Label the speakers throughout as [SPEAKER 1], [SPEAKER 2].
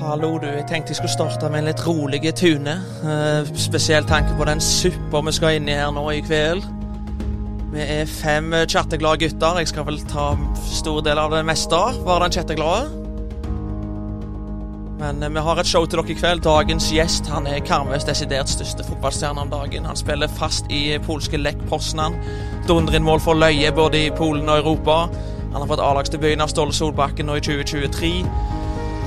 [SPEAKER 1] Hallo, du. Jeg tenkte jeg skulle starte med en litt rolig tune. Eh, spesielt tanke på den suppa vi skal inn i her nå i kveld. Vi er fem eh, chatteglade gutter. Jeg skal vel ta stor del av det meste. Være den chatteglade. Men eh, vi har et show til dere i kveld. Dagens gjest han er Karmøys desidert største fotballstjerne om dagen. Han spiller fast i polske Lech Poznan. Dundrer inn mål for løye både i Polen og Europa. Han har fått A-lagsdebuten av Ståle Solbakken nå i 2023.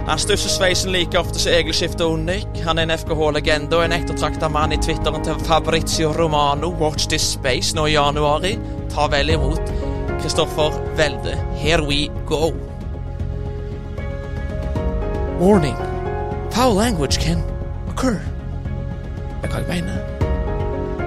[SPEAKER 1] Han stusser sveisen like ofte som egelskiftet Unik. Han er en FKH-legende og en ettertrakta mann i Twitteren til Fabrizio Romano, Watch This Space, nå i januar. Ta vel imot Kristoffer Welde. Here we go. Warning. Foul language can occur. Jeg kan ikke mene.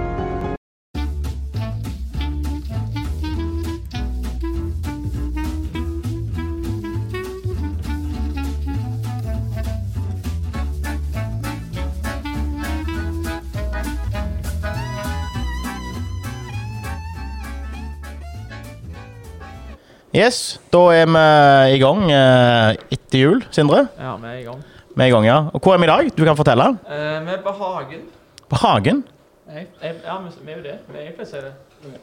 [SPEAKER 2] Yes, da er vi i gang eh, etter jul, Sindre.
[SPEAKER 1] Ja, vi er i gang.
[SPEAKER 2] Vi er i gang, ja. Og hvor er vi i dag? Du kan fortelle.
[SPEAKER 1] vi er på Hagen.
[SPEAKER 2] På Hagen.
[SPEAKER 1] ja, vi er jo det. Vi er jo det.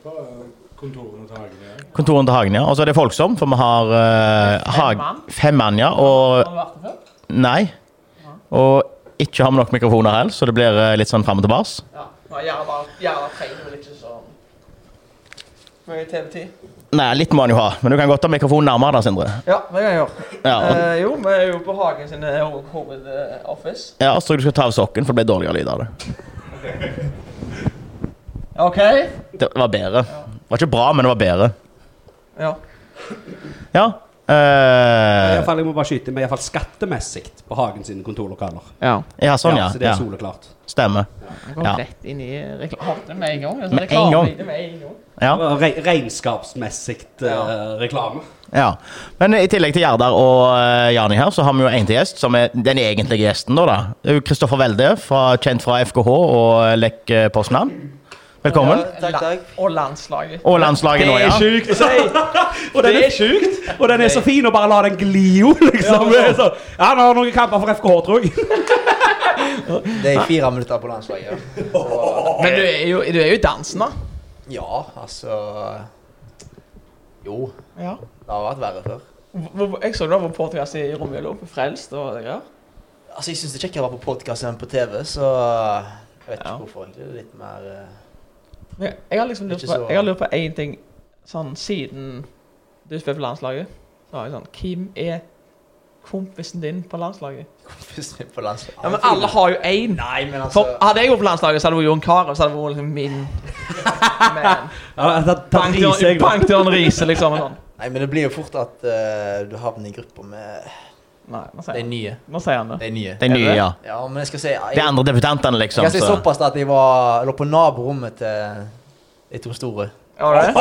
[SPEAKER 3] på
[SPEAKER 4] eh,
[SPEAKER 3] kontorene til Hagen i dag.
[SPEAKER 2] Kontoret til Hagen, ja. Og så er det folksom, for vi har eh, Hag-
[SPEAKER 1] mann.
[SPEAKER 2] Fem mann, ja. Og
[SPEAKER 1] Har du vært der før?
[SPEAKER 2] nei. Og ikke har vi nok mikrofoner heller, så det blir eh, litt sånn fram og tilbake.
[SPEAKER 1] Ja. Gjerne trener vel ikke så mye TV-tid.
[SPEAKER 2] Nei, litt må han jo ha, men du kan godt ta mikrofonen nærmere da, Sindre.
[SPEAKER 1] Ja, det kan jeg gjøre.
[SPEAKER 2] Ja, og,
[SPEAKER 1] Eh, jo, vi er jo på Hagen sin eh, hoved- hovedoffice.
[SPEAKER 2] ja, så du skal ta av sokken, for det ble dårligere lyd av det.
[SPEAKER 1] OK?
[SPEAKER 2] Det var bedre. Det var ikke bra, men det var bedre.
[SPEAKER 1] Ja.
[SPEAKER 2] Ja.
[SPEAKER 3] I
[SPEAKER 2] eh,
[SPEAKER 3] hvert fall, jeg må bare skyte med, i hvert fall skattemessig på Hagen sine kontorlokaler.
[SPEAKER 1] ja.
[SPEAKER 2] ja, sånn, ja.
[SPEAKER 3] Så det
[SPEAKER 2] ja.
[SPEAKER 3] er soleklart.
[SPEAKER 2] Stemmer.
[SPEAKER 1] Jeg kom
[SPEAKER 2] Ja.
[SPEAKER 1] rett inn i reklamen med en gang. Altså,
[SPEAKER 2] Med en
[SPEAKER 1] reklame-
[SPEAKER 2] gang.
[SPEAKER 1] Med en gang.
[SPEAKER 2] Ja.
[SPEAKER 3] Og Re regnskapsmessig eh, reklame.
[SPEAKER 2] Ja, Men i tillegg til Gjerdar og eh, Jani her, så har vi jo en til gjest, som er den egentlige gjesten. da, da. Det er jo Kristoffer Welde, fra, kjent fra FKH og eh, Lech eh, Poznan. Velkommen.
[SPEAKER 5] Takk, takk.
[SPEAKER 1] Og landslaget.
[SPEAKER 2] Og landslaget nå, ja.
[SPEAKER 3] sjukt! og den er sjukt! Og den er så fin å bare la den gli jo, liksom.
[SPEAKER 1] Ja,
[SPEAKER 3] Ja, han har noen kamper for FKH, tror jeg.
[SPEAKER 5] Det er fire minutter på landslaget.
[SPEAKER 1] Men du er jo, du er jo dansende.
[SPEAKER 5] Ja, altså Jo,
[SPEAKER 1] Ja.
[SPEAKER 5] det har vært verre før.
[SPEAKER 1] Jeg så du var på podkast i Romjula, på Frelst og greier.
[SPEAKER 5] Altså, Jeg syns det er kjekkere å være på podkast enn på TV, så jeg vet ikke
[SPEAKER 1] Ja.
[SPEAKER 5] hvorfor. egentlig. Det er litt mer eh,
[SPEAKER 1] Men Jeg jeg har liksom lurt
[SPEAKER 5] Ikke
[SPEAKER 1] på,
[SPEAKER 5] så-
[SPEAKER 1] jeg har lurt på én ting sånn siden du spilte for landslaget. Så har jeg sånn Hvem er kompisen din på landslaget?
[SPEAKER 5] kompis min på landslaget.
[SPEAKER 1] Ja, men alle har jo én.
[SPEAKER 5] Nei, men altså
[SPEAKER 1] For hadde jeg gått på landslaget, så hadde det vært Jon Carew. Så hadde det vært liksom min Man.
[SPEAKER 3] Ja, da, da driser jeg, da.
[SPEAKER 1] Bankdøren Riise, liksom. og Sånn.
[SPEAKER 5] Nei, men det blir jo fort at eh, du havner i gruppa med
[SPEAKER 1] Nei, nå sier,
[SPEAKER 5] de
[SPEAKER 1] han.
[SPEAKER 5] nye.
[SPEAKER 1] nå sier han det.
[SPEAKER 5] De nye.
[SPEAKER 2] De nye, ja.
[SPEAKER 5] Ja, men jeg skal si jeg,
[SPEAKER 2] De andre debutantene, liksom.
[SPEAKER 5] jeg skal si
[SPEAKER 2] Så.
[SPEAKER 5] såpass at jeg var, lå på naborommet til de to store.
[SPEAKER 1] Har du det?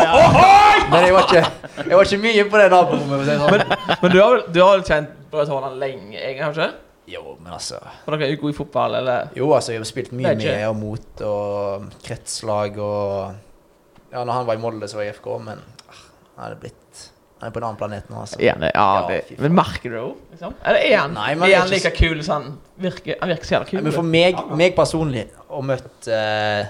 [SPEAKER 5] Men jeg var ikke, jeg var ikke mye på det naborommet. for å si det sånn.
[SPEAKER 1] Men du har vel, du har vel kjent Braut Haaland lenge, egentlig? har du ikke?
[SPEAKER 5] Jo, men altså
[SPEAKER 1] For dere er jo gode i fotball, eller?
[SPEAKER 5] Jo, altså, jeg har spilt mye
[SPEAKER 1] Det er ikke-
[SPEAKER 5] med og mot og kretslag og Ja, når han var i Molde, så var jeg i FK, men ah, han er blitt Han er på en annen planet nå, altså.
[SPEAKER 1] Ja, det, ja,
[SPEAKER 5] det-
[SPEAKER 1] det. Men merker du det òg? Liksom? Eller er han,
[SPEAKER 5] Nei, men
[SPEAKER 1] er
[SPEAKER 5] jeg
[SPEAKER 1] han
[SPEAKER 5] synes-
[SPEAKER 1] like kul som han virker? Han virker så jævla
[SPEAKER 5] Nei,
[SPEAKER 1] kul.
[SPEAKER 5] Men for meg, meg personlig, å møtt eh,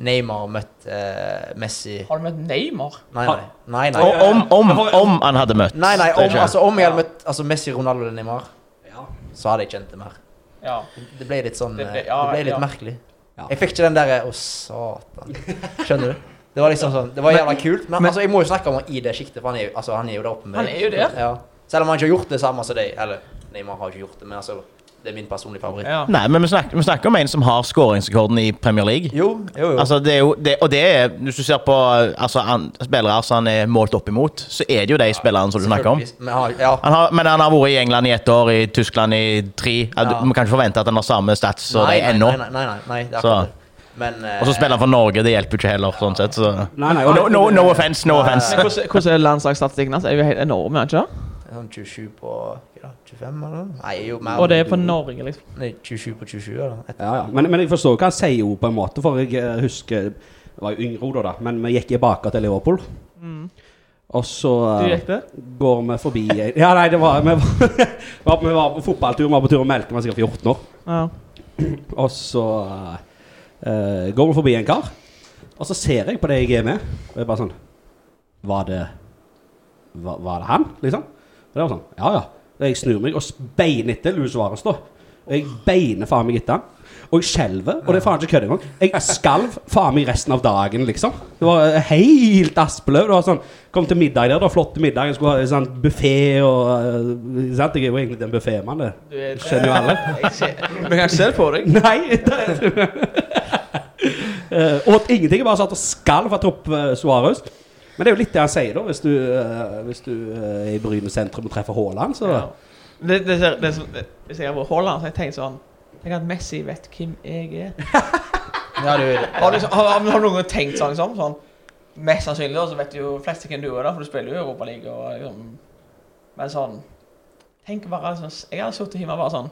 [SPEAKER 5] Neymar og møtt eh, Messi Nei,
[SPEAKER 1] Har du møtt Neymar?
[SPEAKER 5] nei. Nei, nei.
[SPEAKER 2] Og om, om, om han hadde møtt.
[SPEAKER 5] Nei, nei,
[SPEAKER 2] Det er
[SPEAKER 5] om,
[SPEAKER 2] ikke-
[SPEAKER 5] altså, om jeg hadde møtt altså, Messi, Ronaldo eller Neymar,
[SPEAKER 3] Ja.
[SPEAKER 5] så hadde jeg kjent det mer.
[SPEAKER 1] Ja.
[SPEAKER 5] Det ble litt sånn
[SPEAKER 1] Det
[SPEAKER 5] eh,
[SPEAKER 1] ble-
[SPEAKER 5] Det
[SPEAKER 1] ja,
[SPEAKER 5] ble
[SPEAKER 1] ja.
[SPEAKER 5] litt merkelig.
[SPEAKER 3] Ja.
[SPEAKER 5] Jeg fikk ikke den derre Å, satan. Skjønner du? Det var liksom sånn Det var jævla kult, men, altså, jeg må jo snakke om han i det sjiktet, for han er, jo- altså, han er jo der oppe med
[SPEAKER 1] Han er jo det.
[SPEAKER 5] Ja. Selv om han ikke har gjort det samme som deg. Eller Neymar har ikke gjort det, men altså Det er min personlige favoritt.
[SPEAKER 1] ja.
[SPEAKER 2] Nei, men vi snakker, vi snakker om en som har skåringsrekorden i Premier League.
[SPEAKER 5] Jo, jo, jo.
[SPEAKER 2] Altså, det er jo, det, og det er, hvis du ser på altså, an, spillere som han er målt opp imot, så er det jo de spillerne som du snakker om.
[SPEAKER 5] Selvfølgelig. Men han, ja.
[SPEAKER 2] Han har, men han har vært i England i ett år, i Tyskland i tre. Ja.
[SPEAKER 5] Ja.
[SPEAKER 2] Du man kan ikke forvente at han har samme stats og
[SPEAKER 5] nei,
[SPEAKER 2] de ennå.
[SPEAKER 5] Nei, nei, nei, nei, nei, det er
[SPEAKER 2] Så.
[SPEAKER 5] akkurat det. Men eh,
[SPEAKER 2] Og så spiller han for Norge, det hjelper jo ikke heller. sånn sett. Så.
[SPEAKER 3] Nei, nei, og-
[SPEAKER 2] No, no, no offense, no
[SPEAKER 1] Men
[SPEAKER 2] offense.
[SPEAKER 1] hvordan, hvordan er landslagsstatistikken hans? Er jo helt enorm, er den ikke det?
[SPEAKER 5] sånn 27 på hva da, 25, eller noe? Nei, jo mer
[SPEAKER 1] Og det er på Norge, liksom.
[SPEAKER 5] Nei, 27 på 27, eller et,
[SPEAKER 3] Ja, ja. Men, men jeg forstår hva han sier jo på en måte, for jeg eh, husker Jeg var jo yngre da, da men vi gikk i baker til Leopold. Og så
[SPEAKER 6] Mm. Du
[SPEAKER 3] eh,
[SPEAKER 6] gikk det?
[SPEAKER 3] går vi forbi Ja, nei, det var Vi var, vi var på fotballtur, vi var på tur og meldte, vi var sikkert 14 år.
[SPEAKER 6] Ja.
[SPEAKER 3] Og så eh, eh, går vi forbi en kar, og så ser jeg på det jeg er med, og jeg er bare sånn Var det var, var det han, liksom? Og det var sånn, ja, ja. Og jeg snur meg og s- beiner etter Louis Suárez, da. Og jeg beiner faen meg etter han. Og jeg skjelver, og det er faen ikke kødd engang. Jeg skalv faen meg resten av dagen, liksom. Det var eh, helt aspeløv. Det var sånn, Kom til middag der, da. Flott middag. Jeg skulle ha eh, sånn buffé og eh, sant? Jeg er jo egentlig en buffémann, det. Skjønner jo alle.
[SPEAKER 5] Jeg ser,
[SPEAKER 1] Men jeg kan ikke se det på deg.
[SPEAKER 3] Nei! det- Eh, og at ingenting. Jeg bare satt og skalv av Topp eh, Suarez. Men det er jo litt det han sier, da. Hvis du, eh, hvis du eh, er i Bryne sentrum og treffer Haaland, så
[SPEAKER 7] Ja. Det, det, det, det, som- hvis jeg har vært Haaland, så har jeg tenkt sånn Tenk at Messi vet hvem jeg er.
[SPEAKER 5] ja, du,
[SPEAKER 1] Har, du liksom, har, har noen gang tenkt sånn, liksom? Sånn, mest sannsynlig da, så vet jo fleste hvem du er, da, for du spiller jo Europaliga. Liksom. Men sånn Tenk bare sånn, Jeg hadde sittet hjemme og bare sånn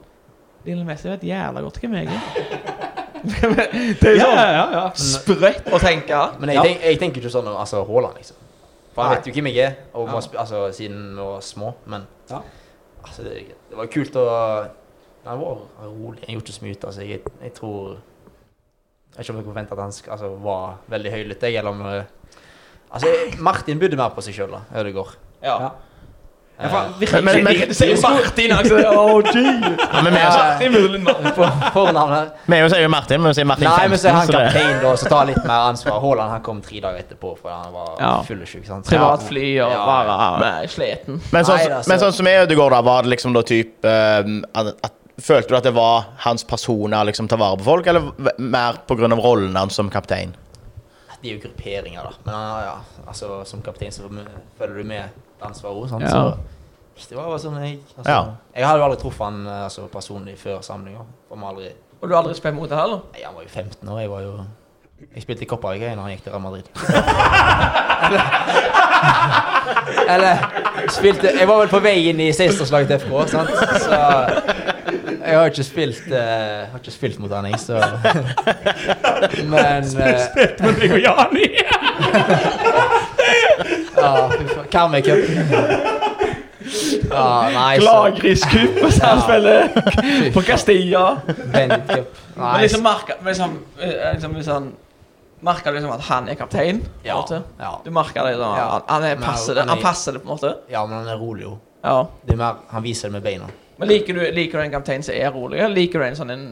[SPEAKER 1] Lille Messi vet jævla godt hvem jeg er. det er jo sånn
[SPEAKER 6] ja, ja.
[SPEAKER 1] sprøtt å tenke.
[SPEAKER 5] Men jeg, tenk, jeg tenker ikke sånn om altså, Haaland, liksom. For han vet jo hvem jeg er, og man sp- altså, siden vi var små. Men
[SPEAKER 3] Ja.
[SPEAKER 5] altså, det, det var kult å Nei, Han var rolig. Han gjorde ikke så mye ut av seg. Jeg, jeg tror Jeg vet ikke om jeg forventer at han sk- altså, var veldig høylytt, jeg, eller om eh, Altså, jeg- Martin bydde mer på seg sjøl, da. Ødegaard.
[SPEAKER 1] Ja.
[SPEAKER 3] Ja.
[SPEAKER 5] Eh,
[SPEAKER 2] Men, men, men,
[SPEAKER 1] Du sier jo Martin, altså.
[SPEAKER 2] ja, men vi er jo så-
[SPEAKER 5] eh, for- Fornavnet
[SPEAKER 2] vi er jo sier jo Martin, men vi sier Martin
[SPEAKER 5] Nei, men så
[SPEAKER 2] 15.
[SPEAKER 5] er han
[SPEAKER 2] Så det,
[SPEAKER 5] kaptein, da, så tar litt mer ansvar. Haaland han kom tre dager etterpå fordi han var
[SPEAKER 1] Ja.
[SPEAKER 5] fyllesyk. sant?
[SPEAKER 1] Privatfly og
[SPEAKER 5] Ja.
[SPEAKER 1] bare eh, sliten.
[SPEAKER 2] men, sånn,
[SPEAKER 5] Nei, altså- da, så-
[SPEAKER 2] men sånn som jeg Ødegaard, da, var det liksom da typ eh, at, at, Følte du at det var hans personer liksom ta vare på folk, eller v- mer pga. rollen hans som kaptein?
[SPEAKER 5] Det er jo grupperinger, da. Men han- ja, altså, som kaptein så følger du med ansvaret òg, sant.
[SPEAKER 1] Ja.
[SPEAKER 5] Så det var bare sånn jeg altså,
[SPEAKER 2] Ja.
[SPEAKER 5] Jeg hadde jo aldri truffet han eh, altså, personlig før samlinga. Om aldri
[SPEAKER 1] Og du har aldri spilt mot det heller?
[SPEAKER 5] Nei, han var jo 15 år, jeg var jo Jeg spilte i Copa Rica da han gikk til Real Madrid. eller, eller spilte Jeg var vel på vei inn i 16-årslaget til FK, sant. Så jeg har ikke spilt eh, Har ikke spilt mot han, jeg, så Men eh,
[SPEAKER 6] Men det er jo Jani!
[SPEAKER 5] Ja, fy faen. Karmøy Cup. Ja, nei, så
[SPEAKER 7] Lagriskupp, og så han spiller på Castilla.
[SPEAKER 5] Bandit Cup.
[SPEAKER 1] Men
[SPEAKER 5] Nei,
[SPEAKER 1] liksom merker men liksom, eh, liksom, liksom, merker du liksom at han er kaptein? på en
[SPEAKER 5] Ja,
[SPEAKER 1] måte?
[SPEAKER 5] ja.
[SPEAKER 1] Du merker det? Liksom,
[SPEAKER 5] Ja.
[SPEAKER 1] han, han, er
[SPEAKER 5] Men
[SPEAKER 1] passer
[SPEAKER 5] han-
[SPEAKER 1] det,
[SPEAKER 5] han
[SPEAKER 1] han
[SPEAKER 5] er-
[SPEAKER 1] passer det, på en måte?
[SPEAKER 5] så- ja, men han er rolig, jo.
[SPEAKER 1] Ja.
[SPEAKER 5] Det er mer, han viser det med beina.
[SPEAKER 1] Men liker du, liker du en kaptein som er rolig, eller liker du en sånn en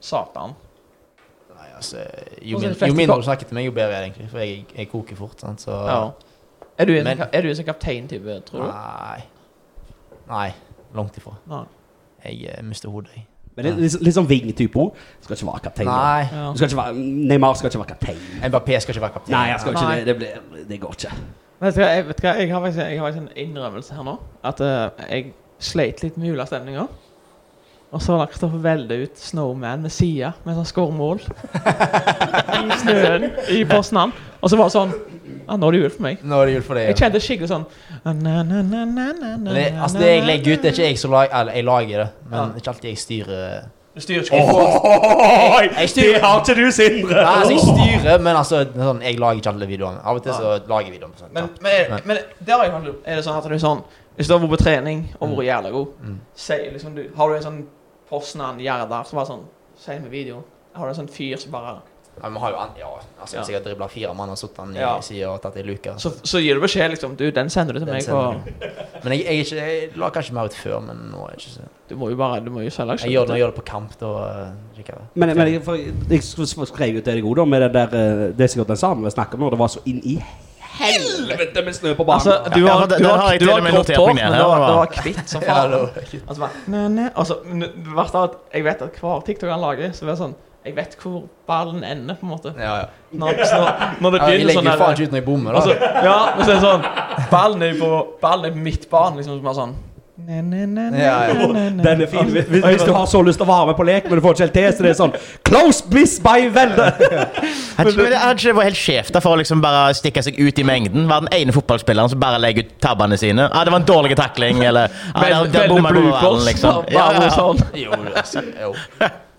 [SPEAKER 1] satan?
[SPEAKER 5] Nei, altså, jo,
[SPEAKER 1] Og så er
[SPEAKER 5] min,
[SPEAKER 1] det flest-
[SPEAKER 5] jo mindre du snakker til meg, jo bedre er det egentlig. For jeg, jeg koker fort. Sant? Så
[SPEAKER 1] Ja. Er du en,
[SPEAKER 5] Men-
[SPEAKER 1] er du en sånn kaptein-type, tror du?
[SPEAKER 5] Nei. Nei. Langt ifra.
[SPEAKER 1] Nei.
[SPEAKER 5] Jeg eh, mister hodet, jeg.
[SPEAKER 3] Men det er litt, litt sånn Ving-type òg. Skal ikke være kaptein. da.
[SPEAKER 5] Nei.
[SPEAKER 1] Ja.
[SPEAKER 3] Du skal ikke være, Neymar skal ikke være kaptein.
[SPEAKER 5] Mbappé skal ikke være kaptein.
[SPEAKER 3] Nei, jeg skal ikke
[SPEAKER 1] Nei.
[SPEAKER 3] det. Det, blir, det går ikke.
[SPEAKER 1] Vet du hva, jeg, vet du hva, jeg, har faktisk, jeg har faktisk en innrømmelse her nå. At eh, jeg sleit litt med julestemninga. Og så la Kristoffer velde ut Snowman med sida mens han skårer mål. I snøen i Poznan. Og så var det sånn ah, Nå er det jul for meg.
[SPEAKER 5] Nå er det jul for deg.
[SPEAKER 1] Jeg
[SPEAKER 5] ja.
[SPEAKER 1] kjente skikkelig sånn ah, na, na, na, na, na, na,
[SPEAKER 5] Men Det, altså, det jeg legger ut, det er ikke jeg som lager Eller, jeg lager det, men
[SPEAKER 1] Ja.
[SPEAKER 5] det er ikke alltid jeg styrer
[SPEAKER 1] Du styrer ikke folk.
[SPEAKER 6] Oi,
[SPEAKER 5] Jeg styrer-
[SPEAKER 6] det har ikke du, Sindre!
[SPEAKER 5] Nei, altså, jeg styrer, men altså, sånn, jeg lager ikke alle videoene. Av og til så lager jeg videoene. på sånn,
[SPEAKER 1] Men,
[SPEAKER 5] kjapt.
[SPEAKER 1] men, men der har jeg faktisk- er det sånn at du er sånn Hvis du har vært på trening og vært jævla god,
[SPEAKER 5] Mm.
[SPEAKER 1] sier liksom du Har du en sånn Poznan-gjerder som bare sånn Sier med video Har du en sånn fyr som bare
[SPEAKER 5] Ja, men vi har jo an- ja, altså,
[SPEAKER 1] Ja.
[SPEAKER 5] Hvis jeg har dribla fire mann og satt han i
[SPEAKER 1] Ja.
[SPEAKER 5] sida og tatt ei luke
[SPEAKER 1] Så, så gir du beskjed liksom Du, den sender du til
[SPEAKER 5] Den
[SPEAKER 1] meg
[SPEAKER 5] sender
[SPEAKER 1] og
[SPEAKER 5] Men jeg, jeg, er ikke, jeg la kanskje mer ut før, men nå er jeg ikke så
[SPEAKER 1] Du må jo bare Du må jo selge
[SPEAKER 5] Jeg gjør det når jeg gjør det på kamp, da eh, kikker jeg.
[SPEAKER 3] Men, men jeg, for, jeg sk- skrev jo til deg òg, da, med det der eh, Det er sikkert den samme vi snakker om nå. Det var så inn i helvete med snø på banen.
[SPEAKER 1] Altså, du
[SPEAKER 2] Ja,
[SPEAKER 1] har,
[SPEAKER 2] for den-
[SPEAKER 1] du
[SPEAKER 2] den har
[SPEAKER 1] har,
[SPEAKER 2] jeg
[SPEAKER 1] du
[SPEAKER 2] til
[SPEAKER 1] har
[SPEAKER 2] og med
[SPEAKER 1] grått
[SPEAKER 2] notert
[SPEAKER 1] hår,
[SPEAKER 2] meg
[SPEAKER 1] men
[SPEAKER 2] ned
[SPEAKER 1] det
[SPEAKER 2] her,
[SPEAKER 1] var, det
[SPEAKER 2] da.
[SPEAKER 1] var kvitt som
[SPEAKER 5] Ja,
[SPEAKER 1] faen.
[SPEAKER 5] da var jeg-
[SPEAKER 1] Altså, bare, ne, ne. Altså, men det verste er at jeg vet at hver TikTok han lager, så blir det sånn Jeg vet hvor ballen ender, på en måte.
[SPEAKER 5] ja, ja.
[SPEAKER 1] Når, når, når det
[SPEAKER 5] Ja, jeg
[SPEAKER 1] begynner
[SPEAKER 5] legger
[SPEAKER 1] sånn
[SPEAKER 5] jo faen
[SPEAKER 1] der-
[SPEAKER 5] ikke ut når jeg bommer, da.
[SPEAKER 1] Altså, ja, men så er det sånn Ballen er jo på Ballen er på midtbanen, liksom, som er sånn ne, ne, ne, ne,
[SPEAKER 5] Ja, ja.
[SPEAKER 1] ne, ne.
[SPEAKER 3] Den er fin. Hvis, hvis du har så lyst til å være med på lek, men du får ikke helt til, så det er sånn Close miss by velde!
[SPEAKER 2] Hadde ikke- men det- hadde ikke det vært helt skjevt da, for å liksom bare stikke seg ut i mengden? Være den ene fotballspilleren som bare legger ut tabbene sine? Ja, det var en dårlig takling, eller ja, der, der
[SPEAKER 1] Veldig
[SPEAKER 2] bomma jeg på
[SPEAKER 1] bloopers,
[SPEAKER 2] ballen, liksom.
[SPEAKER 1] bare
[SPEAKER 2] Ja, ja, ja.
[SPEAKER 1] sånn.
[SPEAKER 5] Jo, altså, jo.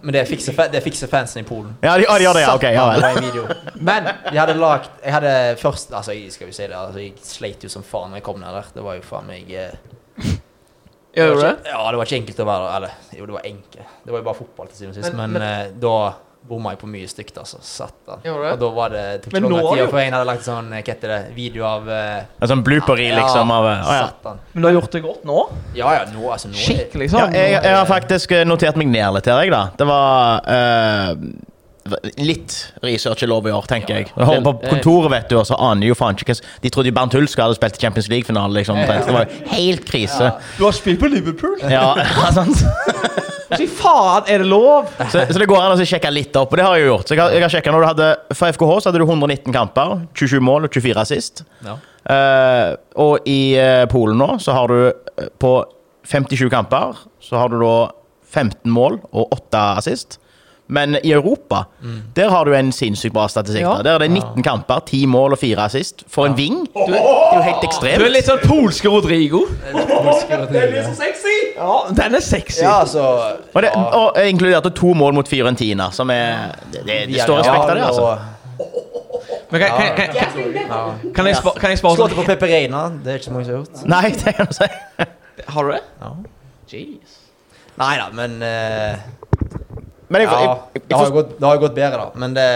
[SPEAKER 5] Men det fikser, fa- det fikser fansen i Polen.
[SPEAKER 2] Ja, de, ja, de gjør det, ja. Ok, ja vel.
[SPEAKER 5] Det var en video. Men de hadde lagt Jeg hadde først Altså, jeg skal jo si det, altså, jeg sleit jo som faen når jeg kom ned der. Det var jo faen meg eh, det
[SPEAKER 1] Gjør du
[SPEAKER 5] var
[SPEAKER 1] det?
[SPEAKER 5] ikke- Ja, det var ikke enkelt å være der. Eller, jo, det var enkelt. Det var jo bare fotball til syvende og sist,
[SPEAKER 1] Men-
[SPEAKER 5] men, eh, da bomma jeg på mye stygt, altså. Satan.
[SPEAKER 1] Gjorde du?
[SPEAKER 5] Og da var det tok
[SPEAKER 1] Men
[SPEAKER 5] ikke lang
[SPEAKER 1] nå
[SPEAKER 5] tid
[SPEAKER 1] jo.
[SPEAKER 5] før en hadde lagt sånn eh, Hva heter det? Video av eh,
[SPEAKER 2] En sånn blooper-reel, liksom. Av, eh, å, ja.
[SPEAKER 5] Satan.
[SPEAKER 1] Men du har gjort det godt nå?
[SPEAKER 5] Ja ja, nå, altså. Nå er-
[SPEAKER 1] Skikkelig
[SPEAKER 2] Ja,
[SPEAKER 1] sånn?
[SPEAKER 2] jeg, jeg har faktisk eh, notert meg ned litt her, jeg, da. Det var eh, Litt research er lov i år, tenker
[SPEAKER 5] Ja,
[SPEAKER 2] jeg. Jeg holder på kontoret, vet du, og så aner jeg jo faen ikke hva s- De trodde jo Bernt Hulsker hadde spilt i Champions League-finale, liksom. omtrent. Det var jo helt krise.
[SPEAKER 1] Du har spilt på Liverpool?
[SPEAKER 2] Ja, sant?
[SPEAKER 1] Fy faen, er det lov?
[SPEAKER 2] Så, så det går an å så sjekke litt opp, og det har jeg jo gjort. Så jeg har, jeg har sjekket når du hadde, For FKH så hadde du 119 kamper, 27 mål og 24 assist.
[SPEAKER 5] Ja.
[SPEAKER 2] Eh, og i eh, Polen nå så har du eh, på 57 kamper så har du da 15 mål og 8 assist. Men i Europa der har du en sinnssykt bra statistikk.
[SPEAKER 1] Mm. Ja.
[SPEAKER 2] Da. Der er det 19 kamper, 10 mål og 4 assist. For en ving! det er jo helt ekstremt.
[SPEAKER 1] Du er litt sånn polske Rodrigo.
[SPEAKER 8] Det er litt så sexy!
[SPEAKER 1] Ja, den er sexy.
[SPEAKER 5] Ja, altså
[SPEAKER 2] Og, det, og jeg inkluderte to mål mot Fiorentina, som er Det, det, det står respekt av det, altså.
[SPEAKER 1] Men kan, kan, kan, kan, kan jeg spå- kan jeg spørre
[SPEAKER 5] Slå til på Peperina. Det er ikke så mange som har gjort.
[SPEAKER 2] Nei, det kan du si.
[SPEAKER 1] Har du det?
[SPEAKER 5] Ja.
[SPEAKER 1] Jeez.
[SPEAKER 5] Nei da, men eh,
[SPEAKER 2] Men jeg, jeg,
[SPEAKER 5] Ja,
[SPEAKER 2] jeg,
[SPEAKER 5] det
[SPEAKER 2] forstår-
[SPEAKER 5] har jo gått, det har jo gått bedre, da. Men det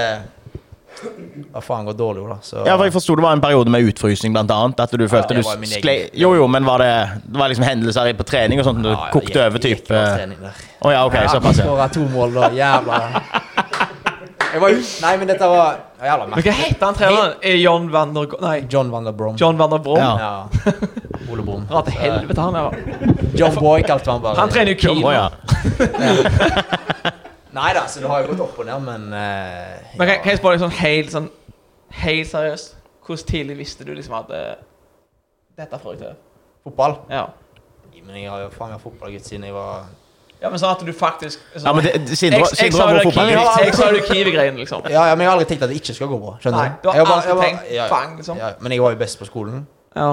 [SPEAKER 5] har faen gått dårlig, jo, da. Så
[SPEAKER 2] Ja, for jeg forsto det var en periode med utfrysning, blant annet. At du følte
[SPEAKER 5] det var
[SPEAKER 2] du
[SPEAKER 5] min
[SPEAKER 2] sklei
[SPEAKER 5] egen-
[SPEAKER 2] Jo, jo, men var det, det var liksom hendelser i- på trening og sånt? Du
[SPEAKER 5] Ja, ja,
[SPEAKER 2] kokte
[SPEAKER 5] gikk-
[SPEAKER 2] over
[SPEAKER 5] gikk
[SPEAKER 2] type
[SPEAKER 5] bra
[SPEAKER 2] Å
[SPEAKER 5] trening der.
[SPEAKER 2] ja, OK,
[SPEAKER 5] Ja,
[SPEAKER 2] såpass, ja.
[SPEAKER 5] skåret to mål, da. Jævla Jeg var jo Nei, men dette var ja, Jævla
[SPEAKER 1] Men hva
[SPEAKER 5] merkelig.
[SPEAKER 1] heter han treneren? Er John van der Go- Nei,
[SPEAKER 5] John van der Brom.
[SPEAKER 1] John van der Brom?
[SPEAKER 2] Ja.
[SPEAKER 5] Ja. Ole Brom.
[SPEAKER 1] Dra til helvete, han er
[SPEAKER 5] John Boy kalte han bare.
[SPEAKER 1] Han trener jo
[SPEAKER 2] Å
[SPEAKER 1] Kiel.
[SPEAKER 2] ja.
[SPEAKER 5] Nei da, så det har jo gått opp og ned, men eh,
[SPEAKER 1] Men kan,
[SPEAKER 5] ja.
[SPEAKER 1] kan jeg spørre deg sånn helt, sånn, helt seriøst? Hvordan tidlig visste du liksom at eh, Dette får jeg til.
[SPEAKER 5] Fotball?
[SPEAKER 1] Ja.
[SPEAKER 5] Men jeg har jo faen meg fotballgutt siden jeg var
[SPEAKER 1] ja, men sånn at du faktisk sånn,
[SPEAKER 2] ja men det, det- Sindre
[SPEAKER 1] Jeg jeg
[SPEAKER 2] Sindre
[SPEAKER 1] sa jo
[SPEAKER 2] var vår
[SPEAKER 1] det Kiwi-
[SPEAKER 2] fotballgutt.
[SPEAKER 1] jeg sa jo det Kiwi-greien, liksom.
[SPEAKER 5] Ja, ja, men jeg har aldri tenkt at det ikke skal gå bra. Skjønner
[SPEAKER 1] Nei, du har
[SPEAKER 5] Jeg var bare- jeg
[SPEAKER 1] alltid
[SPEAKER 5] var-
[SPEAKER 1] tenkt
[SPEAKER 5] ja, ja.
[SPEAKER 1] fang, liksom.
[SPEAKER 5] Ja, men jeg var jo best på skolen.
[SPEAKER 1] Ja.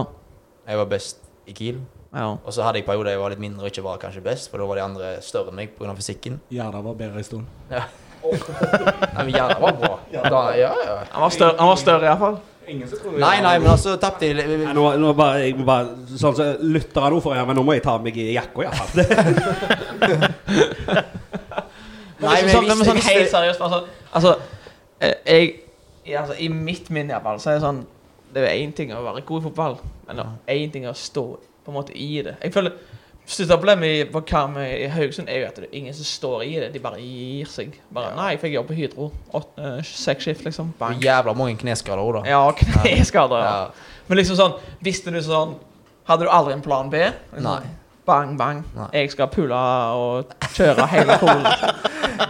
[SPEAKER 5] Jeg var best i Kiel.
[SPEAKER 1] ja.
[SPEAKER 5] Og så hadde jeg perioder jeg var litt mindre og ikke var kanskje best, for da var de andre større enn meg pga. fysikken.
[SPEAKER 3] Gjerda var bedre en stund.
[SPEAKER 5] Nei, men Jerna var bra. Da, ja, ja.
[SPEAKER 1] Han var større, han var større iallfall.
[SPEAKER 5] Nei, nei, men altså tapte jeg
[SPEAKER 3] Nei, nå, nå bare, jeg må bare, sånn så lytter jeg nå for, ja, men nå må jeg ta meg i jakka, iallfall.
[SPEAKER 5] Nei, men
[SPEAKER 1] men
[SPEAKER 5] jeg
[SPEAKER 1] sånn, men
[SPEAKER 5] visste,
[SPEAKER 1] sånn
[SPEAKER 5] jeg
[SPEAKER 1] helt
[SPEAKER 5] visste
[SPEAKER 1] seriøst altså, altså, eh, jeg, ja, altså, I mitt minne i hvert fall, så er det sånn Det er jo én ting å være god i fotball, men det er én ting å stå på en måte i det. Jeg føler Største problemet i- på Karmøy i Haugesund er jo at det er ingen som står i det. De bare gir seg. Bare, 'Nei, jeg fikk jobb på Hydro. Åt- eh, Seks skift, liksom.' Bang.
[SPEAKER 5] jævla mange kneskader òg, da.
[SPEAKER 1] Ja, kneskader. Ja.
[SPEAKER 5] Ja.
[SPEAKER 1] Men liksom sånn Visste du sånn Hadde du aldri en plan B? Liksom,
[SPEAKER 5] Nei.
[SPEAKER 1] Bang, bang.
[SPEAKER 5] Nei.
[SPEAKER 1] Jeg skal pule og kjøre hele Polen.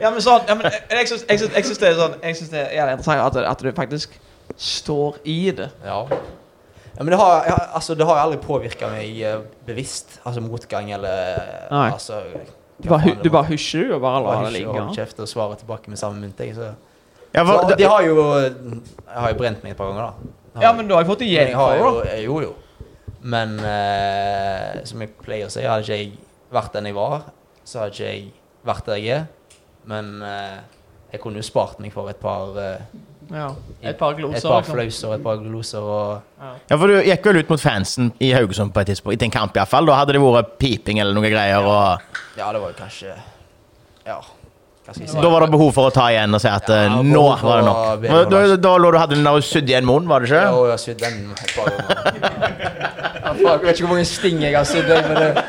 [SPEAKER 1] ja, men sånn ja, men jeg- Jeg syns- jeg syns jeg syns det er sånn Jeg syns det er jævlig interessant at, at du faktisk står i det.
[SPEAKER 5] Ja. ja men det har, jeg har- altså, det har aldri påvirka meg eh, bevisst. Altså motgang eller
[SPEAKER 1] Nei.
[SPEAKER 5] altså,
[SPEAKER 1] Du bare, hu- du bare husjer du, og bare lar
[SPEAKER 5] Bare
[SPEAKER 1] det
[SPEAKER 5] hysj
[SPEAKER 1] ligge.
[SPEAKER 5] og hold
[SPEAKER 1] ja.
[SPEAKER 5] kjeft og svare tilbake med samme mynt. jeg, Så.
[SPEAKER 2] Ja,
[SPEAKER 5] Så,
[SPEAKER 2] for,
[SPEAKER 5] de har jo Jeg har jo brent meg et par ganger, da.
[SPEAKER 1] Ja, men du har jo fått
[SPEAKER 5] Men
[SPEAKER 1] igjen
[SPEAKER 5] jeg har
[SPEAKER 1] for det.
[SPEAKER 5] jo, jeg, jo, jo. Men eh, som jeg pleier å si, hadde ikke jeg vært den jeg var, så hadde ikke jeg vært der jeg er. Men eh, jeg kunne jo spart meg for et par, eh,
[SPEAKER 1] Ja. Et par gloser.
[SPEAKER 5] et par
[SPEAKER 1] liksom.
[SPEAKER 5] flauser, et par gloser og
[SPEAKER 2] ja, for du gikk vel ut mot fansen i Haugesund på et tidspunkt, etter en kamp iallfall. Da hadde det vært piping eller noe greier, og
[SPEAKER 5] Ja, det var jo kanskje Ja, hva skal jeg si?
[SPEAKER 2] da var det behov for å ta igjen og si at eh,
[SPEAKER 5] Ja,
[SPEAKER 2] nå
[SPEAKER 5] behov for
[SPEAKER 2] var det nok.
[SPEAKER 5] å be
[SPEAKER 2] Da,
[SPEAKER 5] om
[SPEAKER 2] da,
[SPEAKER 5] det.
[SPEAKER 2] da lå du hadde den der sydd i en munn, var det
[SPEAKER 5] Ja,
[SPEAKER 2] ikke?
[SPEAKER 5] og jeg har sydd den et par ganger. Ja, faen, jeg vet ikke hvor mange sting jeg har sydd deg, men det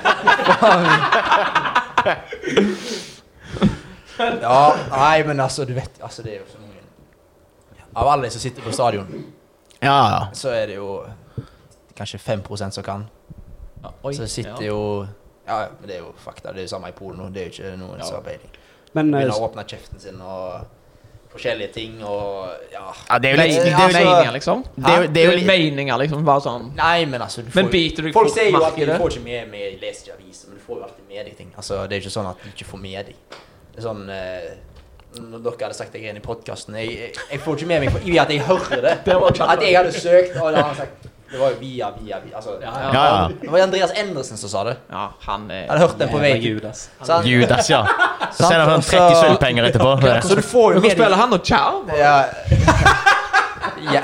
[SPEAKER 5] Faen. Ja, nei, men altså, du vet Altså, det er jo så mange Av alle som sitter på stadion
[SPEAKER 2] Ja, ja.
[SPEAKER 5] så er det jo kanskje 5 som kan.
[SPEAKER 1] Ja, oi,
[SPEAKER 5] så sitter
[SPEAKER 1] ja.
[SPEAKER 5] jo Ja, ja, men det er jo fakta. Det er jo samme i Polen nå. Det er jo ikke noen som har peiling.
[SPEAKER 3] Men eh,
[SPEAKER 5] Begynner å åpne kjeften sin og forskjellige ting og Ja.
[SPEAKER 2] ja det er jo litt
[SPEAKER 5] Men,
[SPEAKER 2] det
[SPEAKER 1] Det er
[SPEAKER 2] er jo
[SPEAKER 5] altså-
[SPEAKER 2] litt-
[SPEAKER 1] meninger, liksom.
[SPEAKER 2] det er jo- det er jo litt-
[SPEAKER 1] meninger, liksom. Bare sånn
[SPEAKER 5] Nei, men altså du
[SPEAKER 1] Men
[SPEAKER 5] får-
[SPEAKER 1] biter du
[SPEAKER 5] Folk
[SPEAKER 1] fort
[SPEAKER 5] sier jo
[SPEAKER 1] merke
[SPEAKER 5] at
[SPEAKER 1] i
[SPEAKER 5] du
[SPEAKER 1] det?
[SPEAKER 5] får ikke med meg jeg leser ikke aviser, men du får jo alltid med deg ting. Altså, Det er ikke sånn at du ikke får med deg. Det er sånn eh, når dere hadde sagt det greiene i podkasten jeg, jeg, jeg får ikke med meg for, i at jeg hører det. At jeg hadde søkt, og da har han sagt Det var jo via, via, via. Altså,
[SPEAKER 1] Ja,
[SPEAKER 2] Ja, ja.
[SPEAKER 5] Det var Andreas Endresen som sa det.
[SPEAKER 1] Ja, han er
[SPEAKER 5] Jeg hadde hørt den på vei
[SPEAKER 3] Gud, ass.
[SPEAKER 5] Så han,
[SPEAKER 2] Judas, ja. Så sender han
[SPEAKER 5] Sant,
[SPEAKER 2] frekk i
[SPEAKER 5] altså-
[SPEAKER 2] sølvpenger etterpå.
[SPEAKER 5] Så du får jo
[SPEAKER 1] Hvorfor
[SPEAKER 5] med
[SPEAKER 1] spiller han og Chow?
[SPEAKER 5] Ja. ja.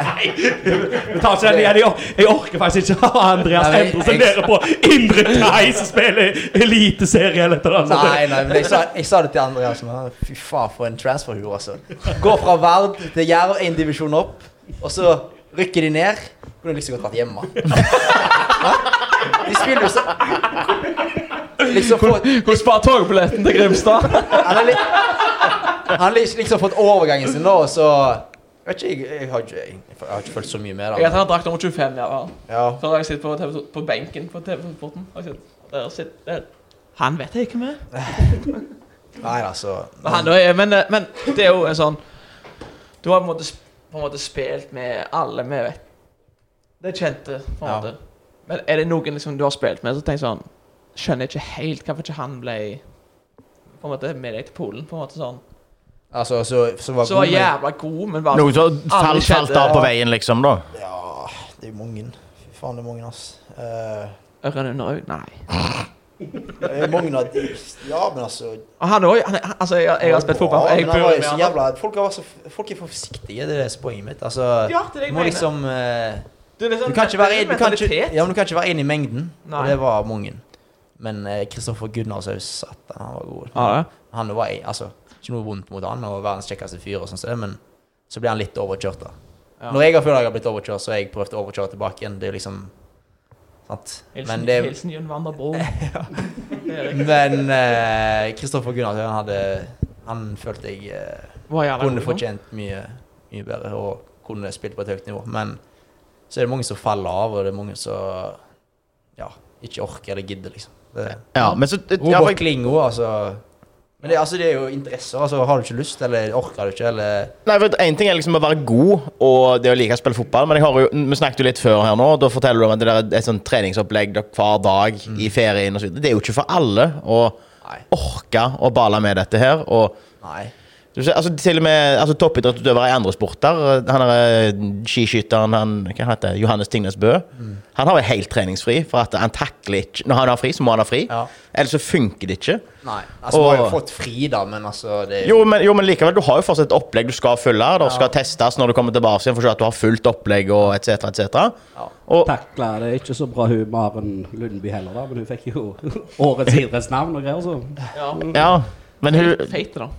[SPEAKER 8] Vi tar ikke den igjen. Jeg, or jeg orker faktisk ikke å ha Andreas
[SPEAKER 5] Nei, men
[SPEAKER 8] Endresen
[SPEAKER 5] jeg-
[SPEAKER 8] nede på Indre Thai som spiller eliteserie eller et eller annet.
[SPEAKER 5] Nei, nei, men jeg sa, jeg sa det til Andreas. Men han- fy faen, for en transferhue, altså. Gå fra Vard til Jerv, én divisjon opp, og så rykker de ned. Kunne liksom godt vært hjemme. Hæ? De spiller jo så Liksom fått
[SPEAKER 1] Hun sparer togbilletten til Grimstad.
[SPEAKER 5] Han har li- han har liksom liksom fått overgangen sin nå, og så Vet ikke, jeg, jeg, har ikke, jeg, har ikke følt så mye med
[SPEAKER 1] Jeg vet
[SPEAKER 5] det.
[SPEAKER 1] han har drakt nummer 25, ja vel.
[SPEAKER 5] Ja.
[SPEAKER 1] Så har jeg sittet på, TV, to- på benken på TV-sporten. Har jeg sett. Der sitter der. Han vet jeg ikke med.
[SPEAKER 5] Nei, altså.
[SPEAKER 1] Men, han, da er- men, eh, men det er jo en sånn Du har på en måte, sp- på en måte spilt med alle vi vet Det er kjente, på en
[SPEAKER 5] Ja.
[SPEAKER 1] måte. Men er det noen liksom, du har spilt med, så tenker jeg sånn Skjønner jeg ikke helt hvorfor ikke han ble på en måte med deg til Polen. på en måte sånn
[SPEAKER 5] altså så, så var
[SPEAKER 1] Så var
[SPEAKER 5] god, men-
[SPEAKER 1] jævla god, men bare
[SPEAKER 2] Noe som falt, falt av på veien, liksom, da.
[SPEAKER 5] Ja, det er jo mange. Fy faen, det er mange, ass. Eh,
[SPEAKER 1] Ørene under øynene. Nei.
[SPEAKER 5] det er mange av de Ja, men altså
[SPEAKER 1] Og han òg. Altså, jeg, jeg har spilt fotball.
[SPEAKER 5] Ja,
[SPEAKER 1] Jeg
[SPEAKER 5] men han var
[SPEAKER 1] burde
[SPEAKER 5] jo
[SPEAKER 1] med
[SPEAKER 5] så
[SPEAKER 1] han.
[SPEAKER 5] jævla, folk, har vært så, folk er for forsiktige, det er det som er poenget mitt. Altså,
[SPEAKER 1] Ja, det er det jeg
[SPEAKER 5] må
[SPEAKER 1] mener.
[SPEAKER 5] liksom eh,
[SPEAKER 1] Du, det er
[SPEAKER 5] Du
[SPEAKER 1] sånn-
[SPEAKER 5] kan ikke være
[SPEAKER 1] det er
[SPEAKER 5] en, du kan ikke,
[SPEAKER 1] mentalitet.
[SPEAKER 5] ja, men du kan ikke være en i mengden.
[SPEAKER 1] Nei.
[SPEAKER 5] Og det var mange. Men eh, Kristoffer Gunnarshaus satan, han var god.
[SPEAKER 1] Ja, ja.
[SPEAKER 5] Han var en- altså, ikke noe vondt mot han, og verdens kjekkeste fyr, og sånn som det, men så blir han litt overkjørt, da.
[SPEAKER 1] Ja.
[SPEAKER 5] Når jeg har følt at jeg har blitt overkjørt, så har jeg prøvd å overkjøre tilbake igjen. Det er jo liksom Sant?
[SPEAKER 1] Hilsen,
[SPEAKER 5] Men det er
[SPEAKER 1] hilsen Jørn Vanderbro.
[SPEAKER 5] Men eh, Kristoffer Gunnar han hadde Han følte jeg eh,
[SPEAKER 1] Var jævla
[SPEAKER 5] kunne
[SPEAKER 1] god.
[SPEAKER 5] fortjent mye, mye bedre og kunne spilt på et høyt nivå. Men så er det mange som faller av, og det er mange som ja, ikke orker eller gidder, liksom. Det,
[SPEAKER 2] Ja, men så ja, for
[SPEAKER 5] Robert
[SPEAKER 2] jeg,
[SPEAKER 5] Klingo, altså. Men det, altså, det er jo interesser. Altså, har du ikke lyst, eller orker du ikke, eller
[SPEAKER 2] Nei, for En ting er liksom å være god og det å like å spille fotball, men jeg har jo, vi snakket jo litt før her nå. Da forteller du om at det der er et sånt treningsopplegg der hver dag i ferien og så videre. Det er jo ikke for alle å
[SPEAKER 5] Nei.
[SPEAKER 2] orke å bale med dette her. og
[SPEAKER 5] Nei.
[SPEAKER 2] Du ser, altså, til og med altså, toppidrettsutøvere i andre sporter Han er eh, skiskytteren han, hva heter, det? Johannes Tingnes Bø. Han har jo helt treningsfri, for at han takler ikke Når han har fri, så må han ha fri.
[SPEAKER 5] Ja.
[SPEAKER 2] Ellers så funker det ikke.
[SPEAKER 5] Nei. Altså, vi har jo
[SPEAKER 2] Og-
[SPEAKER 5] fått fri, da, men altså det er
[SPEAKER 2] Jo men, jo, men likevel, du har jo fortsatt et opplegg du skal følge. Det skal testes når du kommer tilbake igjen, for å se at du har fullt opplegg og etc. Et cetera.
[SPEAKER 5] Ja.
[SPEAKER 2] og
[SPEAKER 3] Takla det er ikke så bra hun Maren Lundby heller, da, men hun fikk jo årets idrettsnavn og greier, så
[SPEAKER 1] Ja.
[SPEAKER 2] ja, men hun
[SPEAKER 1] Feite, da.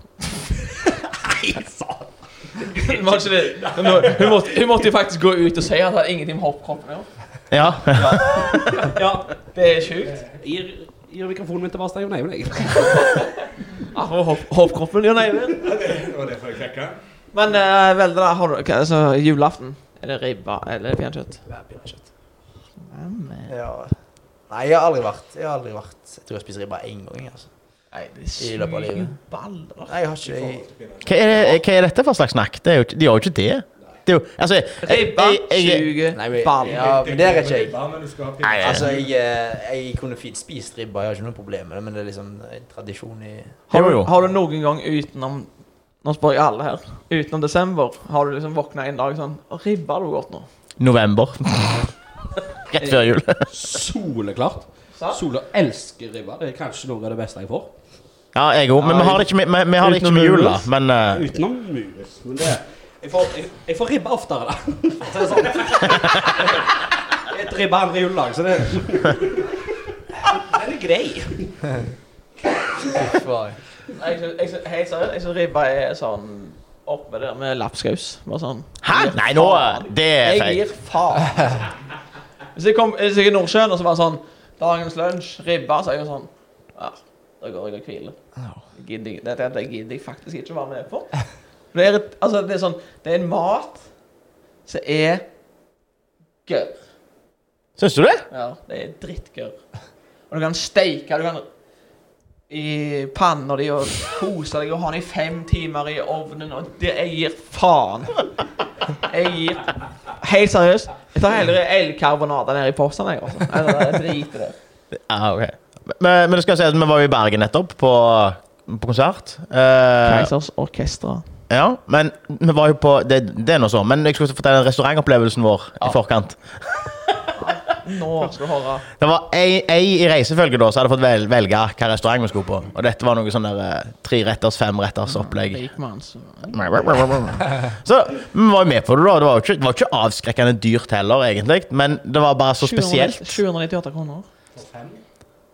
[SPEAKER 1] Hun var ikke det. Hun, hun, måtte, hun måtte jo faktisk gå ut og si at det hadde ingenting med hoppkroppen å gjøre.
[SPEAKER 2] Ja.
[SPEAKER 3] Ja.
[SPEAKER 1] Det er sjukt.
[SPEAKER 3] Gir, gir mikrofonen min til Barstein Nei, men jeg.
[SPEAKER 1] Ah, og hopp, hoppkroppen gjør nei vel. Men uh, vel, da har du hva, altså, julaften. Er det ribba eller pinnekjøtt? Nei,
[SPEAKER 5] Ja. Nei, jeg har aldri vært Jeg har aldri vært Jeg tror jeg spiser ribba én gang, altså.
[SPEAKER 1] det
[SPEAKER 5] I
[SPEAKER 1] suger
[SPEAKER 5] løpet av livet.
[SPEAKER 1] baller.
[SPEAKER 5] Nei, jeg har ikke jeg,
[SPEAKER 2] Hva, er det, hva er dette for slags snakk? Det er jo, ikke- de gjør jo ikke det. det er jo, altså, jeg,
[SPEAKER 1] Ribba suger
[SPEAKER 5] Nei, men,
[SPEAKER 1] baller.
[SPEAKER 5] ja, men der er ikke jeg.
[SPEAKER 2] nei,
[SPEAKER 5] Altså, jeg, eh, jeg kunne fint spist ribba, jeg har ikke noe problem med det, men det er liksom en tradisjon i
[SPEAKER 1] Har
[SPEAKER 2] Jo,
[SPEAKER 1] du,
[SPEAKER 2] jo.
[SPEAKER 1] har du noen gang utenom Nå spør jeg alle her. Utenom desember, har du liksom våkna en dag sånn «Å, Ribba hadde gått nå.
[SPEAKER 2] November. Rett før jul.
[SPEAKER 3] Soleklart.
[SPEAKER 1] Sant?
[SPEAKER 3] Sola elsker ribba. Det er kanskje noe av det beste jeg får.
[SPEAKER 2] Ja, jeg òg. Men vi har det ikke med, vi, vi har det ikke med
[SPEAKER 3] Utenom
[SPEAKER 2] jula.
[SPEAKER 3] julen.
[SPEAKER 2] Men eh,
[SPEAKER 3] Utenom mus. Men det jeg får, jeg, jeg får ribba oftere, da. For å si det sånn. Et ribba andre juledag, så det Den er grei.
[SPEAKER 5] Hvorfor?
[SPEAKER 1] Jeg syns- jeg syns- Helt seriøst, jeg syns ribba er sånn opp med det med lapskaus. Bare sånn.
[SPEAKER 2] Hæ? Nei, nå Det er
[SPEAKER 1] Jeg
[SPEAKER 2] feil.
[SPEAKER 1] gir faen. Hvis jeg kom hvis jeg er i Nordsjøen og så var det sånn Dagens lunsj, ribba, så er jeg jo sånn Ja, da går jeg og hviler. Det gidder jeg- Dette dette gidder jeg faktisk ikke å være med på. For Det er, et, altså, det er sånn Det er en mat som er gørr.
[SPEAKER 2] Syns du det?
[SPEAKER 1] Ja, det er drittgørr. Og du kan steike, du kan i panna di og kose deg og ha den i fem timer i ovnen og det Jeg gir faen. Jeg gir Helt seriøst. Jeg tar heller elkarbonade nede i posten, jeg, altså. Eller jeg driter i det.
[SPEAKER 2] Ja, ok. Men, men det skal si at vi var jo i Bergen nettopp, på, på konsert. Eh,
[SPEAKER 1] Keisers orkestra.
[SPEAKER 2] ja, men vi var jo på Det, det er nå så. Men jeg skulle fortelle restaurantopplevelsen vår i forkant.
[SPEAKER 1] Nå skal du høre.
[SPEAKER 2] Det var ei, ei i reisefølget da, som hadde fått vel, velge hva restaurant vi skulle på. Og dette var noe sånn der eh, treretters, femretters opplegg.
[SPEAKER 1] Rikmanns.
[SPEAKER 2] Så vi var jo med på det, da. Det var jo ikke, det var ikke avskrekkende dyrt heller, egentlig. Men det var bare så spesielt.
[SPEAKER 1] 798 kroner.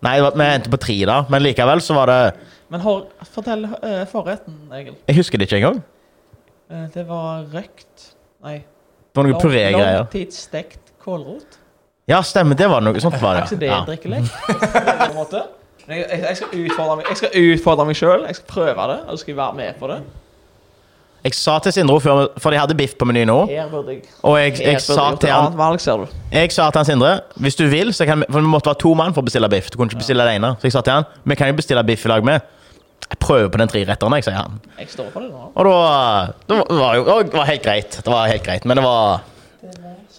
[SPEAKER 2] Nei, det var, vi endte på tre, da. Men likevel så var det
[SPEAKER 1] Men har, fortell eh, forretten, Egil.
[SPEAKER 2] Jeg husker det ikke engang.
[SPEAKER 1] Eh, det var røkt Nei.
[SPEAKER 2] Det var noe purégreier.
[SPEAKER 1] Langtidsstekt kålrot.
[SPEAKER 2] Ja, stemmer. Det var noe sånt, var
[SPEAKER 1] Er ikke
[SPEAKER 2] det.
[SPEAKER 1] det
[SPEAKER 2] Ah, Ja.
[SPEAKER 1] drikkelek? På en måte. Men Jeg, jeg, jeg skal utfordre meg Jeg skal utfordre meg sjøl. Jeg skal prøve det, og så skal jeg være med på det.
[SPEAKER 2] Jeg sa til Sindre før, for de hadde biff på menyen nå,
[SPEAKER 1] Her burde jeg
[SPEAKER 2] og jeg, jeg
[SPEAKER 1] her burde
[SPEAKER 2] sa
[SPEAKER 1] gjort
[SPEAKER 2] til
[SPEAKER 1] et
[SPEAKER 2] han
[SPEAKER 1] annet valg, ser du.
[SPEAKER 2] Jeg sa til han Sindre Hvis du vil, så kan vi For vi måtte være to mann for å bestille biff. Du kunne ikke bestille alene. Så jeg sa til han Vi kan jo bestille biff i lag med. Jeg prøver på den treretteren, jeg, sier han.
[SPEAKER 1] Jeg står for det nå.
[SPEAKER 2] Og da Det var jo det var helt greit. Det var helt greit. Men det var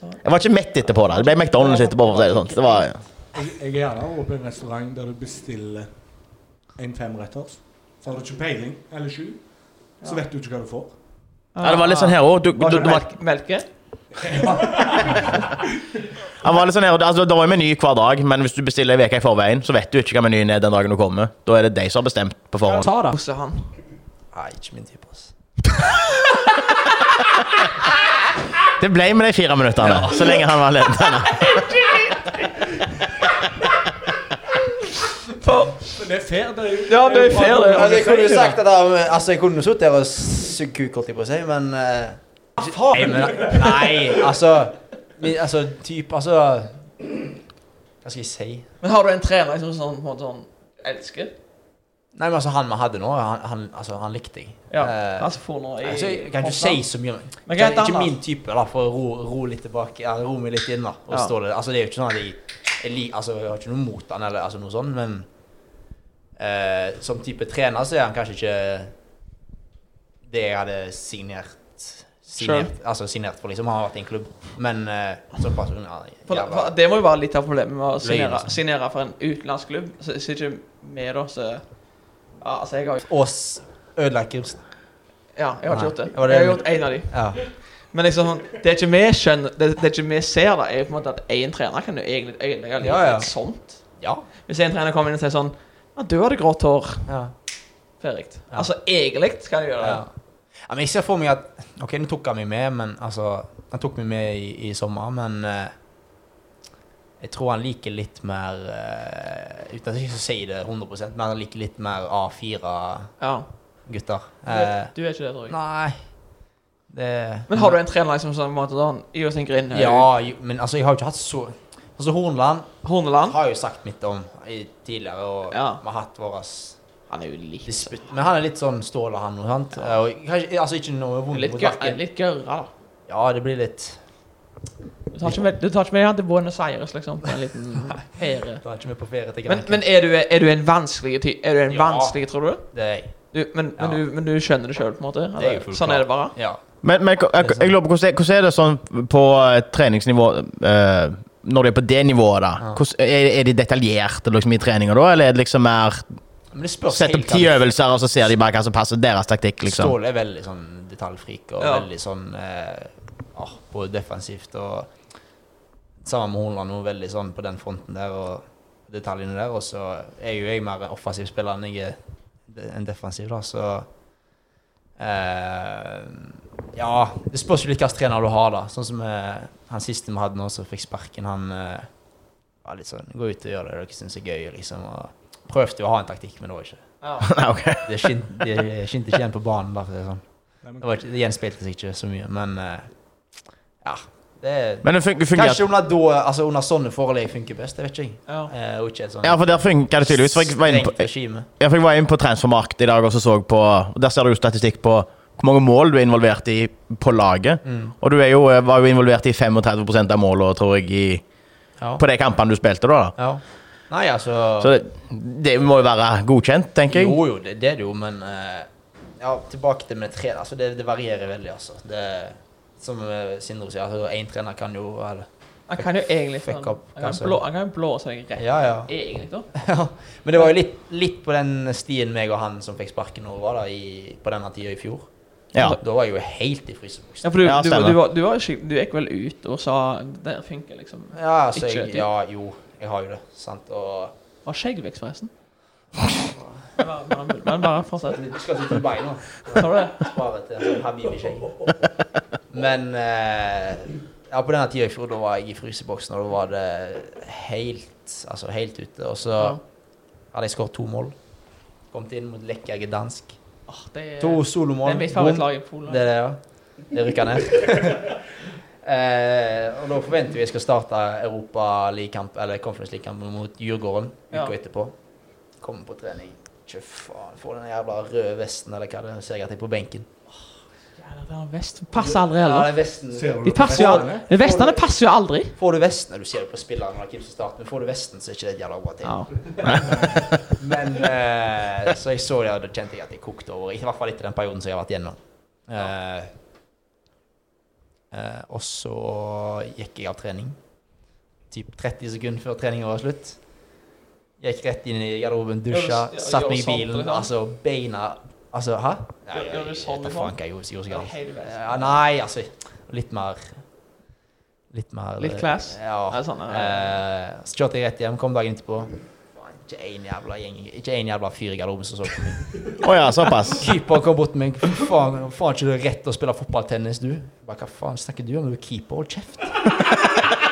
[SPEAKER 2] Jeg var ikke mett etterpå. da Det ble McDonald's etterpå. For å si det sånt. Det var
[SPEAKER 4] Jeg, jeg er gjerne over på en restaurant der du bestiller en femretters. Så har du ikke peiling, eller sju. Så vet du ikke hva du får.
[SPEAKER 2] ja, Det var litt sånn her òg. Du, du, du, var-
[SPEAKER 1] Melk, melke?
[SPEAKER 2] han var litt sånn her og det- altså, Det var jo meny hver dag, men hvis du bestiller en uke i forveien, så vet du ikke hva menyen er den dagen du kommer. Da er det de som har bestemt på forhånd.
[SPEAKER 3] Ta det.
[SPEAKER 1] Koser han.
[SPEAKER 5] Nei, ikke min type, ass.
[SPEAKER 2] Det ble med de fire minuttene, så lenge han var ledende.
[SPEAKER 4] Men det er fair, det er jo
[SPEAKER 1] Ja, det er fair, det.
[SPEAKER 5] Altså, jeg kunne jo sagt det der med- Altså, jeg kunne jo sittet der og sugd kuk, holdt jeg på å si, men eh, faen! Nei, men, nei altså min, Altså, type Altså Hva skal jeg si?
[SPEAKER 1] Men har du en trener som sånn, på en måte sånn elsker?
[SPEAKER 5] Nei, men altså, han vi hadde nå, han, han, altså, han likte jeg.
[SPEAKER 1] Ja.
[SPEAKER 5] Eh,
[SPEAKER 1] altså, for nå i
[SPEAKER 5] altså, jeg kan ikke si så mye.
[SPEAKER 1] Men
[SPEAKER 5] Det er
[SPEAKER 1] greit,
[SPEAKER 5] ikke
[SPEAKER 1] Anna.
[SPEAKER 5] min type, da, for å ro, ro litt tilbake, eller ro meg litt inn, da. Og
[SPEAKER 1] Ja.
[SPEAKER 5] stå der. Altså, det er jo ikke sånn at jeg, jeg lik- Altså, jeg har ikke noe mot han, eller altså, noe sånt, men eh, som type trener så er han kanskje ikke det jeg hadde signert Signert, altså signert for liksom, han har vært i en klubb, men eh, såpass ja,
[SPEAKER 1] For,
[SPEAKER 5] jævla-
[SPEAKER 1] for, det må jo være litt av problemet med å
[SPEAKER 5] Løgn,
[SPEAKER 1] signere,
[SPEAKER 5] altså.
[SPEAKER 1] signere for en utenlandsk klubb. Så så ikke med da, så ja, Altså, jeg har jo
[SPEAKER 5] Og s- ødelagt Grimstad.
[SPEAKER 1] Ja, jeg har ikke
[SPEAKER 5] Nei.
[SPEAKER 1] gjort det.
[SPEAKER 5] Var det-
[SPEAKER 1] Jeg har gjort én av de.
[SPEAKER 5] Ja.
[SPEAKER 1] Men liksom, sånn, det er ikke vi skjønner Det, det er ikke vi ser, da, er jo på en måte at én trener kan jo egentlig ødelegge litt
[SPEAKER 5] Ja, ja.
[SPEAKER 1] sånt.
[SPEAKER 5] ja.
[SPEAKER 1] Hvis en trener kommer inn og sier sånn Ja, du hadde grått hår.
[SPEAKER 5] ja.
[SPEAKER 1] Ferdig.
[SPEAKER 5] Ja.
[SPEAKER 1] Altså, egentlig kan jeg gjøre det.
[SPEAKER 5] Ja. Ja, men jeg ser for meg at Ok, nå tok han meg med, men altså Han tok meg med i, i sommer, men eh, Jeg tror han liker litt mer eh, Uten at jeg skal si det 100 men han liker litt mer A4-gutter.
[SPEAKER 1] Ja.
[SPEAKER 5] Eh,
[SPEAKER 1] Du, du er ikke det, tror jeg.
[SPEAKER 5] nei det,
[SPEAKER 1] Men har du en trener liksom som på en måte sånn Jostein Grind?
[SPEAKER 5] Ja, jo, men altså, jeg har jo ikke hatt så Altså, Hornland
[SPEAKER 1] Horneland?
[SPEAKER 5] har jo sagt mitt om i, tidligere, og
[SPEAKER 1] Ja.
[SPEAKER 5] vi har hatt vår
[SPEAKER 1] Han er jo litt
[SPEAKER 5] disputt. Men han er litt sånn stål og han, og sant? Eh, Og kanskje, altså, ikke noe vondt
[SPEAKER 1] Litt,
[SPEAKER 5] mot
[SPEAKER 1] gørr-
[SPEAKER 5] hverken-
[SPEAKER 1] litt gørra, da.
[SPEAKER 5] Ja, det blir litt
[SPEAKER 1] Du tar ikke med, du tar ikke med han til Buenos Aires, liksom, på en liten ferie.
[SPEAKER 5] Da er ikke vi på ferie til
[SPEAKER 1] Men,
[SPEAKER 5] Grekland.
[SPEAKER 1] men er, du, er du en vanskelig ty... Er du en
[SPEAKER 5] Ja.
[SPEAKER 1] vanskelig, tror du?
[SPEAKER 5] det er jeg.
[SPEAKER 1] du men, men,
[SPEAKER 5] Ja.
[SPEAKER 1] du, men du skjønner det sjøl, på en måte?
[SPEAKER 5] Det er
[SPEAKER 1] Eller?
[SPEAKER 5] jo fullt
[SPEAKER 1] sånn er det bare?
[SPEAKER 5] Ja.
[SPEAKER 2] Men, men jeg, jeg, jeg lurer på, hvordan, er- hvordan er det sånn på eh, treningsnivå eh, Når de er på det nivået, da?
[SPEAKER 5] Ja.
[SPEAKER 2] Hvordan, er, er de detaljerte liksom, i treninga da, eller er det liksom mer
[SPEAKER 5] Men det spørs
[SPEAKER 2] Sett opp
[SPEAKER 5] helt
[SPEAKER 2] ti
[SPEAKER 5] hva-
[SPEAKER 2] øvelser, og så ser de bare hva som passer deres taktikk, liksom?
[SPEAKER 5] Ståle er veldig sånn detaljfrik og
[SPEAKER 1] Ja.
[SPEAKER 5] veldig sånn eh, ah, Både defensivt og Sammen med Hornland nå, veldig sånn på den fronten der og detaljene der. Og så er jo jeg mer offensiv spiller enn jeg er de- en defensiv, da, så eh, Ja, det spørs jo litt hvilken trener du har, da. Sånn som eh, han siste vi hadde nå, som fikk sparken, han eh, var litt sånn Gå ut og gjør det dere syns er gøy, liksom. Og prøvde jo å ha en taktikk, men det var ikke
[SPEAKER 1] Ja.
[SPEAKER 2] Nei, ok.
[SPEAKER 5] det skinte, det skinte ikke igjen på banen, bare for å si det sånn. Det, var ikke, det gjenspeilte seg ikke så mye, men eh, ja. Det
[SPEAKER 2] Men det fun fungerer
[SPEAKER 5] Kanskje under, da, altså under sånne forhold jeg funker best, det vet ikke jeg.
[SPEAKER 1] Ja.
[SPEAKER 5] Eh, og ikke et sånt
[SPEAKER 2] Ja, for der funker det tydeligvis. For jeg var inne på,
[SPEAKER 5] strengt regime.
[SPEAKER 2] ja, for jeg var inne på transfermarkt i dag og så så på og Der ser du jo statistikk på hvor mange mål du er involvert i på laget.
[SPEAKER 5] Mm.
[SPEAKER 2] Og du er jo, eh, var jo involvert i 35 av målene, tror jeg, i,
[SPEAKER 5] Ja.
[SPEAKER 2] på de kampene du spilte da. da.
[SPEAKER 5] ja. Nei, altså
[SPEAKER 2] Så det, det må jo være godkjent, tenker jeg.
[SPEAKER 5] Jo, jo, det, det er det jo, men eh, Ja, tilbake til med tre. Altså, det, det varierer veldig, altså. Det, som eh, Sindre sier, altså, én trener kan jo eller,
[SPEAKER 1] Han kan jo egentlig
[SPEAKER 5] Fuck
[SPEAKER 1] han,
[SPEAKER 5] up,
[SPEAKER 1] han,
[SPEAKER 5] kanskje.
[SPEAKER 1] kan blå, han kan jo blåse deg rett.
[SPEAKER 5] Ja, ja.
[SPEAKER 1] Egentlig, da.
[SPEAKER 5] Ja, men det var jo litt, litt på den stien meg og han som fikk sparken over, var da, i, på denne tida i fjor.
[SPEAKER 2] Ja.
[SPEAKER 5] Da var jeg jo helt i fryseboksen.
[SPEAKER 1] Ja, for du,
[SPEAKER 2] Ja,
[SPEAKER 1] du,
[SPEAKER 2] stemmer.
[SPEAKER 1] du, var, du, var skik- du gikk vel ut og sa Det der funker, liksom.
[SPEAKER 5] Ja, så
[SPEAKER 1] Ikke
[SPEAKER 5] jeg,
[SPEAKER 1] typ.
[SPEAKER 5] ja, jo, jeg har jo det. Sant? Og
[SPEAKER 1] Var skjeggvekst, forresten? Det var- det var mulig, Men bare fortsett.
[SPEAKER 5] Du skal sitte på beina.
[SPEAKER 1] Sa du det?
[SPEAKER 5] Spare til en sånn Habibi-skjegg. Men eh, ja, på denne tida i fjor, da var jeg i fryseboksen, og da var det helt altså helt ute. Og så
[SPEAKER 1] Ja.
[SPEAKER 5] hadde jeg skåret to mål. Kommet inn mot Lekker Gdansk.
[SPEAKER 1] Åh, det er,
[SPEAKER 5] To
[SPEAKER 1] det
[SPEAKER 5] solomål.
[SPEAKER 1] er mitt
[SPEAKER 5] Bom.
[SPEAKER 1] favorittlag i Polen.
[SPEAKER 5] Det er det, ja. Det rykker ned. eh, og da forventer vi at jeg skal starte Europa League-kamp, eller Conference League-kamp mot Djurgården uka
[SPEAKER 1] Ja.
[SPEAKER 5] etterpå. Kommer på trening. Tjø, faen, får den jævla røde vesten, eller hva det er, ser jeg at jeg er på benken.
[SPEAKER 1] Ja, det er en vest. Passer aldri
[SPEAKER 5] Ja,
[SPEAKER 1] heller.
[SPEAKER 5] den vesten.
[SPEAKER 4] Ser
[SPEAKER 1] De
[SPEAKER 4] du på
[SPEAKER 1] passer jo aldri.
[SPEAKER 4] vestene?
[SPEAKER 1] Men Vestene passer jo aldri.
[SPEAKER 5] Får du vesten, og du ser det på spilleren eller hvem som starter, men får du vesten, så er ikke det et jævla bra tegn.
[SPEAKER 1] Ja.
[SPEAKER 5] Men eh, Så jeg så det, og da kjente jeg at jeg kokte over. I hvert fall etter den perioden som jeg har vært gjennom. Eh, eh, og så gikk jeg av trening. Typ 30 sekunder før treninga var slutt. Gikk rett inn i garderoben, dusja,
[SPEAKER 1] Gjør du-
[SPEAKER 5] satt meg i
[SPEAKER 1] gjør du sånn,
[SPEAKER 5] bilen.
[SPEAKER 1] liksom?
[SPEAKER 5] Altså, beina Altså, hæ? Nei,
[SPEAKER 1] Gjør-
[SPEAKER 5] jeg,
[SPEAKER 1] gjør du
[SPEAKER 5] jeg,
[SPEAKER 1] sånn,
[SPEAKER 5] vet da
[SPEAKER 1] liksom?
[SPEAKER 5] faen hva jeg gjorde. så gjorde jeg ikke det.
[SPEAKER 1] Hele vest.
[SPEAKER 5] Ja, nei, altså Litt mer Litt mer
[SPEAKER 1] Litt class?
[SPEAKER 5] Ja.
[SPEAKER 1] Ja, sånn,
[SPEAKER 5] Eh, så kjørte jeg rett hjem, kom dagen etterpå. Faen, Ikke en jævla gjeng Ikke en jævla fyr i garderoben som så på meg.
[SPEAKER 2] Å ja, såpass.
[SPEAKER 5] Keeperen kom bort til meg. «Fy Faen, faen ikke du er rett til å spille fotballtennis, du? Jeg Bare, Hva faen snakker du om? Du er keeper. Hold kjeft.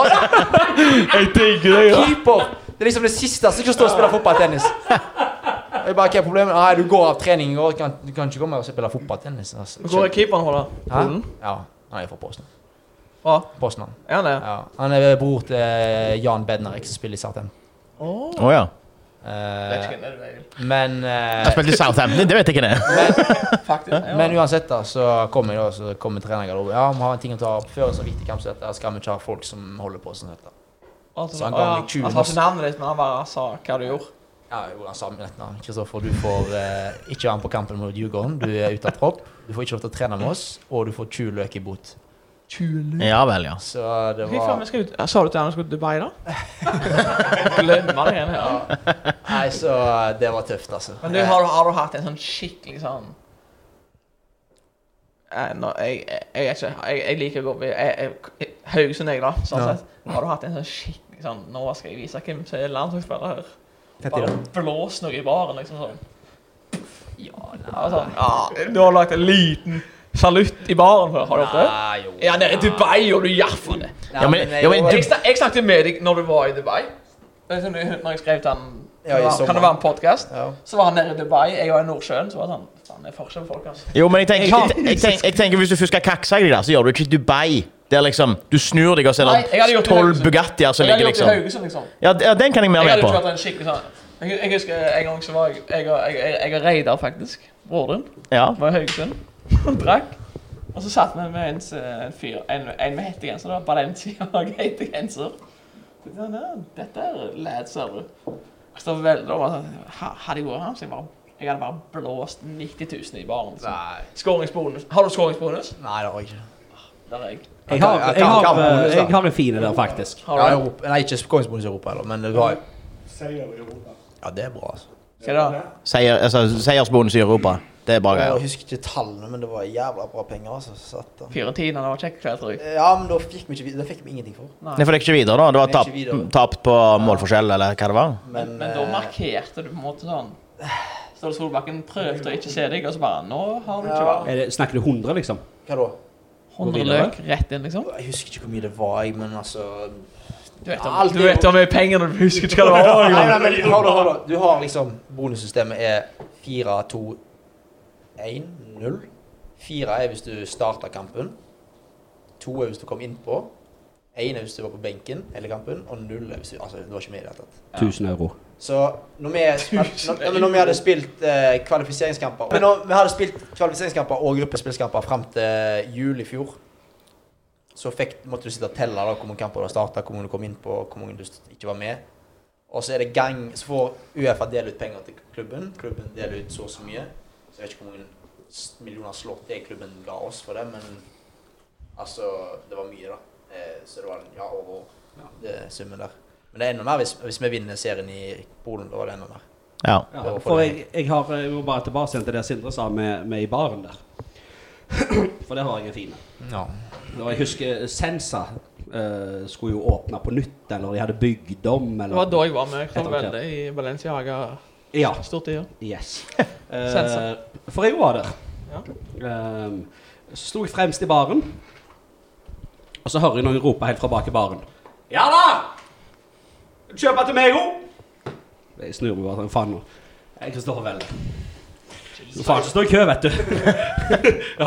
[SPEAKER 2] Jeg digger deg,
[SPEAKER 5] Keeper! Det er liksom det siste som ikke står og spiller fotballtennis. Og Jeg bare, hva er problemet? Nei, du går av trening i går. Kan, du kan ikke komme her og spille fotballtennis. Altså.
[SPEAKER 1] Hvor er keeperen vår, da?
[SPEAKER 5] Hæ?
[SPEAKER 1] Polen?
[SPEAKER 5] Ja, han er fra Poznan.
[SPEAKER 1] Bra.
[SPEAKER 5] Poznan.
[SPEAKER 1] Er han det?
[SPEAKER 5] Ja. Han er bror til eh, Jan Bednarik, som spiller i Sartem. Eh,
[SPEAKER 2] Å ja.
[SPEAKER 5] men, eh,
[SPEAKER 2] Jeg spilte i Southampton, det vet jeg ikke det.
[SPEAKER 5] men uansett, da, så kommer jeg da, så kommer treneren i garderoben. Ja, vi har en ting å ta opp før en så viktig kamp som dette. Skal vi ikke ha folk som holder på sånn dette?
[SPEAKER 1] Altså,
[SPEAKER 5] Så han
[SPEAKER 1] å,
[SPEAKER 5] ga
[SPEAKER 1] ja.
[SPEAKER 5] meg 20
[SPEAKER 1] Han sa ikke navnet ditt, men han bare sa hva du gjorde.
[SPEAKER 5] Ja, jo, han sa med dette. Kristoffer, du får eh, ikke være med på kampen mot Djurgården. Du er ute av tropp. Du får ikke lov til å trene med oss, og du får 20 løk i bot.
[SPEAKER 2] Ja vel, ja.
[SPEAKER 5] Så det
[SPEAKER 1] Fy faen,
[SPEAKER 5] var
[SPEAKER 1] vi skal ut. Sa du til han at vi skulle til Dubai, da? Glemmer det igjen. Ja.
[SPEAKER 5] Nei, så det var tøft, altså.
[SPEAKER 1] Men du, har, har du hatt en sånn skikkelig sånn Eh, nå, jeg, jeg, jeg, vet ikke. jeg, jeg liker å gå ved jeg, jeg, Haugesund, jeg, da. Sånn
[SPEAKER 5] Ja.
[SPEAKER 1] sett. Har du hatt en sånn skikkelig sånn Nå skal jeg vise hvem som er landslagsspiller her.
[SPEAKER 5] Hva tid
[SPEAKER 1] Bare
[SPEAKER 5] da?
[SPEAKER 1] blås noe i baren, liksom sånn.
[SPEAKER 5] Ja,
[SPEAKER 1] Ja, sånn. ja, du har lagt en liten salutt i baren før. Har du gjort det?
[SPEAKER 5] Nei, jo.
[SPEAKER 1] Ja, nede i Dubai gjorde du iallfall det.
[SPEAKER 5] Nei,
[SPEAKER 2] Ja, men-
[SPEAKER 5] jeg
[SPEAKER 2] ja, men
[SPEAKER 5] var-
[SPEAKER 2] du-
[SPEAKER 1] Jeg, snak, jeg snakket med deg når du var i Dubai. Det er som du- Når jeg skrev til han
[SPEAKER 5] Ja, i sommer.
[SPEAKER 1] Kan det være en podkast?
[SPEAKER 5] Ja.
[SPEAKER 1] Så var han nede i Dubai, jeg var i Nordsjøen. Så var det sånn Faen, det er forskjell på folk, altså.
[SPEAKER 2] Jo, men jeg tenker, jeg, tenker- jeg, tenker, jeg tenker hvis du først skal kakse deg, da, så gjør du ikke Dubai. Der liksom, Du snur deg og ser sånn
[SPEAKER 1] Nei, jeg hadde gjort det i
[SPEAKER 2] tolv
[SPEAKER 1] Haugesund.
[SPEAKER 2] Bugattier som
[SPEAKER 1] Jeg hadde
[SPEAKER 2] ligger
[SPEAKER 1] gjort det i
[SPEAKER 2] liksom
[SPEAKER 1] Haugesund, liksom.
[SPEAKER 2] ja, d- ja, den kan jeg mer
[SPEAKER 1] Jeg
[SPEAKER 2] med
[SPEAKER 1] hadde
[SPEAKER 2] på.
[SPEAKER 1] ikke vært en skikkelig sånn jeg, jeg husker en gang så var jeg Jeg og, jeg, jeg, jeg og Reidar, faktisk. Broren din.
[SPEAKER 2] Ja.
[SPEAKER 1] Var i Haugesund. Og drakk. Og så satt vi med en, s- en fyr En, en med hettegenser. Det var Balenciaga hettegenser. Så tenkte jeg, «Ja, Dette er lads, ser du. Og så vel, da var det sånn, ha- Hadde jeg vært han, så jeg bare jeg hadde bare blåst 90 000 i baren. Liksom.
[SPEAKER 5] Nei,
[SPEAKER 1] Skåringsbonus. Har du skåringsbonus?
[SPEAKER 5] nei, det har jeg ikke.
[SPEAKER 1] Der er jeg.
[SPEAKER 3] Jeg har,
[SPEAKER 5] Ja,
[SPEAKER 3] jeg har,
[SPEAKER 5] kan- sånn. kan
[SPEAKER 3] eh,
[SPEAKER 5] bonus, da.
[SPEAKER 3] jeg har en fin en der, faktisk.
[SPEAKER 1] Har du
[SPEAKER 5] Ja,
[SPEAKER 1] det?
[SPEAKER 5] Europa, nei, ikke skåringsbonus i Europa heller, men det var
[SPEAKER 3] Mm.
[SPEAKER 4] Seier i Europa.
[SPEAKER 5] Ja, det er bra, altså.
[SPEAKER 1] Hva da?
[SPEAKER 2] Seier, altså, seiersbonus i Europa. Det er bra
[SPEAKER 5] Jeg
[SPEAKER 2] greier.
[SPEAKER 5] husker ikke tallene, men det var jævla bra penger, altså. Satt, da.
[SPEAKER 1] Fiorentina, det var kjekk kveld, tror jeg.
[SPEAKER 5] ja, men da fikk vi ikke vid- Det fikk vi ingenting for.
[SPEAKER 2] Nei, for det er ikke videre, da. Det var
[SPEAKER 5] Det er
[SPEAKER 2] tapt
[SPEAKER 5] ikke videre.
[SPEAKER 2] tapt på målforskjell, eller hva det var.
[SPEAKER 1] Men, men da
[SPEAKER 5] eh,
[SPEAKER 1] markerte du på en måte sånn Ståle Solbakken prøvde å ikke se deg, og så bare Nå har du ikke
[SPEAKER 5] Ja.
[SPEAKER 1] valg.
[SPEAKER 3] Er det, snakker du 100, liksom?
[SPEAKER 5] Hva da?
[SPEAKER 1] 100
[SPEAKER 3] videre.
[SPEAKER 1] løk rett inn, liksom.
[SPEAKER 5] Jeg husker ikke hvor mye det var, jeg, men altså
[SPEAKER 1] Du vet om,
[SPEAKER 5] Alt
[SPEAKER 1] du
[SPEAKER 5] er
[SPEAKER 1] vet
[SPEAKER 5] jo-
[SPEAKER 1] om mye penger når du husker ikke hva det var.
[SPEAKER 5] Nei, nei, men hold da, hold da. Du har liksom Bonussystemet er 4, 2, 1, 0. 4 er hvis du starter kampen. 2 er hvis du kom innpå. 1 er hvis du var på benken hele kampen. Og 0 er hvis du Altså, du var ikke med i det hele tatt.
[SPEAKER 3] 1000 euro.
[SPEAKER 5] Så når vi, når, ja, men når vi hadde spilt eh, kvalifiseringskamper Men når vi hadde spilt kvalifiseringskamper og gruppespillskamper fram til jul i fjor, så fikk, måtte du sitte og telle da, hvor mange kamper du har starta, hvor mange du kom inn på, hvor mange du st- ikke var med. Og så er det gang, så får Uefa dele ut penger til klubben. Klubben deler ut så og så mye. Så jeg vet ikke hvor mange s- millioner slått det klubben ga oss for det, men altså Det var mye, da. Eh, så det var ja, over ja, det er summen der. Men det er enda mer hvis, hvis vi vinner serien i Polen. Da var det enda mer.
[SPEAKER 2] Ja.
[SPEAKER 3] Ja, for jeg, jeg, har, jeg må bare tilbake igjen til det Sindre sa med, med i baren der. For der har jeg en fin en.
[SPEAKER 5] Ja.
[SPEAKER 3] Og Jeg husker Sensa eh, skulle jo åpne på nytt, eller de hadde bygd om,
[SPEAKER 1] Det var
[SPEAKER 3] eller
[SPEAKER 1] da jeg var med
[SPEAKER 3] Helt ok.
[SPEAKER 1] Kravelde i Balenciaga.
[SPEAKER 3] Ja.
[SPEAKER 1] Stort i år.
[SPEAKER 3] Yes.
[SPEAKER 1] Sensa.
[SPEAKER 3] Eh, for jeg var der.
[SPEAKER 1] Ja.
[SPEAKER 3] Ehm, så sto jeg fremst i baren, og så hører jeg noen rope helt fra bak i baren. Ja da! Kjøpe til meg òg! Jeg snur meg bare sånn. Faen nå. Jeg kan stå for vel. Du faen ikke stå i kø, vet du.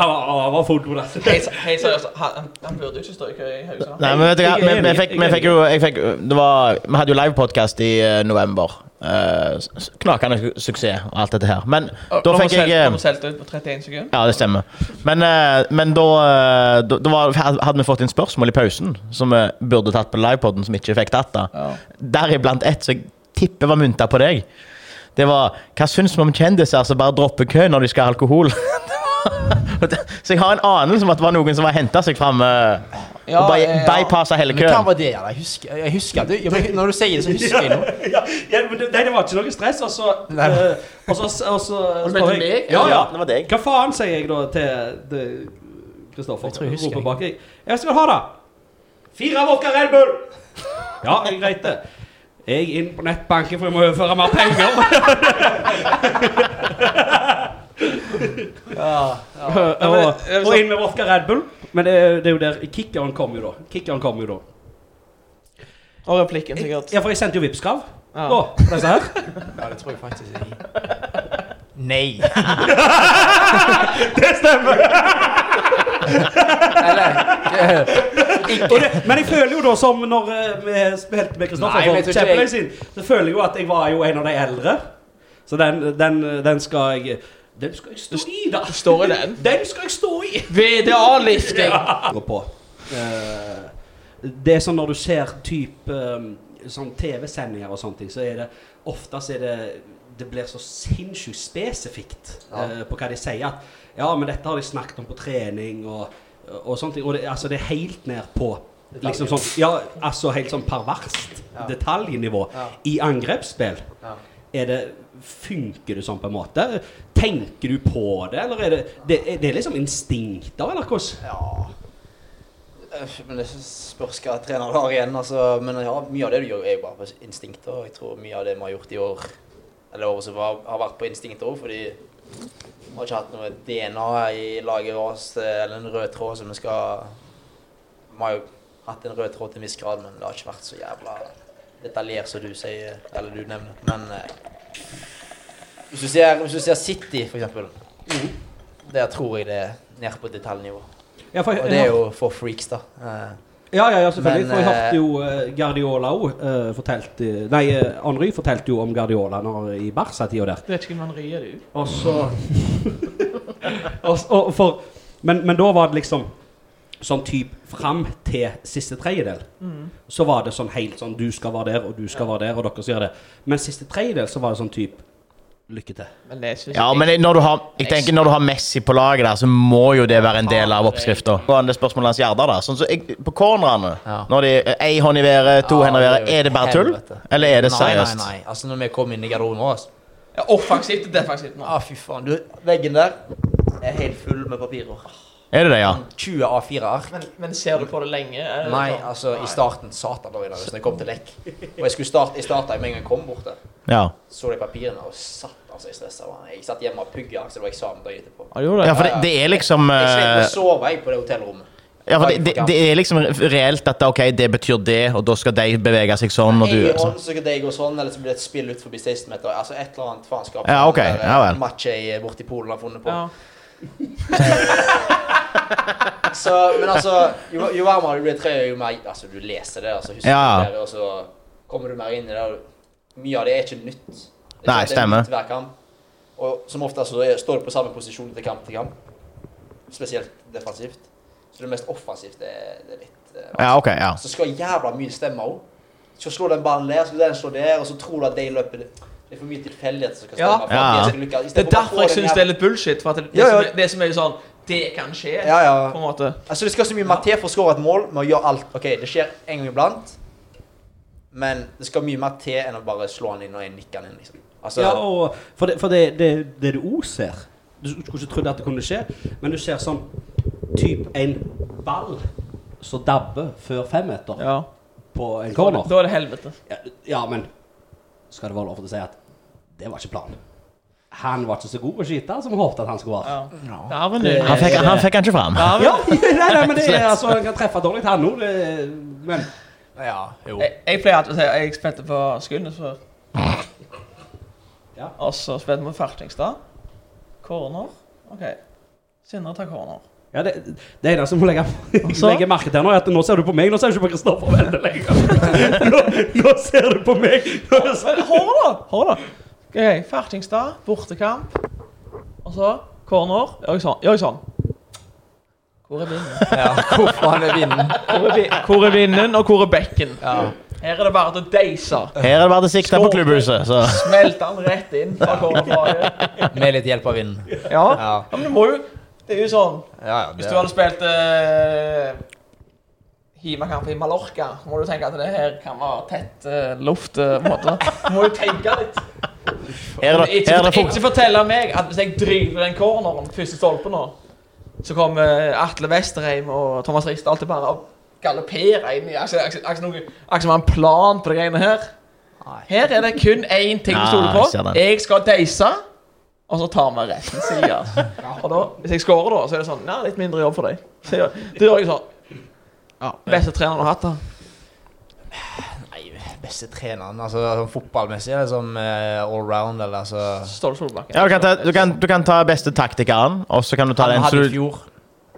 [SPEAKER 3] han var, han var full på det.
[SPEAKER 1] Helt helt seriøst, han, han burde jo ikke stå i kø i Haugesund.
[SPEAKER 2] Nei, men vet du hva, vi,
[SPEAKER 3] Jeg er
[SPEAKER 2] vi,
[SPEAKER 3] enig,
[SPEAKER 2] fikk,
[SPEAKER 3] jeg
[SPEAKER 2] vi
[SPEAKER 3] er
[SPEAKER 2] fikk jo jeg fikk, det var, Vi hadde jo livepodkast i eh, november. Eh, s- s- knakende su- suksess og alt dette her. Men da fikk jeg eh,
[SPEAKER 1] Kom og solgte ut på 31 sekunder.
[SPEAKER 2] Ja, det stemmer. Men, eh, men da, eh, da, da var, hadde vi fått inn spørsmål i pausen som vi burde tatt på livepoden, som vi ikke fikk tatt. da.
[SPEAKER 1] Ja.
[SPEAKER 2] Deriblant ett som jeg tipper var mynta på deg. Det var Hva syns vi om kjendiser som bare dropper kø når de skal ha alkohol? Så jeg har en anelse om at det var noen som har henta seg fram eh, og bare bypassa hele
[SPEAKER 5] Men hva
[SPEAKER 2] køen.
[SPEAKER 5] var det? da? Jeg husker, jeg husker at du, ja, men Når du sier det, så husker jeg noe.
[SPEAKER 3] ja, ja, men det, nei, det var ikke noe stress. Og så
[SPEAKER 5] Nei.
[SPEAKER 3] eh, Og så, og så
[SPEAKER 2] Og du mente
[SPEAKER 3] spør jeg-
[SPEAKER 2] meg?
[SPEAKER 3] Ja, ja.
[SPEAKER 2] Ja, det var deg.
[SPEAKER 3] Hva faen sier jeg da til til Kristoffer?
[SPEAKER 5] Jeg tror jeg husker
[SPEAKER 3] Roper
[SPEAKER 5] jeg.
[SPEAKER 3] bak jeg. Jeg skal ha det. Fire vodka Red Bull! Ja, jeg greit det. Jeg inn på nettbanken, for jeg må overføre mer penger.
[SPEAKER 1] Ja, men
[SPEAKER 3] og,
[SPEAKER 1] det- det er jo
[SPEAKER 3] og
[SPEAKER 1] sånn-
[SPEAKER 3] inn med vodka Red Bull. Men det, er- det er jo der kickeren kom jo, da. Kickeren kom jo da.
[SPEAKER 1] Og replikken, sikkert.
[SPEAKER 3] Ja, for jeg sendte jo Vipps-krav
[SPEAKER 1] Ja.
[SPEAKER 3] da. på disse her.
[SPEAKER 5] Ja, det tror jeg faktisk jeg Nei.
[SPEAKER 3] Det stemmer!
[SPEAKER 5] Eller eh,
[SPEAKER 3] Og det, men jeg føler jo da som når eh, vi spilte med Kristoffer
[SPEAKER 5] Nei, men jeg
[SPEAKER 3] for
[SPEAKER 5] tror ikke
[SPEAKER 3] Champions League sin, så føler jeg jo at jeg var jo en av de eldre. Så den, den, den skal jeg Den skal jeg stå i, da!
[SPEAKER 1] står i den.
[SPEAKER 3] Den skal jeg stå i!
[SPEAKER 1] VDA-lifting!
[SPEAKER 3] Gå på. Eh, det er sånn når du ser type eh, sånn TV-sendinger og sånne ting, så er det oftest er det det blir så sinnssykt spesifikt eh, på hva de sier. At ja, men dette har de snakket om på trening og, og sånne ting. Og det, altså, det er helt ned på liksom sånn, ja, altså helt sånn perverst
[SPEAKER 5] Ja.
[SPEAKER 3] detaljnivå.
[SPEAKER 5] Ja.
[SPEAKER 3] I angrepsspill
[SPEAKER 5] Ja.
[SPEAKER 3] er det Funker du sånn på en måte? Tenker du på det, eller er det Det, er det liksom instinkter, eller hvordan?
[SPEAKER 5] Ja Eh, Men det spørs hva trener du har igjen. Altså. Men ja, mye av det du gjør, er jo bare på instinkter. Og jeg tror mye av det vi har gjort i år, eller året som var, har vært på instinkter òg, fordi vi har ikke hatt noe DNA i laget vårt eh, eller en rød tråd som vi skal Vi har jo hatt en rød tråd til en viss grad, men det har ikke vært så jævla detaljert som du sier, eller du nevner. Men eh, hvis, du ser, hvis du ser City, for eksempel,
[SPEAKER 3] Mm.
[SPEAKER 5] der tror jeg det er ned på detaljnivå.
[SPEAKER 3] Ja, for jeg,
[SPEAKER 5] Og det er jo for freaks, da. Eh,
[SPEAKER 3] ja, ja, ja, selvfølgelig.
[SPEAKER 5] Men,
[SPEAKER 3] for jeg hørte
[SPEAKER 5] eh,
[SPEAKER 3] jo eh, Guardiola òg fortalte Nei, eh, Henry fortalte jo om Guardiola når, i Barca-tida der.
[SPEAKER 1] Du vet ikke hvem han rier, du.
[SPEAKER 3] Og så og, s- og for, men, men da var det liksom sånn type fram til siste tredjedel. Så var det sånn helt sånn Du skal være der, og du skal være der, og dere skal gjøre det. Men siste tredjedel så var det sånn type Lykke til.
[SPEAKER 1] Men det synes
[SPEAKER 2] Ja,
[SPEAKER 1] jeg-
[SPEAKER 2] men når du har, jeg tenker når du har Messi på laget der, så må jo det være en del av oppskrifta. Det spørsmålet hans Gjerdar, da. Sånn som jeg, på cornerne,
[SPEAKER 5] Ja.
[SPEAKER 2] når de ei hånd i været, to
[SPEAKER 5] Ja,
[SPEAKER 2] hender i været,
[SPEAKER 5] det er jo
[SPEAKER 2] er det bare tull?
[SPEAKER 5] helvete.
[SPEAKER 2] Eller er det
[SPEAKER 5] nei, nei,
[SPEAKER 2] seriøst?
[SPEAKER 5] nei. Altså, når vi kom inn i garderoben vår altså.
[SPEAKER 1] Ja, Offensivt og defensivt nå.
[SPEAKER 5] ah, Fy faen, du. Veggen der er helt full med papirer.
[SPEAKER 2] Er det det, ja?
[SPEAKER 5] 20 A4-ark.
[SPEAKER 1] Men, men ser du på det lenge? Er det
[SPEAKER 5] Nei,
[SPEAKER 1] sånn?
[SPEAKER 5] altså,
[SPEAKER 1] Nei.
[SPEAKER 5] i starten Satan, da, Vidar, hvis jeg kom til lekk. Og jeg skulle starte, jeg starta med en gang jeg kom bort der.
[SPEAKER 2] Ja,
[SPEAKER 5] Så de papirene og satt altså, jeg stressa. man. Jeg satt hjemme og pugga, så det var eksamen dagen etterpå.
[SPEAKER 1] Ja, du gjorde det.
[SPEAKER 2] ja for det, det er liksom
[SPEAKER 5] Jeg slet med
[SPEAKER 2] eh,
[SPEAKER 5] å sove jeg, på det hotellrommet.
[SPEAKER 2] Ja, for det, det, det er liksom reelt at OK, det betyr det, og da skal de bevege seg sånn, og
[SPEAKER 5] En
[SPEAKER 2] du
[SPEAKER 5] i hånd, så kan det gå sånn, eller så blir det et spill ut forbi 16 meter. Altså et eller annet faenskap.
[SPEAKER 2] Ja, ok.
[SPEAKER 5] Eller, eh,
[SPEAKER 2] Ja vel.
[SPEAKER 5] Match jeg borte i Polen har funnet på.
[SPEAKER 1] Ja.
[SPEAKER 5] Så, men altså, jo, jo varmere du blir i treet, jo mer Altså, du leser det, altså, husker
[SPEAKER 2] Ja.
[SPEAKER 5] du det, og så kommer du mer inn i det. og Mye av det er ikke nytt. Det er ikke
[SPEAKER 2] Nei,
[SPEAKER 5] at det er
[SPEAKER 2] stemmer.
[SPEAKER 5] nytt Hver kamp. Og som ofte så er, står du på samme posisjon til kamp til kamp. Spesielt defensivt. Så det mest offensivt det er, det er litt eh, vanskelig.
[SPEAKER 2] Ja, OK, ja.
[SPEAKER 5] Så skal jævla mye stemme òg. Skal slå den ballen der, skal den slå der, og så tror du at de løper Det er for mye tilfeldigheter som skal
[SPEAKER 1] Ja.
[SPEAKER 5] stemme. for at
[SPEAKER 2] Ja.
[SPEAKER 5] de skal lykkes. I
[SPEAKER 1] Det
[SPEAKER 5] stedet
[SPEAKER 1] er
[SPEAKER 5] for å
[SPEAKER 1] derfor
[SPEAKER 5] få
[SPEAKER 1] jeg
[SPEAKER 5] den
[SPEAKER 1] syns det er litt bullshit. For at det, det,
[SPEAKER 5] Ja, ja.
[SPEAKER 1] Som er, det som er jo sånn Det kan skje,
[SPEAKER 5] jævla- Ja, ja.
[SPEAKER 1] på en måte.
[SPEAKER 5] Altså Det skal så mye mer til for å skåre et mål med å gjøre alt. Ok, Det skjer en gang iblant, Men det skal mye mer til enn å bare slå han inn og en nikke han inn, liksom. Altså,
[SPEAKER 3] Ja, og for det, for det, det, det du òg ser Du skulle ikke trodd at det kunne skje, men du ser sånn typ en ball som dabber før femmeter
[SPEAKER 1] Ja.
[SPEAKER 3] på en corner.
[SPEAKER 1] Da er det helvete.
[SPEAKER 3] Ja, ja, men skal det være lov til å si at det var ikke planen? Han var ikke så god å skyte som vi håpet at han skulle være.
[SPEAKER 1] Ja. Det er vel
[SPEAKER 2] Han fikk han fikk han ikke fram.
[SPEAKER 1] Ja,
[SPEAKER 3] Ja,
[SPEAKER 1] vel.
[SPEAKER 3] nei, nei, men det er altså Han kan treffe dårlig, han òg, men
[SPEAKER 5] ja, jo.
[SPEAKER 1] Jeg, jeg pleier alltid å si at jeg spilte på Skudenes før.
[SPEAKER 3] Ja.
[SPEAKER 1] Og så spilte vi Fertingstad. Corner. OK. Sindre tar corner.
[SPEAKER 3] ja, det, det eneste som må legge, legge merke til nå, er at nå ser du på meg, nå ser du ikke på Kristoffer Welde lenger. Nå, nå ser du på meg! Nå er det sånn.
[SPEAKER 1] Men Hør, da! Hør da. Ok, Fertingstad, bortekamp. Og så corner. Jørgson. Jørgson. Hvor er vinden?
[SPEAKER 5] Ja, hvorfor han er vinden?
[SPEAKER 1] Hvor er, vi, hvor er vinden, og hvor er bekken?
[SPEAKER 5] Ja.
[SPEAKER 1] Her er det bare til å deise.
[SPEAKER 2] Her er det bare å sikte på klubbhuset. Så.
[SPEAKER 1] Smelte han rett inn fra cornerflaket.
[SPEAKER 5] Med litt hjelp av vinden.
[SPEAKER 1] Ja. ja,
[SPEAKER 5] Ja,
[SPEAKER 1] men du må jo Det er jo sånn
[SPEAKER 5] ja. ja
[SPEAKER 1] Hvis du hadde spilt eh, Himakamp i Mallorca, så må du tenke at det her kan være tett eh, luft. eh, på en måte. Du må jo tenke litt.
[SPEAKER 2] Her er det,
[SPEAKER 1] Ikke,
[SPEAKER 2] her er det
[SPEAKER 1] ikke fortell meg at hvis jeg driter den corneren, første stolpen nå, så kommer Atle Westerheim og Thomas Rist alltid bare og galopperer inn i Akkurat som han har en plan på det greiene her. Her er det kun én ting å stole
[SPEAKER 2] Ja, jeg ser
[SPEAKER 1] på.
[SPEAKER 2] den.
[SPEAKER 1] Jeg skal deise, og så tar vi resten sida. altså. Og da, hvis jeg scorer, da, så er det sånn Nei, litt mindre jobb for deg. Så gjør, da gjør jeg sånn. Beste treneren du har hatt, da.
[SPEAKER 5] Nei, beste treneren, altså sånn fotballmessig eller som eh, allround, eller altså
[SPEAKER 1] Ståle Solbakken.
[SPEAKER 2] Ja, du, kan ta, du, kan, du kan ta beste taktikeren, og så kan du ta
[SPEAKER 5] Han
[SPEAKER 2] den
[SPEAKER 5] hadde i
[SPEAKER 2] som du
[SPEAKER 5] fjor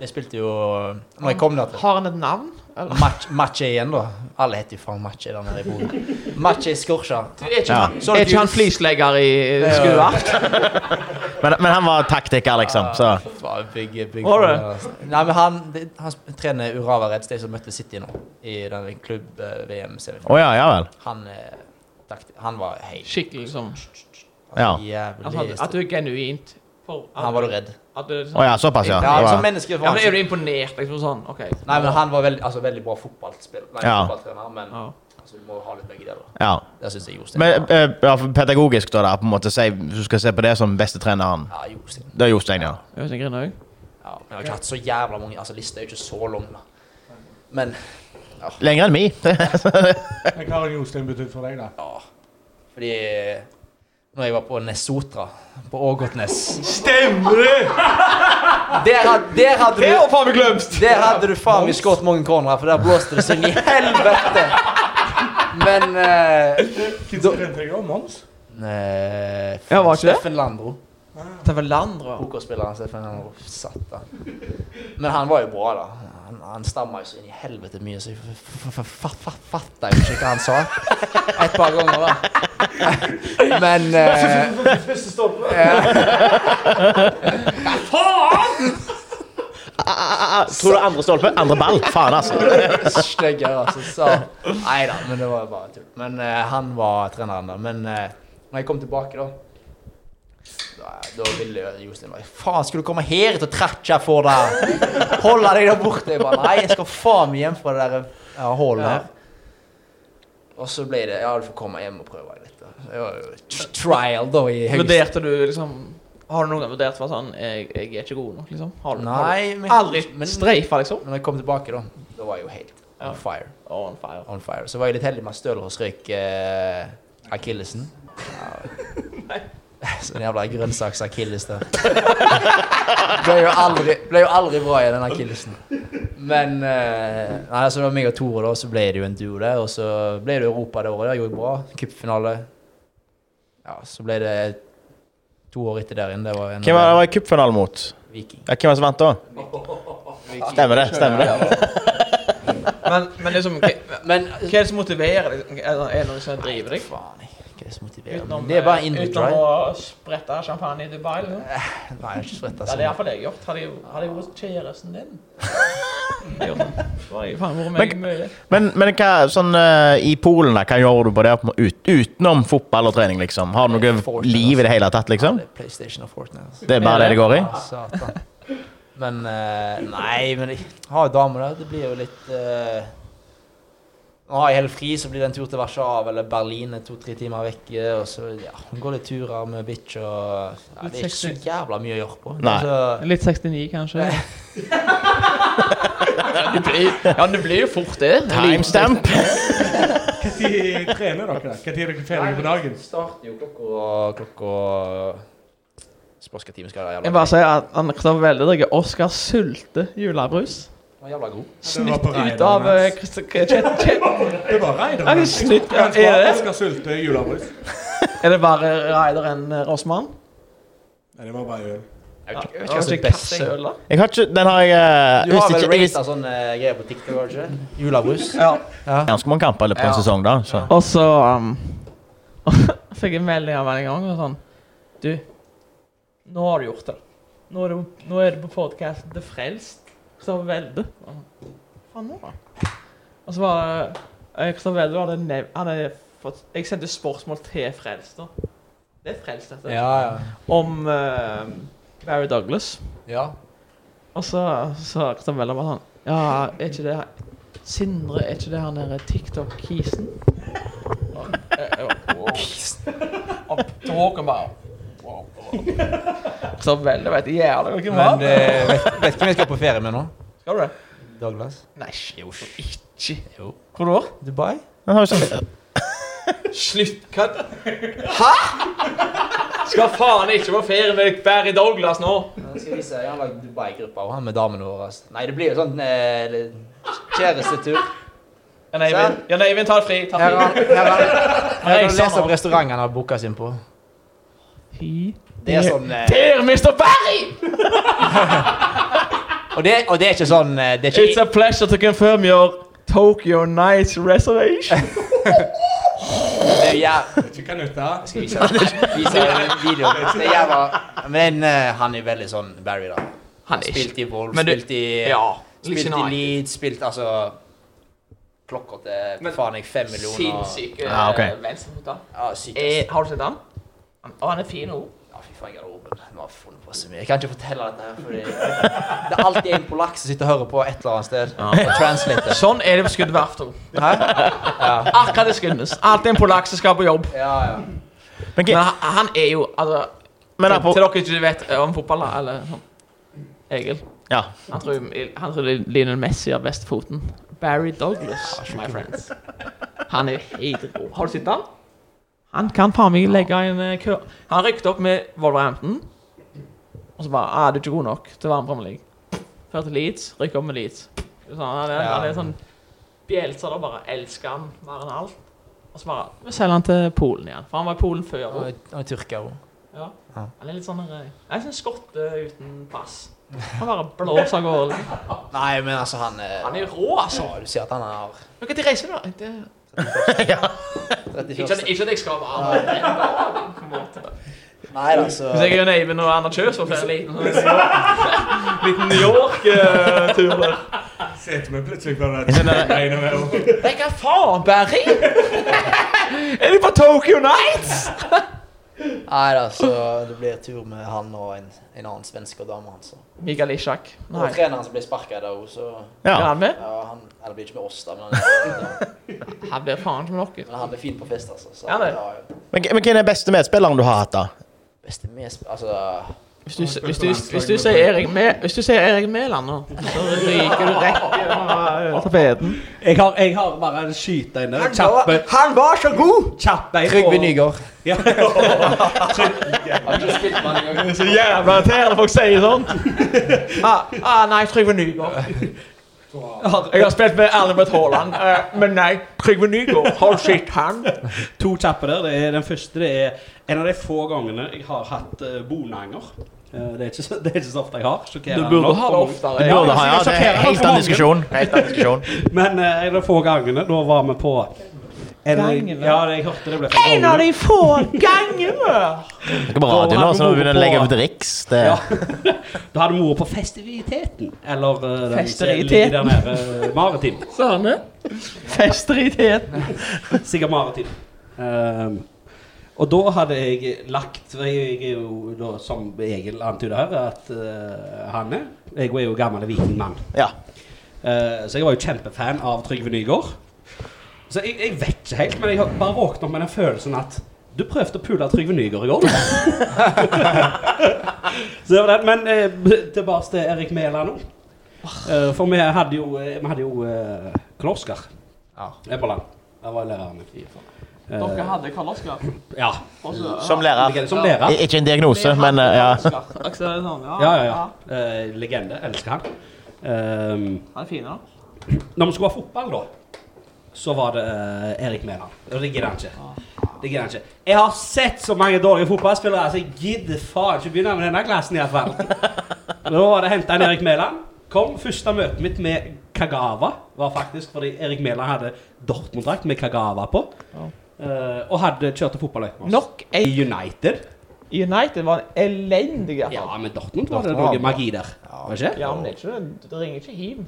[SPEAKER 5] Jeg spilte jo Når jeg kom der til
[SPEAKER 1] Har han et navn? Eller?
[SPEAKER 5] Match, matche igjen, da. Alle heter jo faen Matche der nede i Bodø. Matche Skorsa.
[SPEAKER 1] Er ikke,
[SPEAKER 2] Ja.
[SPEAKER 1] han, er ikke han flislegger i skua?
[SPEAKER 2] men, men han var taktiker, liksom. Så.
[SPEAKER 5] Faen, big, big
[SPEAKER 1] Var det?
[SPEAKER 5] fan, altså. Nei, men han, det- han sp- trener Urava Redsted, som møtte City nå, i den klubb-VM-serien.
[SPEAKER 2] Å ja, ja vel.
[SPEAKER 5] Han, eh, takti- han var helt
[SPEAKER 1] Skikkelig liksom
[SPEAKER 2] Ja.
[SPEAKER 1] altså,
[SPEAKER 5] jævlig
[SPEAKER 1] at, at du er genuint for, at,
[SPEAKER 5] Han var du redd.
[SPEAKER 1] at du, er
[SPEAKER 2] Å
[SPEAKER 1] sånn,
[SPEAKER 2] ja, såpass, Altså, ja.
[SPEAKER 5] Ja, altså,
[SPEAKER 2] Det
[SPEAKER 5] som
[SPEAKER 2] var,
[SPEAKER 5] menneske
[SPEAKER 1] ja,
[SPEAKER 5] var
[SPEAKER 1] men Er
[SPEAKER 5] han
[SPEAKER 1] du imponert? liksom sånn, ok
[SPEAKER 5] Nei, men han var veldig, altså, veldig bra fotballspiller. Nei,
[SPEAKER 2] Ja.
[SPEAKER 5] fotballtrener, men
[SPEAKER 1] Ja.
[SPEAKER 5] altså, du må ha litt begge deler.
[SPEAKER 2] ja.
[SPEAKER 5] Det syns jeg Jostein
[SPEAKER 2] Men
[SPEAKER 5] var.
[SPEAKER 2] eh, ja, for pedagogisk, da, da, på en måte, si, hvis du skal se på det som beste treneren.
[SPEAKER 5] Ja, Jostein.
[SPEAKER 2] Det er Jostein, ja.
[SPEAKER 1] Jeg vet ikke, griner jeg.
[SPEAKER 5] Ja, men jeg har ikke hatt så jævla mange Altså, lista er jo ikke så lang, da. Men
[SPEAKER 2] Lenger enn mi.
[SPEAKER 4] Men hva har Jostein betydd for deg, da?
[SPEAKER 5] ja Fordi når jeg var på Nessotra, på Ågotnes Stemmer det! Der, had- der hadde du
[SPEAKER 1] faen meg glemt!
[SPEAKER 5] Der hadde du faen meg skåret mange cornerer, for der blåste det som i helvete! Men eh,
[SPEAKER 4] Hvem trente deg da? Mons?
[SPEAKER 5] eh,
[SPEAKER 1] Ja, var ikke det?
[SPEAKER 5] Steffen Landro.
[SPEAKER 1] Det var Landro.
[SPEAKER 5] Pokerspilleren Steffen Landro. Satan. Men han var jo bra, da. Han, han stamma jo så inn i helvete mye, så jeg f- f- f- f- f- fatta jo ikke hva han sa. Et par ganger, da. Men eh,
[SPEAKER 2] Tror du andre stolpe? Andre ball. Faen, altså.
[SPEAKER 5] Styggere, altså. Så Nei da, men det var jo bare tull. Men eh, han var treneren, da. Men eh, når jeg kom tilbake, da da, da ville jo Jostein bare Faen, skulle du komme her til å trætsje for deg? Holde deg der borte? Jeg bare Nei, jeg skal faen meg hjem fra det der ja, hullet her. Og så ble det Ja, du får komme hjem og prøve deg litt. Da. Det var jo t- trial, da, i høyeste
[SPEAKER 1] Vurderte du liksom Har du noen gang vurdert for sånn jeg, jeg er ikke god nok, liksom? Har du, har
[SPEAKER 5] Nei,
[SPEAKER 1] du
[SPEAKER 5] men,
[SPEAKER 1] aldri
[SPEAKER 5] men
[SPEAKER 1] streifa, liksom?
[SPEAKER 5] når jeg kom tilbake, da, da var jeg jo helt
[SPEAKER 1] Ja.
[SPEAKER 5] on fire.
[SPEAKER 1] Oh, on fire.
[SPEAKER 5] on fire. Så var jeg litt heldig med at Stølås røyk eh, akillesen. Sånn jævla grønnsaks-akilles der. ble, jo aldri, ble jo aldri bra i den akillesen. Men eh, nei, altså det var meg og Tore, da, så ble det jo en duo der. Og så ble det Europa det året. Det gjorde jeg bra. Cupfinale. Ja, så ble det to år etter der igjen. Det var en eh,
[SPEAKER 2] Hvem var det var i cupfinalen mot?
[SPEAKER 5] Viking.
[SPEAKER 2] Ja, hvem var det som vant da? Stemmer det. stemmer det
[SPEAKER 1] Men, men liksom Hva hva
[SPEAKER 5] Men
[SPEAKER 1] er det som motiverer deg? Er det er det noe som driver deg?
[SPEAKER 5] Faen, hva er det som motiverer meg?
[SPEAKER 1] Utenom,
[SPEAKER 5] Det er bare in
[SPEAKER 1] eh,
[SPEAKER 5] the
[SPEAKER 1] utenom
[SPEAKER 5] drive.
[SPEAKER 1] å sprette champagne i Dubai? Liksom?
[SPEAKER 5] Nei, jeg har ikke svetta
[SPEAKER 1] Ja, det
[SPEAKER 5] sånn.
[SPEAKER 1] er iallfall det jeg har gjort. Hadde jeg, hadde jeg vært kjæresten din Det var jeg faen vært meg
[SPEAKER 2] Men-
[SPEAKER 1] mye.
[SPEAKER 2] Men, men hva, sånn eh, i Polen, da, hva gjør du på det på en måte, ut, utenom fotball og trening, liksom? Har du noe
[SPEAKER 5] Fortnite,
[SPEAKER 2] liv i det hele tatt,
[SPEAKER 5] Ja,
[SPEAKER 2] liksom?
[SPEAKER 5] det er PlayStation og Fortnite. altså.
[SPEAKER 2] Det er bare det det går i?
[SPEAKER 5] Ja, Satan. Men eh, Nei, men jeg har jo damer der. Det blir jo litt eh, Nå har jeg hele fri, så blir det en tur til Warszawa eller Berlin er to-tre timer vekk. Og så ja, går litt turer med bitch og ja, Det er ikke så jævla mye å gjøre på.
[SPEAKER 2] Nei.
[SPEAKER 5] Altså,
[SPEAKER 1] Litt 69, kanskje.
[SPEAKER 9] Det blir, ja, det blir jo fort det.
[SPEAKER 2] Timestamp.
[SPEAKER 4] Når trener dere? Når er dere ferdige på dagen?
[SPEAKER 5] starter jo klokka Klokka Spørs hvilken time skal være
[SPEAKER 1] Jeg
[SPEAKER 5] jævla
[SPEAKER 1] bare sier at han Kristoffer Velde drikker Oscar Sulte julebrus.
[SPEAKER 5] Han er jævla god.
[SPEAKER 4] var
[SPEAKER 1] Snytt
[SPEAKER 4] på
[SPEAKER 1] ut
[SPEAKER 4] Reidar,
[SPEAKER 1] av eh,
[SPEAKER 4] mens.
[SPEAKER 1] Er
[SPEAKER 4] Det var Reidar.
[SPEAKER 1] det snytt? Er det,
[SPEAKER 4] Oskar Sulte julebrus.
[SPEAKER 1] er det bare Reidar enn eh, Rossmann?
[SPEAKER 4] Nei, det var bare øl.
[SPEAKER 5] Jeg vet ikke- jeg vet
[SPEAKER 1] Har
[SPEAKER 5] ikke
[SPEAKER 1] ikke
[SPEAKER 5] hva
[SPEAKER 1] katt
[SPEAKER 5] som
[SPEAKER 1] i
[SPEAKER 5] er best.
[SPEAKER 1] øl, da?
[SPEAKER 2] Jeg har ikke Den har jeg eh,
[SPEAKER 5] Du har
[SPEAKER 2] hvis
[SPEAKER 5] vel
[SPEAKER 2] ikke- hvis-
[SPEAKER 5] rata sånne greier på TikTok, har du ikke? Julebrus.
[SPEAKER 1] Ja.
[SPEAKER 2] Ganske mange kamper i løpet av en
[SPEAKER 5] Ja.
[SPEAKER 2] sesong, da. Så.
[SPEAKER 1] Og så um, fikk jeg melding av en gang og sånn Du, nå har du gjort det. Nå er du, nå er du på podkasten til Frelst. Kristoffer Velde. Og jeg, Faen nå, da. Og så var det eh, Kristoffer Velde hadde nev... Han hadde fått Jeg sendte spørsmål til Frelst, da. Det er Frelst, dette.
[SPEAKER 5] Ja, ja.
[SPEAKER 1] Om eh, Barry Douglas.
[SPEAKER 5] ja.
[SPEAKER 1] Og så sa Kristoffer bare sånn Ja, er ikke det Sindre, er ikke det han der TikTok-kisen? Og jeg- jeg bare, wow. Og Håkon bare wow. Så veldig vet jeg jævlig hvem det
[SPEAKER 5] Men
[SPEAKER 1] var.
[SPEAKER 5] eh, vet, vet hvem jeg skal på ferie med nå?
[SPEAKER 1] Skal du det?
[SPEAKER 5] Douglas.
[SPEAKER 1] Nei,
[SPEAKER 5] Jo, sh-
[SPEAKER 1] ikke.
[SPEAKER 5] jo.
[SPEAKER 1] Hvor du var?
[SPEAKER 5] Dubai?
[SPEAKER 2] Den har jo så-
[SPEAKER 1] Slutt, hva? Hæ? Skal faen ikke på ferie med Barry Douglas nå?
[SPEAKER 5] Jeg skal vise deg, Han har lagd Dubai-gruppa og han med damene våre. ass. Nei, det blir jo sånn eh, kjærestetur.
[SPEAKER 1] Jan Eivind, Jan Eivind, ta det fri. Ta
[SPEAKER 5] Her
[SPEAKER 1] det
[SPEAKER 5] er han- her er sånn- han- her
[SPEAKER 1] Nei,
[SPEAKER 5] kan du lese
[SPEAKER 1] samme.
[SPEAKER 5] opp restauranten han har booka sin på.
[SPEAKER 1] fri.
[SPEAKER 5] Det er sånn eh,
[SPEAKER 1] Der, Mr. Barry!
[SPEAKER 5] og, det, og det er ikke sånn eh, Det er
[SPEAKER 1] It's
[SPEAKER 5] ikke
[SPEAKER 1] a pleasure to confirm your Tokyo Nights reservation.
[SPEAKER 5] det er jæv-
[SPEAKER 4] Vet ikke hva nytta.
[SPEAKER 5] Jeg skal vise deg vise deg en video. Det er jævla Men eh, han er veldig sånn Barry, da.
[SPEAKER 1] Han er ikke
[SPEAKER 5] Spilt i Wolf,
[SPEAKER 1] Men du-
[SPEAKER 5] spilt i
[SPEAKER 1] Ja.
[SPEAKER 5] Spilt i
[SPEAKER 1] United.
[SPEAKER 5] Leeds, spilt altså Klokka til
[SPEAKER 1] Men-
[SPEAKER 5] faen jeg fem millioner.
[SPEAKER 1] Sinnssyk
[SPEAKER 2] Ja, ok.
[SPEAKER 1] venstrefot.
[SPEAKER 5] Ja, sykt. ass.
[SPEAKER 1] eh, Har du sett han? Han- Å, han er fin òg.
[SPEAKER 5] Ja, fy faen, garderoben. Nå har jeg funnet på så mye. Jeg kan ikke fortelle dette her, fordi det er alltid en polakk som sitter og hører på et eller annet sted. Og translater.
[SPEAKER 1] Sånn er det på skuddverft òg.
[SPEAKER 5] Hæ?
[SPEAKER 1] Akkurat det skuddes. Alltid en polakk som skal på jobb.
[SPEAKER 5] Ja, ja.
[SPEAKER 2] Men,
[SPEAKER 1] Men
[SPEAKER 2] hva-
[SPEAKER 1] han- han er jo altså,
[SPEAKER 2] men
[SPEAKER 1] til,
[SPEAKER 2] apro-
[SPEAKER 1] til dere ikke vet eh, om fotball, da, eller sånn Egil.
[SPEAKER 2] Ja.
[SPEAKER 1] Han tror, han tror Lionel Messi har best foten. Barry Douglas, my friends. Han er jo helt rå. Har du sett han? Han kan faen meg legge en eh, kø. Han rykket opp med Wolverhampton. Og så bare ah, 'Du er ikke god nok til å være med i Premier League'. Før til Leeds, rykket opp med Leeds. Så han, er, han er sånn Bjelsa da bare elsker han mer enn alt. Og så bare Vi selger han til Polen igjen. For han var i Polen før.
[SPEAKER 5] Han er- han er tyrker òg.
[SPEAKER 1] Ja.
[SPEAKER 5] Ja.
[SPEAKER 1] Han er litt sånn der, eh, Jeg syns skotte uten pass. Han bare blåser av gårde.
[SPEAKER 5] Nei, men altså, han er
[SPEAKER 1] Han er rå, altså.
[SPEAKER 5] Ja, du ser at han har
[SPEAKER 1] Men Når reiser du, da? Det, ikke, sånn at,
[SPEAKER 5] 31.
[SPEAKER 1] ikke at jeg skal være med.
[SPEAKER 5] Nei da, så
[SPEAKER 1] Hvis jeg er Eivind og Anna Kjøs var ferdig liten Liten New York-tur eh, der.
[SPEAKER 4] Setter vi plutselig på det greiene med å-
[SPEAKER 1] Nei, hva faen, Barry? Er du på Tokyo Nights?
[SPEAKER 5] Nei da, så det blir tur med han og en, en annen svenske og dama hans. Og
[SPEAKER 1] Mikael Ishak. Nei.
[SPEAKER 5] treneren som ble sparka i dag òg, så
[SPEAKER 1] Er
[SPEAKER 2] ja.
[SPEAKER 1] han med?
[SPEAKER 5] ja, han, han blir ikke med oss, da, men han,
[SPEAKER 1] Han blir faen som noe.
[SPEAKER 5] men han er fin på fest, altså. Så,
[SPEAKER 1] Ja, det.
[SPEAKER 5] ja,
[SPEAKER 2] Men, men hvem er den beste medspilleren du har hatt, da?
[SPEAKER 5] beste med, altså
[SPEAKER 1] Hvis du, hvis, du, hvis, du sier Erik Me, hvis du sier Erik Mæland nå, så ryker du rett gjennom tapeten.
[SPEAKER 3] Jeg har, jeg har bare en skyte inn der. Kjapp en-
[SPEAKER 5] så god!
[SPEAKER 3] kjapp en
[SPEAKER 5] Trygve
[SPEAKER 3] på-
[SPEAKER 5] Nygaard.
[SPEAKER 3] Ja.
[SPEAKER 5] Har ikke spilt med han engang.
[SPEAKER 1] Så jævla irriterende folk sier sånt. Ah, ah, nei, Trygve Nygaard. Jeg har spilt med Erlend Haaland, eh, men nei, Trygve Nygaard. Har du sett han?
[SPEAKER 3] To kjappe der. Det er, den første det er en av de få gangene jeg har hatt eh, bonanger. Eh, det, er ikke så, det er ikke så ofte jeg har.
[SPEAKER 1] Du
[SPEAKER 3] sjokkerende
[SPEAKER 1] burde
[SPEAKER 3] nok
[SPEAKER 1] ha det
[SPEAKER 3] for mange.
[SPEAKER 2] Du
[SPEAKER 1] oftere.
[SPEAKER 2] burde
[SPEAKER 3] altså,
[SPEAKER 2] ha, ja.
[SPEAKER 3] jeg
[SPEAKER 2] Det er
[SPEAKER 3] sjokkerer
[SPEAKER 2] helt
[SPEAKER 3] for
[SPEAKER 2] annen
[SPEAKER 3] mange.
[SPEAKER 2] diskusjon. Helt annen diskusjon.
[SPEAKER 3] Men eh, en av de få gangene, da var vi på en,
[SPEAKER 1] Gangene?
[SPEAKER 3] Ja, jeg hørte det ble for
[SPEAKER 1] En av de få gangene!
[SPEAKER 2] Det går på radio nå, så nå begynner du å legge ut Riks. Det
[SPEAKER 3] Ja. Da hadde mor på festiviteten. Eller uh, den som ligger der
[SPEAKER 1] Festiviteten.
[SPEAKER 3] nede. eh, maritim.
[SPEAKER 1] Sa han det? Fester i teten.
[SPEAKER 3] Sikkert maritim. Ehm, og da hadde jeg lagt for Jeg jeg er jo da, som Egil antydet her, at eh, han er Jeg er jo gammel vikingmann.
[SPEAKER 2] Ja.
[SPEAKER 3] Eh, så jeg var jo kjempefan av Trygve Nygaard. Så jeg, jeg vet ikke helt, men jeg har bare våknet opp med den følelsen at du prøvde å pule Trygve Nygaard i går, du. så det var det. Men eh, tilbake til Erik Mæland nå. Eh, for vi hadde jo, eh, vi hadde jo eh, Karl Oskar
[SPEAKER 5] Ja.
[SPEAKER 3] Eberland. Det var læreren min. Eh,
[SPEAKER 1] Dere hadde Karl Oskar.
[SPEAKER 3] ja,
[SPEAKER 1] eh,
[SPEAKER 2] Som lærer.
[SPEAKER 3] som lærer.
[SPEAKER 2] I- Ikke en diagnose, men eh, ja.
[SPEAKER 3] Ja, ja,
[SPEAKER 1] Ah,
[SPEAKER 3] ja. Eh, legende. Elsker han. Ehm,
[SPEAKER 1] Han er fin, da.
[SPEAKER 3] når vi skulle ha fotball, da, så var det eh, Erik Mæland. Og det gidder han ikke. Det gidder han ikke. Jeg har sett så mange dårlige fotballspillere, så jeg gidder faen ikke begynne med denne klassen, iallfall. Da var det henta en Erik Mæland. Kom, Første møtet mitt med Kagawa var faktisk fordi Erik Mæland hadde Dortmund-drakt med Kagawa på. Eh, og hadde kjørte fotballøype med oss.
[SPEAKER 1] Nok en
[SPEAKER 3] I United.
[SPEAKER 1] United var en elendig
[SPEAKER 3] Ja,
[SPEAKER 1] affære.
[SPEAKER 3] men Dortmund var det
[SPEAKER 5] Dortmund var
[SPEAKER 3] noe
[SPEAKER 5] bra.
[SPEAKER 3] magi der. Var det ikke?
[SPEAKER 1] Ja, men det, er ikke, det ringer ikke hjem.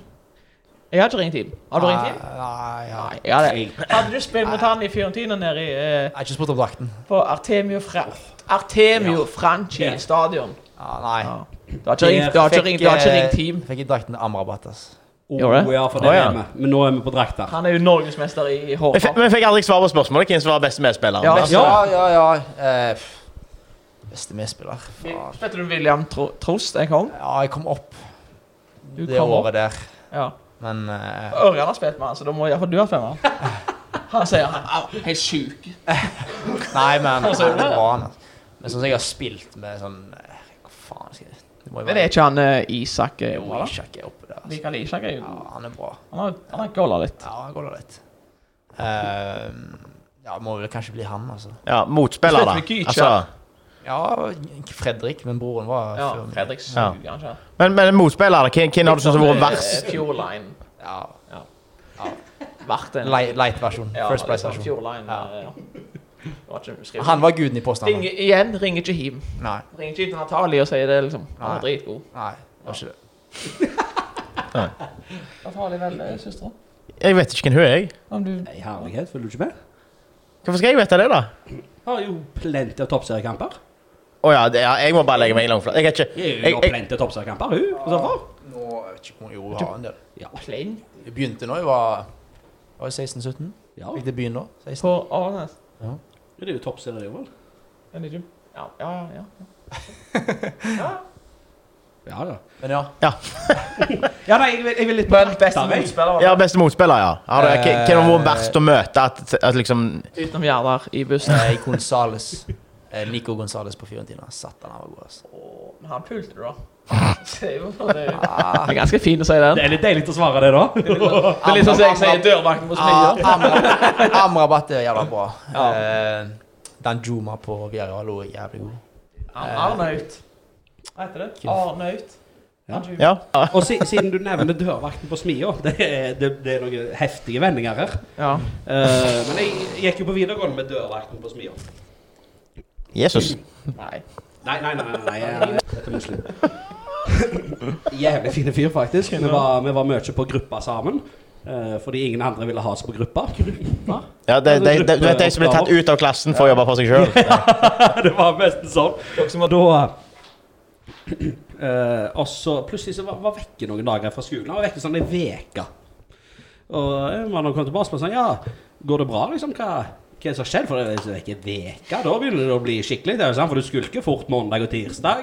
[SPEAKER 1] Jeg har ikke ringt hjem. Har du ringt hjem?
[SPEAKER 5] Nei, nei.
[SPEAKER 1] Nei, jeg hadde, hadde du spilt mot han i Fiorentina nede i, eh,
[SPEAKER 5] Jeg har ikke spurt om drakten.
[SPEAKER 1] på Artemio, Fra Artemio Franchi
[SPEAKER 3] Ja.
[SPEAKER 1] stadion?
[SPEAKER 5] Ja, nei.
[SPEAKER 1] Ja. eh, Du har ikke ringt, du har ikke ringt, du har ikke ringt hjem.
[SPEAKER 5] Fikk ikke drakten til Amrabat, ass.
[SPEAKER 3] Oh,
[SPEAKER 1] Gjorde det?
[SPEAKER 3] ja, for det
[SPEAKER 2] Å, ja.
[SPEAKER 3] er vi. Men nå er vi på drakt der.
[SPEAKER 1] Han er jo norgesmester i
[SPEAKER 2] Vi fikk,
[SPEAKER 1] hårfart.
[SPEAKER 2] vi fikk aldri svar på spørsmålet hvem som var beste medspiller.
[SPEAKER 1] Ja.
[SPEAKER 2] Best-
[SPEAKER 5] Ja, ja, ja. Eh, pff. beste medspiller. Faen.
[SPEAKER 1] Vet du William Tro Trost jeg kom?
[SPEAKER 5] Ja, jeg kom opp
[SPEAKER 1] Du
[SPEAKER 5] det
[SPEAKER 1] kom opp.
[SPEAKER 5] året der,
[SPEAKER 1] Ja.
[SPEAKER 5] men eh,
[SPEAKER 1] Ørjan har spilt med han, så da må iallfall du ha femmer. Han sier han er helt sjuk.
[SPEAKER 5] Nei, men det var han. ass. Men sånn som jeg har spilt med sånn eh, Hva faen skal jeg Det må jo
[SPEAKER 1] Men det er
[SPEAKER 5] være
[SPEAKER 1] ikke han eh, Isak eh,
[SPEAKER 5] Jo,
[SPEAKER 1] Ola, da?
[SPEAKER 5] Ishak er oppe der. Altså.
[SPEAKER 1] Mikael Isak er jo
[SPEAKER 5] Ja, han er bra.
[SPEAKER 1] Han har, han har golla litt.
[SPEAKER 5] Ja, han går da litt. Eh, ja, må vel kanskje bli han, altså.
[SPEAKER 2] Ja, motspiller, da.
[SPEAKER 1] Spilte vi ikke?
[SPEAKER 2] Altså,
[SPEAKER 5] Ja, ikke Fredrik, men broren var
[SPEAKER 1] Ja,
[SPEAKER 5] før meg.
[SPEAKER 1] Fredrik
[SPEAKER 2] Ja.
[SPEAKER 1] suger, kanskje.
[SPEAKER 2] men, men motspiller, da. Hvem, hvem har du syntes har vært verst?
[SPEAKER 1] Eh, Fjordline.
[SPEAKER 5] Ja,
[SPEAKER 1] Vært en
[SPEAKER 5] light, light versjon.
[SPEAKER 1] Ja,
[SPEAKER 5] First
[SPEAKER 1] liksom,
[SPEAKER 5] Price-versjon.
[SPEAKER 1] Fjordline.
[SPEAKER 5] Ja.
[SPEAKER 1] eh, Ja. Det var ikke skrevet.
[SPEAKER 5] Han var guden i posten.
[SPEAKER 1] Ring,
[SPEAKER 5] Han.
[SPEAKER 1] igjen, ringer ikke hjem.
[SPEAKER 5] Nei,
[SPEAKER 1] Ringer ikke hjem til Natalie og sier det, liksom. Han er
[SPEAKER 5] Nei.
[SPEAKER 1] dritgod.
[SPEAKER 5] nei, det var ikke det.
[SPEAKER 1] Natalie vel, eh, søstera?
[SPEAKER 2] Jeg vet ikke hvem hun er. jeg.
[SPEAKER 1] Om du
[SPEAKER 3] Nei, herlighet, følger du ikke med?
[SPEAKER 2] Hvorfor skal jeg vite det, da?
[SPEAKER 3] Har jo plenty av toppseriekamper.
[SPEAKER 2] Å ja, det, ja, jeg må bare legge meg i langflat. Jeg er ikke
[SPEAKER 3] Jeg,
[SPEAKER 2] jeg-
[SPEAKER 3] har
[SPEAKER 2] jeg-
[SPEAKER 3] plenty av toppseriekamper, hun. Hva så for?
[SPEAKER 5] Nå, jeg vet ikke hvor Jo, jeg har en del.
[SPEAKER 1] Plain
[SPEAKER 5] Jeg begynte når jeg var, jeg var 16-17.
[SPEAKER 3] Ja,
[SPEAKER 5] Fikk det begynne da? 16.
[SPEAKER 1] på Arnes?
[SPEAKER 3] det er jo toppserie, jo vel?
[SPEAKER 1] Er det ikke? Ja, ja, ja.
[SPEAKER 3] Ja, ja.
[SPEAKER 5] Men ja.
[SPEAKER 3] ja nei, jeg vil, jeg vil litt
[SPEAKER 1] Men beste
[SPEAKER 3] Nei.
[SPEAKER 1] motspiller
[SPEAKER 2] Ja, beste motspiller, ja. Har du, hvem- hvem har vært
[SPEAKER 5] Eh.
[SPEAKER 2] verst å møte? At, at liksom
[SPEAKER 1] utenom Gjerdar i bussen.
[SPEAKER 5] Eh, Gonzales. Eh, Nico Gonzales på Fiorentina. Satan, han var god, altså.
[SPEAKER 1] Åh, Men han pulte du, da. Så Det er jo- det er jo- Ah. det er ganske fint å si den.
[SPEAKER 3] Det er litt deilig å svare det, da.
[SPEAKER 1] Det er litt sånn som jeg sier dørvakten på
[SPEAKER 5] Ah,
[SPEAKER 1] Smidja.
[SPEAKER 5] Amra- Amrabat er jævla bra.
[SPEAKER 1] Ja.
[SPEAKER 5] Eh, Danjuma på Viaralo er jævlig god.
[SPEAKER 1] Arnaut. Ah. Hva heter det? Arnaut.
[SPEAKER 3] Ja.
[SPEAKER 1] Arnaut.
[SPEAKER 2] Ja.
[SPEAKER 3] Og si, siden du nevner dørvakten på Smia, det, er- det, det er noen heftige vendinger her.
[SPEAKER 1] Ja.
[SPEAKER 3] Eh, men jeg gikk jo på videregående med dørvakten på Smia.
[SPEAKER 2] Jesus.
[SPEAKER 1] Nei.
[SPEAKER 3] Nei, nei, nei. nei, nei, jeg- jeg- jeg er muslim. Jævlig fine fyr, faktisk. Vi var, vi var mye på gruppa sammen. eh, fordi ingen andre ville ha oss på gruppa. Gruppa?
[SPEAKER 2] Ja, de, de, de, du vet de som blir tatt ut av klassen for å jobbe for seg sjøl?
[SPEAKER 3] det var nesten sånn. Da eh, Og så plutselig så var, var vekke noen dager fra skolen. Han var vekke sånn ei uke. Og en mann kom tilbake og spurte sånn Ja, går det bra, liksom? Hva, hva er det som har skjedd? For det er ikke veka, da begynner det å bli skikkelig. Det er jo sant, For du skulker fort mandag og tirsdag.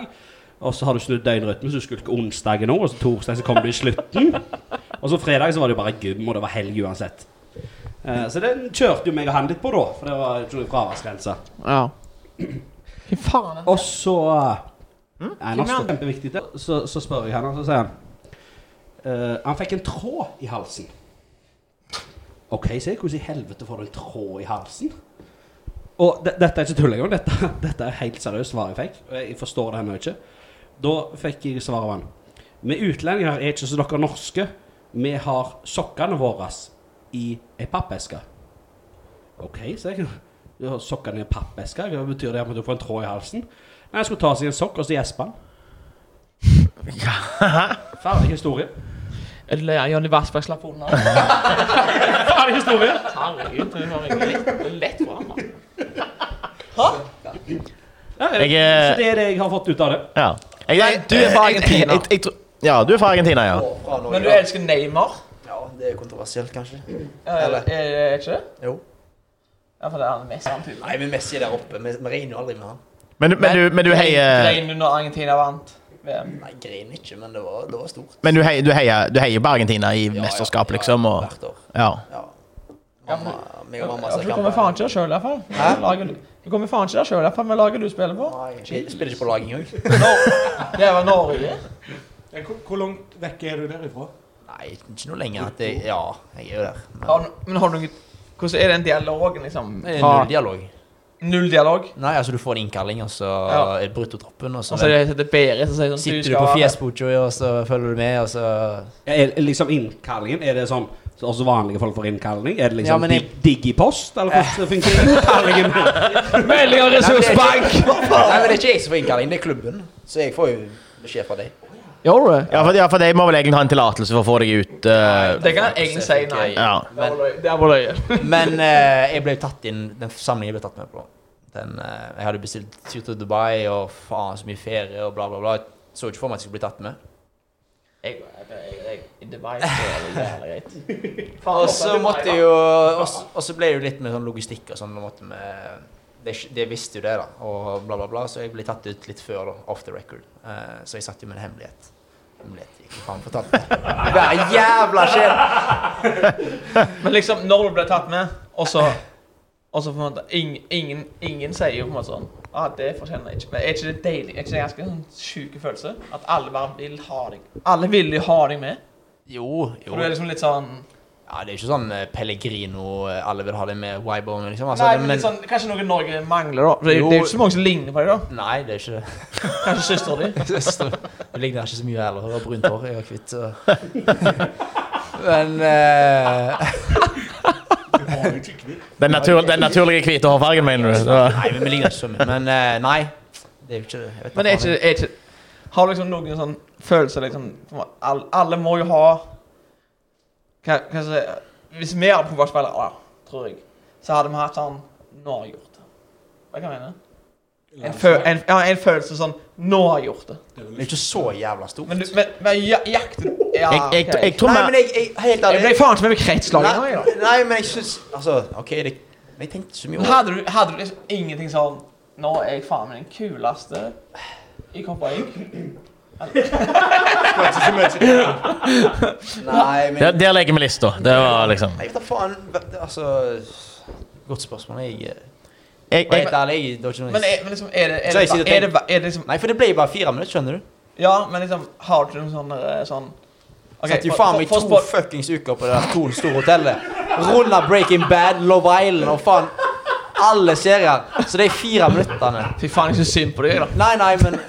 [SPEAKER 3] Og så har du snudd døgnrytmen, så du skulker onsdagen òg. Og så torsdag så kom du i slutten. Og så fredag så var det jo bare gym, og det var helg uansett. Eh, så den kjørte jo meg og han litt på, da. For det var ikke noen fraværsgrense.
[SPEAKER 1] Ja. Fy faen.
[SPEAKER 3] Og så Nei, nå
[SPEAKER 1] Hvem er han?
[SPEAKER 3] står det Hm? kjempeviktig til. Så, så spør jeg han, og så sier han «Eh, Han fikk en tråd i halsen. OK, sier jeg. Hvordan i helvete får du en tråd i halsen? Og de, dette er ikke tull engang. Dette, dette er helt seriøst svar jeg fikk. Og jeg forstår det ennå ikke. Da fikk jeg svar av han. Vi utlendinger er ikke som dere norske. Vi har sokkene våre i ei pappeske. OK, sier jeg. Du har sokkene i en pappeske? Hva betyr det at du får en tråd i halsen? Nei, Han skulle ta seg en sokk, og så gjespa han. Ferdig historie.
[SPEAKER 1] Eller Jonny Vassberg slapp unna.
[SPEAKER 3] Ferdig historie.
[SPEAKER 1] Herregud, det var egentlig lett, lett for ham. da.
[SPEAKER 3] Ja,
[SPEAKER 2] Jeg
[SPEAKER 5] eh,
[SPEAKER 3] Så
[SPEAKER 2] er
[SPEAKER 3] det er det jeg har fått ut av det.
[SPEAKER 2] Ja. Jeg,
[SPEAKER 1] du er fra Argentina.
[SPEAKER 2] jeg- jeg- jeg tror- Ja, du er fra Argentina, ja.
[SPEAKER 5] Fra Norge,
[SPEAKER 1] Men du elsker Neymar?
[SPEAKER 5] Ja, Det er kontroversielt, kanskje.
[SPEAKER 1] Er,
[SPEAKER 5] Eller?
[SPEAKER 1] er, er ikke det?
[SPEAKER 5] Jo.
[SPEAKER 1] Ja, for det er han mest han typen.
[SPEAKER 5] Nei, men Messi er der oppe. Vi, vi regner jo aldri med han.
[SPEAKER 2] Men, men, du, men, du, heier,
[SPEAKER 1] Grein når Argentina vant VM.
[SPEAKER 5] Nei, grein ikke, men det var, det var stort.
[SPEAKER 2] men du, heier, du, heier, du heier på Argentina i
[SPEAKER 5] Ja, ja,
[SPEAKER 2] mesterskap,
[SPEAKER 5] ja,
[SPEAKER 2] liksom? Og,
[SPEAKER 5] Hvert år.
[SPEAKER 2] ja.
[SPEAKER 5] Ja.
[SPEAKER 1] Ja,
[SPEAKER 5] Mamma, meg og mamma
[SPEAKER 1] Ja, for
[SPEAKER 5] ser
[SPEAKER 1] du kommer faen ikke der sjøl, iallfall. Laget du- Du kommer faen ikke der sjøl, iallfall, med laget du spiller på.
[SPEAKER 5] Nei, jeg spiller ikke på lag engang.
[SPEAKER 1] Det var Norge.
[SPEAKER 4] Eh, Hvor, hvor langt vekk er du derifra?
[SPEAKER 5] Nei, ikke noe lenger. At jeg, ja, jeg er jo der.
[SPEAKER 1] Har,
[SPEAKER 5] Men
[SPEAKER 1] du- men har du noe Hvordan er den dialogen, liksom?
[SPEAKER 5] det er null dialog.
[SPEAKER 1] Null dialog?
[SPEAKER 5] Nei, altså du får en innkalling, og så
[SPEAKER 1] Ja.
[SPEAKER 5] er det bruttotroppen, og så
[SPEAKER 1] Og så er det- det er Berit som sier sånn
[SPEAKER 5] sitter du
[SPEAKER 1] skal
[SPEAKER 5] på
[SPEAKER 1] være-
[SPEAKER 5] fjesbojoy, og så følger du med, og så
[SPEAKER 3] Er, er liksom innkallingen, er det sånn så også vanlige folk får innkalling? Er det
[SPEAKER 5] Ja,
[SPEAKER 3] liksom
[SPEAKER 5] men
[SPEAKER 3] dig-
[SPEAKER 5] jeg-
[SPEAKER 3] digipost, eller hvordan fungerer innkallingen? Melding av
[SPEAKER 5] Nei, men det er ikke jeg som får innkalling, det er klubben. Så jeg får jo beskjed fra deg.
[SPEAKER 1] Gjør du det?
[SPEAKER 2] Ja, for, ja, for de må vel egentlig ha en tillatelse for å få deg ut. eh,
[SPEAKER 1] Det kan jeg egentlig si nei.
[SPEAKER 2] ja.
[SPEAKER 5] Men,
[SPEAKER 1] Det er bare løye.
[SPEAKER 5] men eh, jeg ble jo tatt inn Den samlingen jeg ble tatt med på den, eh, Jeg hadde bestilt tur til Dubai og faen så mye ferie og bla, bla, bla. Jeg så ikke for meg at jeg skulle bli tatt med.
[SPEAKER 1] Jeg, jeg, jeg, jeg, det var greit.
[SPEAKER 5] Og så måtte jeg jo Og så- og så ble det jo litt med sånn logistikk og sånn. da måtte vi- De, de visste jo det, da, og bla, bla, bla. Så jeg ble tatt ut litt før, da. Off the record. Eh, så jeg satt jo med en hemmelighet. Hemmelighet jeg ikke faen fortalte. Hver jævla skjell!
[SPEAKER 1] Men liksom, når du ble tatt med, og så og så på en måte, ing, ingen, ingen sier jo på en måte sånn ah, 'Det fortjener jeg ikke.' Men er ikke det deilig? Er ikke det en ganske sånn sjuk følelse? At alle bare vil ha deg Alle vil jo ha deg med.
[SPEAKER 5] Jo, jo.
[SPEAKER 1] For du er liksom litt sånn
[SPEAKER 5] Ja, det er jo ikke sånn eh, Pellegrino, eh, alle vil ha det med Wybone, liksom. Altså,
[SPEAKER 1] Nei,
[SPEAKER 5] det-
[SPEAKER 1] men litt sånn, Kanskje noe Norge mangler, da. For det,
[SPEAKER 5] Jo.
[SPEAKER 1] det er jo ikke så mange som ligner på deg, da.
[SPEAKER 5] Nei, det er ikke det.
[SPEAKER 1] Kanskje søstera di.
[SPEAKER 5] Det ligner ikke så mye heller. Hun har brunt hår, jeg har hvitt. så- Men eh,
[SPEAKER 4] Du har jo ikke kvitt.
[SPEAKER 2] Den, natur, den naturlige hvite hårfargen, mener du? Så.
[SPEAKER 5] Nei, men vi ligner ikke så mye. Men eh, nei. Det er jo ikke jeg vet da
[SPEAKER 1] Men er
[SPEAKER 5] faen.
[SPEAKER 1] ikke, er ikke Har du liksom noen sånn følelse liksom på en måte, all, Alle må jo ha hva, hva skal jeg si Hvis vi hadde fotballspillere, da, tror jeg, så hadde vi hatt sånn Nå har jeg gjort det. Hva kan jeg mene? En, fø, en, ja, en følelse sånn Nå har jeg gjort det.
[SPEAKER 4] Det er vel
[SPEAKER 5] Det er ikke så jævla stor.
[SPEAKER 1] Men, du, men, men ja, jakten ja,
[SPEAKER 2] Jeg, jeg, jeg,
[SPEAKER 1] ok.
[SPEAKER 2] tror
[SPEAKER 5] nei,
[SPEAKER 2] vi-
[SPEAKER 5] men jeg, jeg Helt
[SPEAKER 1] jeg ble
[SPEAKER 5] ærlig
[SPEAKER 1] faen ikke med meg kretslaget. nå, jeg, da.
[SPEAKER 5] nei, nei, men jeg syns Altså, OK, det men Jeg tenkte så mye
[SPEAKER 1] Men
[SPEAKER 5] over
[SPEAKER 1] hadde du, hadde du liksom ingenting sånn Nå er jeg faen meg den kuleste i Copa Inc.
[SPEAKER 5] Nei, men
[SPEAKER 2] der, der legger vi lista. Det var liksom
[SPEAKER 5] Jeg vet da faen det- Altså Godt spørsmål. Jeg eh,
[SPEAKER 2] jeg, jeg,
[SPEAKER 5] Helt ærlig, jeg- det var ikke noe
[SPEAKER 1] Men, er, men liksom, er det,
[SPEAKER 5] Så
[SPEAKER 1] er
[SPEAKER 5] jeg
[SPEAKER 1] det, er
[SPEAKER 5] sitter og
[SPEAKER 1] det, er det, er det liksom
[SPEAKER 5] Nei, for det ble jo bare fire minutter, skjønner du.
[SPEAKER 1] Ja, men liksom, har du noen sånne eh, sånn Ok,
[SPEAKER 5] Satt jo
[SPEAKER 1] for-
[SPEAKER 5] faen
[SPEAKER 1] for-
[SPEAKER 5] meg i
[SPEAKER 1] for
[SPEAKER 5] to
[SPEAKER 1] sport-
[SPEAKER 5] fuckings uker på det der Thon store hotellet. Rulla Breaking Bad, Love Island og faen alle serier. Så det er fire minuttene.
[SPEAKER 1] Fy faen, jeg syns synd på deg, da.
[SPEAKER 5] Nei, nei, men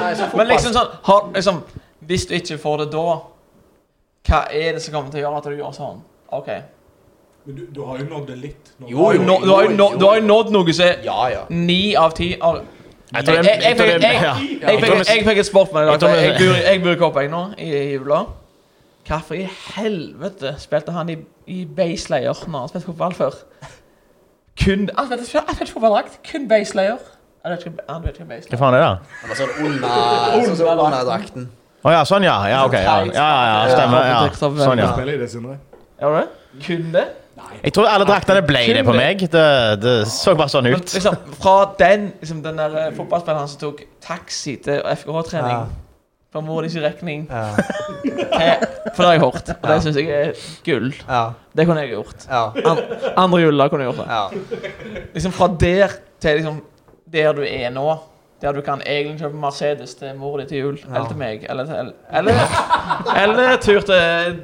[SPEAKER 5] nei, så
[SPEAKER 1] Men liksom sånn har, liksom, Hvis du ikke får det da, hva er det som kommer til å gjøre at du gjør sånn? OK.
[SPEAKER 4] Men du, du har jo nådd det litt. nå.
[SPEAKER 5] Jo, jo.
[SPEAKER 1] Du nå- du har jo nå- du har jo nådd noe som er
[SPEAKER 5] Ja, ja.
[SPEAKER 1] ni av ti av
[SPEAKER 2] jeg tror det-
[SPEAKER 1] jeg-
[SPEAKER 2] jeg
[SPEAKER 1] jeg-
[SPEAKER 2] tror det-
[SPEAKER 1] jeg-
[SPEAKER 2] ja.
[SPEAKER 1] Jeg fikk- jeg fikk et spørsmål i dag.
[SPEAKER 2] Jeg tror
[SPEAKER 1] for
[SPEAKER 2] vi-
[SPEAKER 1] Jeg bor- jeg bor i Kopenhagen nå, i i jula. Hvorfor i helvete spilte han i, i baselayer når han spilte fotball før? Kun Han spilte han spilte fotballdrakt, kun baselayer. Han vet ikke han vet ikke hva
[SPEAKER 2] Hva
[SPEAKER 1] baselayer
[SPEAKER 2] faen er det?
[SPEAKER 5] Det var sånn under sånn som under drakten.
[SPEAKER 2] Å ja, sånn, ja. Ja, ok. Ja, ja, ja, ja stemmer. Ja. Sånn, ja.
[SPEAKER 4] Spiller i det, Sindre.
[SPEAKER 1] Gjør du det? Kun det?
[SPEAKER 2] Jeg tror alle draktene ble det på meg. Det, det så bare sånn
[SPEAKER 1] Men
[SPEAKER 2] ut.
[SPEAKER 1] liksom, fra den, liksom, den der eh, fotballspilleren som tok taxi til FKH-trening
[SPEAKER 5] Ja.
[SPEAKER 1] på mor sin regning
[SPEAKER 5] Ja.
[SPEAKER 1] til For det har jeg hørt, og det syns jeg er gull.
[SPEAKER 5] Ja.
[SPEAKER 1] Det kunne jeg gjort.
[SPEAKER 5] Ja.
[SPEAKER 1] An andre jula kunne jeg gjort det.
[SPEAKER 5] ja.
[SPEAKER 1] Liksom fra der til liksom der du er nå. Der du kan egentlig kjøpe Mercedes til mor di til jul. Eller til meg. Eller, til, eller, eller tur til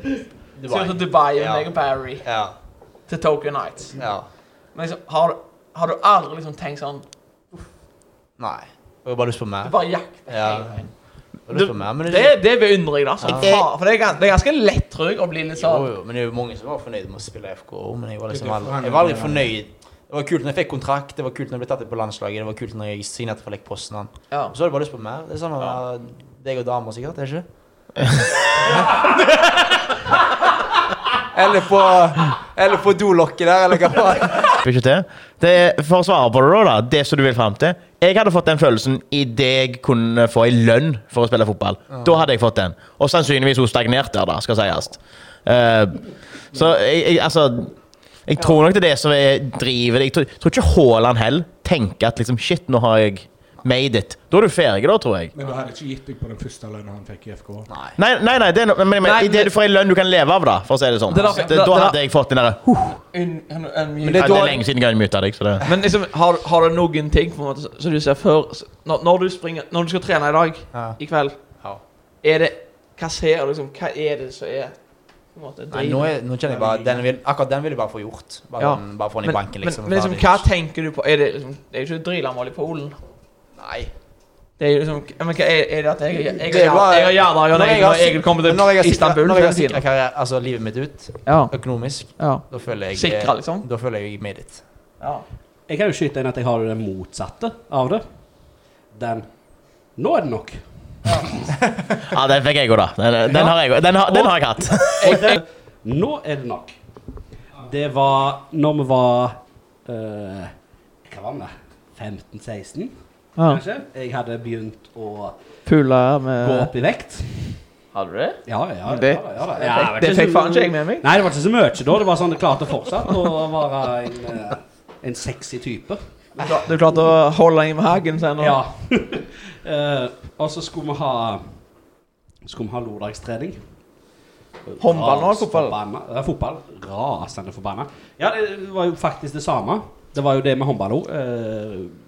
[SPEAKER 1] Dubai, tur til Dubai med
[SPEAKER 5] Ja.
[SPEAKER 1] meg og Barry.
[SPEAKER 5] Ja.
[SPEAKER 1] Til Tokyo Nights.
[SPEAKER 5] ja.
[SPEAKER 1] Men liksom, har, har du aldri liksom tenkt sånn
[SPEAKER 5] Nei. Jeg har bare lyst på
[SPEAKER 1] Du
[SPEAKER 5] mer.
[SPEAKER 1] bare jakter
[SPEAKER 5] Ja.
[SPEAKER 1] hele veien.
[SPEAKER 5] Jeg har lyst på mer, men
[SPEAKER 1] Det, det beundrer jeg, da. Som
[SPEAKER 2] Ja.
[SPEAKER 1] faen. For det er, gans- det er ganske lett, tror jeg, å bli litt
[SPEAKER 5] Jo,
[SPEAKER 1] sånn
[SPEAKER 5] jo, men det er jo mange som var fornøyd med å spille i FKO, men jeg var liksom
[SPEAKER 4] Det er
[SPEAKER 5] aldri,
[SPEAKER 4] derfor
[SPEAKER 5] jeg var aldri
[SPEAKER 4] han-
[SPEAKER 5] fornøyd. Det var kult når jeg fikk kontrakt, det var kult når jeg ble tatt inn på landslaget, det var kult når jeg signerte for Lech Poznan.
[SPEAKER 1] ja.
[SPEAKER 5] Og så har du bare lyst på mer. Det er sånn å være deg og damer, sikkert, er det ikke? eller på Eller på dolokket der, eller hva faen.
[SPEAKER 1] Ah.
[SPEAKER 2] Får Ikke til. Det, er- for å svare på det, da, da, det som du vil fram til Jeg hadde fått den følelsen idet jeg kunne
[SPEAKER 1] Ah.
[SPEAKER 2] få ei lønn for å spille fotball. Da hadde jeg fått den. Og sannsynligvis hun stagnert der, da, skal sies. Eh, så jeg, jeg, altså Jeg tror nok det er det som er driver det. Jeg tror, tror ikke Haaland heller tenker at liksom Shit, nå har jeg made it. Da er du ferdig, da, tror jeg.
[SPEAKER 4] Men du hadde ikke gitt deg på den første lønna han fikk i FK.
[SPEAKER 2] Nei, nei, nei, det er no, men, men,
[SPEAKER 1] Nei,
[SPEAKER 2] i det du får en lønn du kan leve av, da, for å si det sånn.
[SPEAKER 1] Det er da-
[SPEAKER 2] det,
[SPEAKER 1] det er
[SPEAKER 2] da
[SPEAKER 1] da-
[SPEAKER 2] hadde jeg fått den derre huh,
[SPEAKER 1] Un- un- un-
[SPEAKER 2] det, er lenge siden jeg unmuta deg, så det
[SPEAKER 1] Men liksom, har, har du noen ting på en måte som- som du ser før så- når, når, du springer, når du skal trene i dag,
[SPEAKER 5] Ja.
[SPEAKER 1] i kveld
[SPEAKER 5] Ja.
[SPEAKER 1] Er det Hva ser du, liksom? Hva er det som er på en måte,
[SPEAKER 5] Nei, nå,
[SPEAKER 1] driven?
[SPEAKER 5] er, nå kjenner jeg bare den vil, Akkurat den vil jeg bare få gjort. Bare,
[SPEAKER 1] Ja.
[SPEAKER 5] den, bare få den
[SPEAKER 1] men,
[SPEAKER 5] i banken, liksom.
[SPEAKER 1] men, men liksom,
[SPEAKER 5] Ferdig.
[SPEAKER 1] hva tenker du på? Er det, liksom, det er jo ikke Drilamål i Polen.
[SPEAKER 5] Nei.
[SPEAKER 1] Det er jo liksom ja, men hva er, er det at jeg, jeg, jeg,
[SPEAKER 5] Det er bare-
[SPEAKER 1] jeg har Jærdal og
[SPEAKER 5] Når jeg har
[SPEAKER 1] når
[SPEAKER 5] sik-
[SPEAKER 1] jeg kommer
[SPEAKER 5] Men når jeg
[SPEAKER 1] til
[SPEAKER 5] har sikret-
[SPEAKER 1] Istanbul?
[SPEAKER 5] Når jeg har
[SPEAKER 1] så er det-
[SPEAKER 5] sikra karriere, altså livet mitt ut
[SPEAKER 1] Ja,
[SPEAKER 5] økonomisk,
[SPEAKER 1] ja.
[SPEAKER 5] da føler jeg eh,
[SPEAKER 1] Sikra, liksom?
[SPEAKER 5] Da føler jeg made it.
[SPEAKER 1] ja.
[SPEAKER 3] Jeg kan jo skyte inn at jeg har jo det motsatte av det. Den Nå er det nok.
[SPEAKER 2] Ja, den fikk jeg òg, da. Den, den, har jeg, også. den, har, den har jeg hatt.
[SPEAKER 3] Og det, nå er det nok. Det var når vi var eh, Hva var vi? 15-16,
[SPEAKER 1] ja.
[SPEAKER 3] kanskje? Jeg hadde begynt å
[SPEAKER 1] Pula
[SPEAKER 3] gå
[SPEAKER 1] med
[SPEAKER 3] opp i vekt.
[SPEAKER 1] Hadde du det?
[SPEAKER 3] Ja, ja, ja.
[SPEAKER 1] Det-
[SPEAKER 3] ja, ja, ja,
[SPEAKER 1] Det fikk-
[SPEAKER 3] jeg vet
[SPEAKER 1] det
[SPEAKER 3] så-
[SPEAKER 1] fikk faen ikke jeg med meg.
[SPEAKER 3] Nei, det var ikke så mye da. Det var sånn det klarte fortsatt å være en, eh, en sexy type.
[SPEAKER 1] Du klar- Du klarte å holde deg med hagen sen? og-
[SPEAKER 3] Ja. Eh, og så skulle vi ha Skulle vi ha lørdagstrening.
[SPEAKER 1] Håndball nå,
[SPEAKER 3] Ras-
[SPEAKER 1] fotball?
[SPEAKER 3] forbanna- Ja, fotball. Rasende forbanna. Ja, det var jo faktisk det samme. Det var jo det med håndball òg.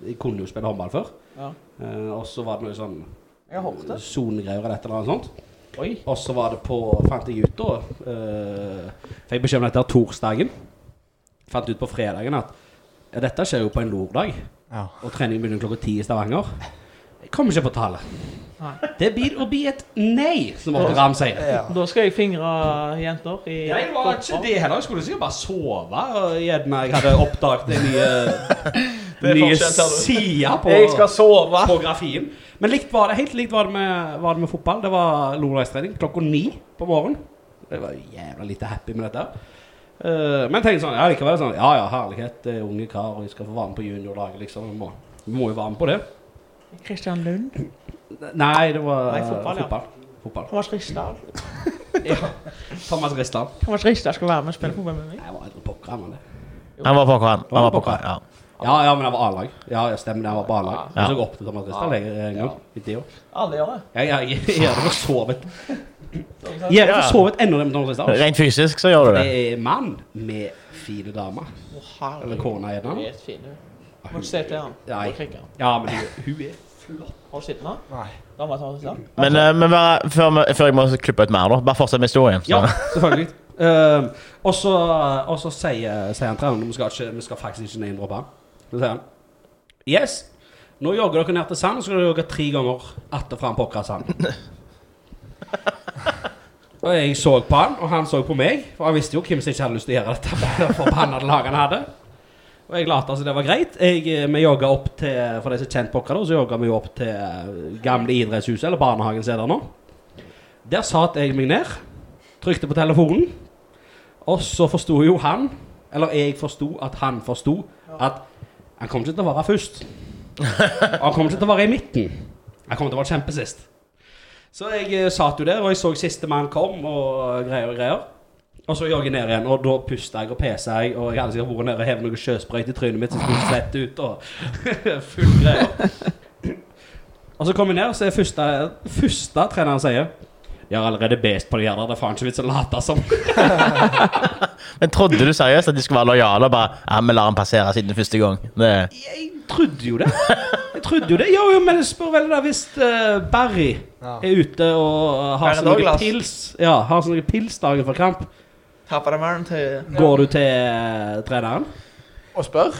[SPEAKER 3] jeg kunne jo spille håndball før.
[SPEAKER 1] Ja.
[SPEAKER 3] Eh, og så var det noe sånn
[SPEAKER 1] Jeg har hørt det.
[SPEAKER 3] sonegreier eller et eller annet sånt.
[SPEAKER 1] Oi.
[SPEAKER 3] Og så var det på Fant jeg ut da eh, Fikk beskjed om dette her torsdagen. Fant ut på fredagen at ja, dette skjer jo på en lørdag.
[SPEAKER 5] Ja.
[SPEAKER 3] Og treningen begynner klokka ti i Stavanger. Jeg kommer ikke på tallet.
[SPEAKER 1] Nei.
[SPEAKER 3] Det blir å bli et nei, som Otto Ramm sier.
[SPEAKER 5] Ja.
[SPEAKER 1] Da skal jeg fingre jenter i
[SPEAKER 3] Jeg var ikke det heller. Jeg skulle sikkert bare sove. og Gjerne jeg hadde oppdaget en nye,
[SPEAKER 1] Det er
[SPEAKER 3] nye
[SPEAKER 1] forskjell, ser du.
[SPEAKER 3] side på
[SPEAKER 1] Jeg skal sove.
[SPEAKER 3] på grafien. Men likt var det, helt likt var det med, var det med fotball. Det var lørdagstrening klokka ni på morgenen. Jeg var jo jævla lite happy med dette. Eh, men tenk sånn, ja, likevel sånn, ja ja, herlighet, det er unge kar, og jeg skal få være med på juniorlaget, liksom. Vi må, vi må jo være med på det.
[SPEAKER 1] Kristian Lund.
[SPEAKER 3] Nei, det var
[SPEAKER 1] Nei, fotball, ja.
[SPEAKER 3] fotball. fotball.
[SPEAKER 1] Thomas Ristad.
[SPEAKER 3] Thomas Ristad.
[SPEAKER 1] Thomas Ristad skal være med og spille fotball med meg.
[SPEAKER 3] Nei, jeg var aldri pokker, han var det.
[SPEAKER 2] Han var på kran. Han var på
[SPEAKER 3] Pokker.
[SPEAKER 2] kran, ja.
[SPEAKER 3] Ja, ja, men han var A-lag. Ja, ja, stemmer det, han var på A-lag.
[SPEAKER 2] Ja.
[SPEAKER 3] Jeg så opp til Thomas Ristad jeg, en gang. i det år.
[SPEAKER 1] Alle gjør det.
[SPEAKER 3] Jeg jeg- jeg gjør det for så vidt. Jeg har forsovet enda det med Thomas Ristad.
[SPEAKER 2] Rent fysisk så gjør du det.
[SPEAKER 3] Det er mann med fine damer.
[SPEAKER 1] Å, herregud.
[SPEAKER 3] Eller kona er den.
[SPEAKER 1] Du er fin, du. Må ikke se til han.
[SPEAKER 3] Nei.
[SPEAKER 1] Må krikke han.
[SPEAKER 3] Ja, men hun, hun er
[SPEAKER 1] Har du sett den?
[SPEAKER 5] Nei.
[SPEAKER 1] Da må jeg ta den til
[SPEAKER 2] Men, eh, men bare, før, vi- før jeg må klippe ut mer, da. Bare fortsett med historien. Så.
[SPEAKER 3] Ja, selvfølgelig. Ehm, og så og så sier, sier han treneren vi skal, ikke, vi skal faktisk ikke name-droppe han. Så sier han Yes, nå jogger dere ned til sand, og så skal dere jogge tre ganger atter fram på sand. Og jeg så på han, og han så på meg, for han visste jo hvem som ikke hadde lyst til å gjøre dette. med det forbannede laget han hadde. Og jeg lot som det var greit. Jeg, eh, vi jogga opp til For de som er kjent på dere, da, så jogga vi jo opp til eh, gamle idrettshuset, eller barnehagen som er der nå. Der satt jeg meg ned trykte på telefonen. Og så forsto jo han, eller jeg forsto at han forsto, at han kom ikke til å være først. Og han kom ikke til å være i midten. Han kom til å være kjempesist. Så jeg eh, satt jo der, og jeg så siste mann kom, og greier og greier. Og så jogget jeg ned igjen, og da pusta jeg og pesa jeg, og jeg hadde sikkert vært nede og hevet noe sjøsprøyt i trynet mitt som skulle svette ut, og full greier. Og så kom jeg ned, og så er første, første treneren sier jeg har allerede best på de her, det er faen ikke vits å late som.
[SPEAKER 2] Men trodde du seriøst at de skulle være lojale og bare Ja, vi lar han passere siden første gang. Det,
[SPEAKER 3] Jeg trodde jo det. Jeg trodde jo det. Jo, jo, men jeg spør vel da hvis eh, Barry
[SPEAKER 5] Ja.
[SPEAKER 3] er ute og eh, har
[SPEAKER 1] Barry
[SPEAKER 3] seg noe
[SPEAKER 1] Douglas.
[SPEAKER 3] pils Ja, har seg noe pils dagen før kamp,
[SPEAKER 1] Tapper dem æren til
[SPEAKER 3] går du til eh, treneren?
[SPEAKER 5] Og spør?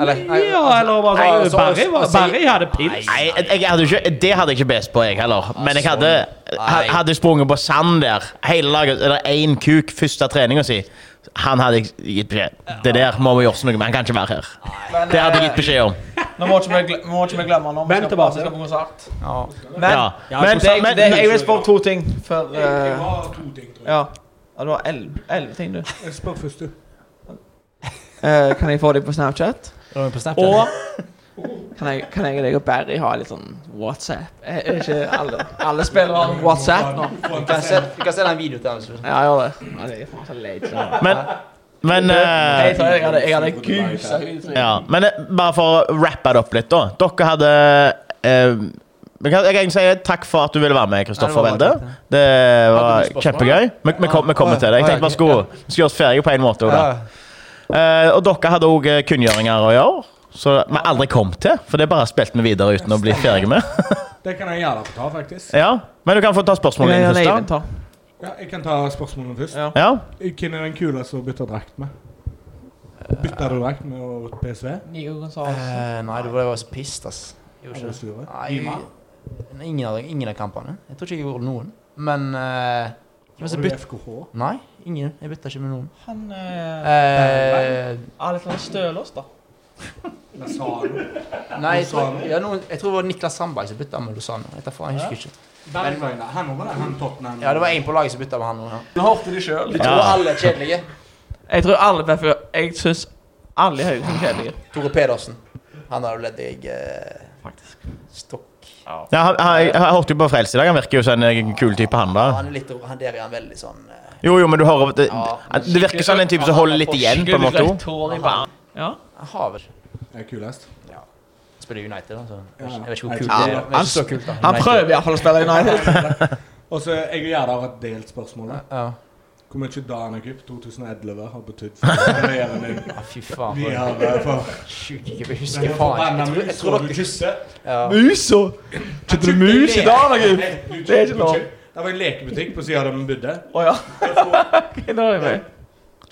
[SPEAKER 5] Eller?
[SPEAKER 3] ja, eller bare
[SPEAKER 5] nei,
[SPEAKER 3] sånn
[SPEAKER 5] altså,
[SPEAKER 3] Barry, var,
[SPEAKER 5] altså,
[SPEAKER 3] Barry hadde pils.
[SPEAKER 2] nei, jeg, jeg hadde jo ikke, det hadde jeg ikke best på, jeg heller. Men jeg hadde, ha-
[SPEAKER 5] Nei.
[SPEAKER 2] hadde sprunget på sand der hele dagen. Eller én kuk første treninga si. Han hadde jeg gitt beskjed. Det der må vi gjøre noe med. Han kan ikke være her.
[SPEAKER 1] Men,
[SPEAKER 2] Det hadde jeg
[SPEAKER 1] eh,
[SPEAKER 2] gitt beskjed om.
[SPEAKER 1] Nå må ikke vi gle- må ikke vi glemme han når vi skal
[SPEAKER 3] Men
[SPEAKER 1] på-
[SPEAKER 3] tilbake.
[SPEAKER 1] vi skal på konsert.
[SPEAKER 5] Ja.
[SPEAKER 1] Men,
[SPEAKER 2] Ja.
[SPEAKER 1] men,
[SPEAKER 2] Men,
[SPEAKER 1] det,
[SPEAKER 2] men,
[SPEAKER 1] det, jeg vil spørre to ting før
[SPEAKER 4] Jeg, jeg
[SPEAKER 1] eh,
[SPEAKER 4] har to ting, tror jeg.
[SPEAKER 1] Ja. Ja, Du har elleve elleve ting, du.
[SPEAKER 4] Jeg spør først, du.
[SPEAKER 1] Eh, Kan jeg få deg på Snapchat?
[SPEAKER 5] Er du med på Snapchat?
[SPEAKER 1] Og Kan jeg, kan jeg og deg og Barry ha litt sånn WhatsApp? Er er ikke alle, alle spillere har WhatsApp nå?
[SPEAKER 5] Du kan se- du kan sende en video til ham. hvis du-
[SPEAKER 1] Ja, jeg gjør det. Ja, det er faen så leit. sånn.
[SPEAKER 2] Men, men eh,
[SPEAKER 1] Jeg tror jeg hadde, jeg hadde gusa ut.
[SPEAKER 2] Ja, men eh, bare for å rappe det opp litt, da. Dere hadde eh, vi kan- Jeg kan si takk for at du ville være med, Kristoffer
[SPEAKER 1] Nei, det
[SPEAKER 2] Welde.
[SPEAKER 1] var bare takk,
[SPEAKER 2] Det
[SPEAKER 5] Hadde
[SPEAKER 2] var
[SPEAKER 5] du spørsmål?
[SPEAKER 2] kjempegøy. Vi, vi, kom, vi kommer til det. Jeg tenkte bare skulle, vi skulle gjøre oss ferdige på en måte. Ola.
[SPEAKER 5] Ja.
[SPEAKER 2] Eh, og dere hadde òg kunngjøringer å gjøre, så vi aldri kom til. For det bare spilte vi videre uten å bli ferdig med.
[SPEAKER 4] Det kan jeg gjerne få ta, faktisk.
[SPEAKER 2] Ja, Men du kan få ta spørsmålene
[SPEAKER 1] Jeg
[SPEAKER 2] dine
[SPEAKER 1] gjør det
[SPEAKER 2] først. da.
[SPEAKER 1] inventar.
[SPEAKER 4] Ja, jeg kan ta spørsmålene først.
[SPEAKER 1] Ja.
[SPEAKER 2] Ja,
[SPEAKER 4] Hvem er den kuleste å bytte drakt med? Bytta du drakt med å- PSV?
[SPEAKER 1] Nico Gonzales.
[SPEAKER 5] Eh, nei, du ble bare pissed, ass. Gjorde ikke
[SPEAKER 4] Eller
[SPEAKER 5] det.
[SPEAKER 4] Sture?
[SPEAKER 5] Nei, ingen av, ingen av kampene. Jeg tror ikke jeg gjorde noen. Men eh, hvem som
[SPEAKER 4] Var du
[SPEAKER 5] bytt-
[SPEAKER 4] FKH?
[SPEAKER 5] Nei, ingen. Jeg bytta ikke med noen.
[SPEAKER 1] Han eh,
[SPEAKER 5] Eh,
[SPEAKER 1] Alexander Stølås, da.
[SPEAKER 4] Lozano?
[SPEAKER 5] nei, jeg tror, ja, noen, jeg tror det var Niklas Sandberg som bytta med Lozano. Jeg tar faen, jeg husker ikke.
[SPEAKER 4] Bergwijn, Han var det, han Tottenham.
[SPEAKER 5] Ja, det var én på laget som bytta med han òg. Ja.
[SPEAKER 1] Du hørte de sjøl.
[SPEAKER 5] Jeg tror alle er kjedelige.
[SPEAKER 1] Jeg tror alle på FU Jeg syns alle i Haugesund er kjedelige.
[SPEAKER 5] Tore Pedersen. Han har jo ledd deg eh, stokk.
[SPEAKER 2] ja han- han- Jeg jeg hørte jo på Frelst i dag. Han virker jo som en eh, kul type, han
[SPEAKER 1] Ah.
[SPEAKER 2] da.
[SPEAKER 5] Han er litt, han der er han veldig sånn eh,
[SPEAKER 2] Jo, jo, men du hører Det,
[SPEAKER 5] Ja.
[SPEAKER 2] det virker som en type som holder litt igjen, på en måte. også.
[SPEAKER 1] Hår i banen. Ja.
[SPEAKER 5] Han har vel
[SPEAKER 4] Er kulest.
[SPEAKER 5] Spiller United, da, så
[SPEAKER 4] Ja.
[SPEAKER 5] jeg vet ikke hvor
[SPEAKER 4] Jeg
[SPEAKER 5] kult
[SPEAKER 4] tror-
[SPEAKER 5] det er. Men ikke så kult, da.
[SPEAKER 1] Han prøver iallfall å spille United.
[SPEAKER 4] Og så jeg og Gjerde har et delt spørsmål. da.
[SPEAKER 5] Ja.
[SPEAKER 4] Hvor mye Dan Cup 2011 har betydd for karrieren din?
[SPEAKER 5] Ja, fy faen.
[SPEAKER 4] Vi
[SPEAKER 5] for-
[SPEAKER 4] har eh, for
[SPEAKER 5] Sjukt, jeg husker faen ikke. Jeg tror- Jeg tror dere ja.
[SPEAKER 1] Musa! Kjøpte du mus i dag, gutt?
[SPEAKER 4] Det er ikke lov. Det var en lekebutikk på sida av der vi bodde.
[SPEAKER 1] Å ja.
[SPEAKER 4] Der får
[SPEAKER 1] ok, Da er jeg med.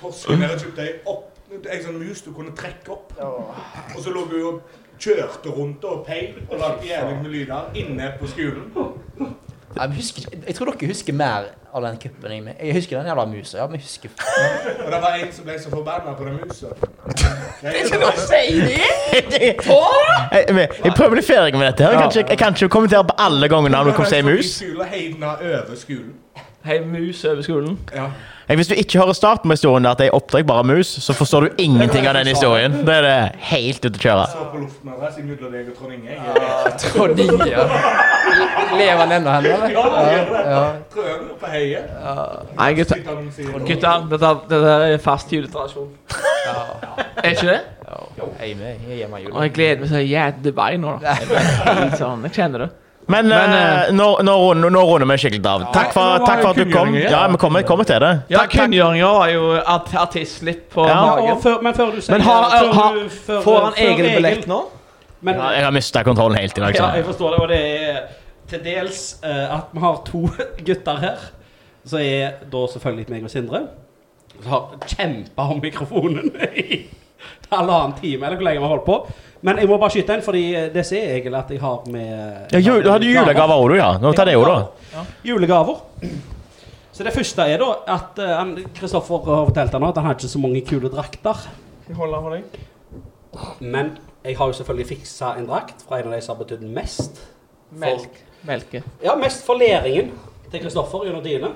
[SPEAKER 4] Torsken der kjøpte jeg opp en sånn mus du kunne trekke opp. Og så lå hun og kjørte rundt og peip og lagde jævlig med lyder inne på skolen.
[SPEAKER 5] Nei, men husker, ikke- jeg tror dere husker mer av den cupen enn meg. Jeg husker den jævla musa. Ja, men jeg husker
[SPEAKER 4] Og det var en som ble så forbanna på den musa.
[SPEAKER 2] Jeg, men jeg prøver å bli ferdig med dette. her Jeg kan ikke, jeg kan ikke kommentere på alle gangene han kommer til å si mus.
[SPEAKER 4] Og heiv den over skolen.
[SPEAKER 1] Hei, mus over skolen.
[SPEAKER 4] Ja.
[SPEAKER 2] Jeg, hvis du ikke hører starten på historien der at jeg oppdrar bare mus, så forstår du ingenting av den historien. Da er det helt ute å kjøre.
[SPEAKER 4] Så på luften av det, så mellom deg og Trond Inge. Jeg
[SPEAKER 5] Trond Inge. ja. Lever han ennå, han, eller? Ja, ja.
[SPEAKER 4] tror han er på heiet.
[SPEAKER 1] Nei, gutter,
[SPEAKER 4] Sitter han og sier noe.
[SPEAKER 1] gutter dette, dette er fast juletradisjon. Er ikke det?
[SPEAKER 5] Jeg er med. Jeg er hjemme i
[SPEAKER 1] Og jeg
[SPEAKER 5] jula.
[SPEAKER 1] gleder meg så jævlig til Dubai nå. da. Jeg blir helt sånn, jeg kjenner det.
[SPEAKER 2] Men, eh, nå, nå, runder, nå runder vi skikkelig av. Takk for, takk for at du kom. Ja, vi kommer, kommer til det.
[SPEAKER 1] Ja,
[SPEAKER 2] Takk, takk.
[SPEAKER 1] Kunngjøringa var jo art artistslipp på
[SPEAKER 2] Ja.
[SPEAKER 1] magen.
[SPEAKER 3] Og før, men før du sier
[SPEAKER 1] Men har-
[SPEAKER 3] før
[SPEAKER 1] har-
[SPEAKER 3] du- før-
[SPEAKER 1] Får han
[SPEAKER 3] før
[SPEAKER 1] egen
[SPEAKER 3] Egil-
[SPEAKER 1] billett nå?
[SPEAKER 3] Men,
[SPEAKER 2] Ja, Jeg har mista kontrollen helt i dag.
[SPEAKER 3] Ja, jeg
[SPEAKER 2] Så.
[SPEAKER 3] forstår det, og det er til dels eh, at vi har to gutter her. Så er da selvfølgelig meg og Sindre. Som har kjempa om mikrofonen i halvannen time, eller hvor lenge vi har holdt på. Men jeg må bare skyte en, fordi det ser jeg egentlig at jeg har med
[SPEAKER 2] Ja, jul, hadde du julegaver òg, du, ja? Nå tar det jo, da.
[SPEAKER 3] Julegaver. Så det første er da at eh, han- Kristoffer har fortalt han nå at han har ikke så mange kule drakter.
[SPEAKER 1] Jeg holder for deg.
[SPEAKER 3] Men jeg har jo selvfølgelig fiksa en drakt fra en av de som har betydd mest.
[SPEAKER 1] Melk. Melke.
[SPEAKER 3] Ja, mest for læringen til Kristoffer gjennom dyne.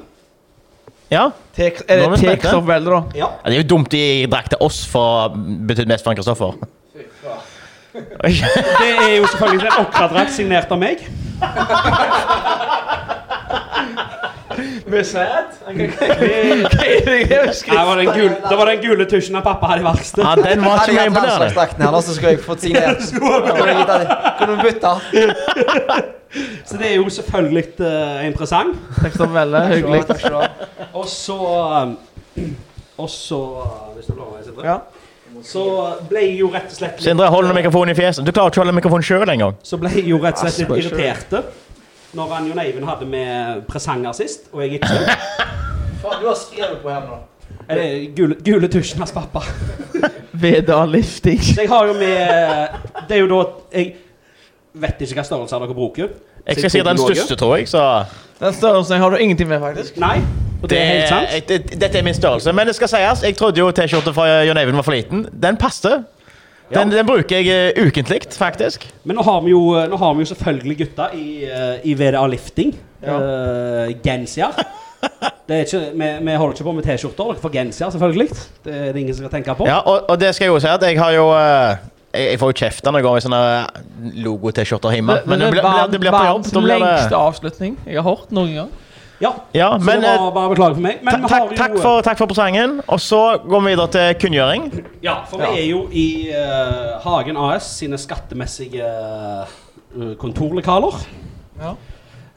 [SPEAKER 2] Ja.
[SPEAKER 1] Tek, er
[SPEAKER 2] Nå er
[SPEAKER 1] det
[SPEAKER 2] vi spente.
[SPEAKER 1] Tekstoff Velde, da?
[SPEAKER 3] Ja.
[SPEAKER 2] Ja, Det er jo dumt de drakk til oss for betydde mest for han Kristoffer.
[SPEAKER 3] Det er jo selvfølgelig en okradrakt signert av meg.
[SPEAKER 1] Med sæd? Det
[SPEAKER 3] Det var den gule, det var den gule tusjen av pappa hadde i verkstedet.
[SPEAKER 2] Ja, den var
[SPEAKER 5] Hadde
[SPEAKER 2] ikke
[SPEAKER 5] jeg
[SPEAKER 2] mer
[SPEAKER 5] hatt
[SPEAKER 2] imponerende.
[SPEAKER 5] landslagsdrakten her, da, så skulle jeg fått signert. Kunne jeg gitt han- Kunne vi bytte?
[SPEAKER 3] Så det er jo selvfølgelig eh, en presang.
[SPEAKER 1] Tekstoff Velde, hyggelig.
[SPEAKER 5] Takk skal du ha.
[SPEAKER 3] Og så um, Og så eh, Hvis du lover meg, Sindre.
[SPEAKER 1] Ja.
[SPEAKER 3] Så ble jeg jo rett og slett litt-
[SPEAKER 2] Sindre, hold nå mikrofonen i fjeset. Du klarer ikke å holde mikrofonen sjøl engang.
[SPEAKER 3] Så ble jeg jo rett og slett litt
[SPEAKER 1] Asperger.
[SPEAKER 3] irriterte når han Jon Eivind hadde med presanger sist, og jeg ikke.
[SPEAKER 5] Faen, du har skrevet på her nå.
[SPEAKER 3] Er det gule, gule tusjen hans pappa.
[SPEAKER 1] Veda Lifting.
[SPEAKER 3] Så jeg har jo med Det er jo da Jeg vet ikke hva størrelse dere bruker.
[SPEAKER 2] Jeg skal si den største, tror jeg. så...
[SPEAKER 1] Den størrelsen har du ingenting med, faktisk.
[SPEAKER 3] Nei, og det er helt sant.
[SPEAKER 2] Eh, Det- det- Dette er min størrelse. Men det skal sies, jeg trodde jo T-skjorta fra Jon Eivind var for liten. Den passer. Den, den bruker jeg eh, ukentlig, faktisk.
[SPEAKER 3] Men nå har vi jo, nå har vi jo selvfølgelig gutta i, eh, i VDA Lifting. Ja. genser. Det er ikke, vi, vi holder ikke på med T-skjorter. Dere får genser, selvfølgelig. Det er det ingen som skal tenke på.
[SPEAKER 2] Ja, og, og det skal jeg jo si at jeg har jo eh, Jeg, jeg får jo kjeft når jeg går i sånne eh, logo-T-skjorter hjemme. Men det blir, blir- det blir på jobb.
[SPEAKER 1] Verdens
[SPEAKER 2] Da blir
[SPEAKER 1] lengste
[SPEAKER 2] det
[SPEAKER 1] avslutning jeg har hørt noen gang.
[SPEAKER 3] Ja,
[SPEAKER 2] Ja,
[SPEAKER 3] så
[SPEAKER 2] men
[SPEAKER 3] det
[SPEAKER 2] eh,
[SPEAKER 3] var bare å beklage for meg.
[SPEAKER 2] ta-
[SPEAKER 3] Men vi har
[SPEAKER 2] takk,
[SPEAKER 3] jo
[SPEAKER 2] takk, for, takk for presangen. Og så går vi videre til kunngjøring.
[SPEAKER 3] eh, Ja, for vi er jo i eh, Hagen AS sine skattemessige eh, kontorlokaler.
[SPEAKER 1] Ja.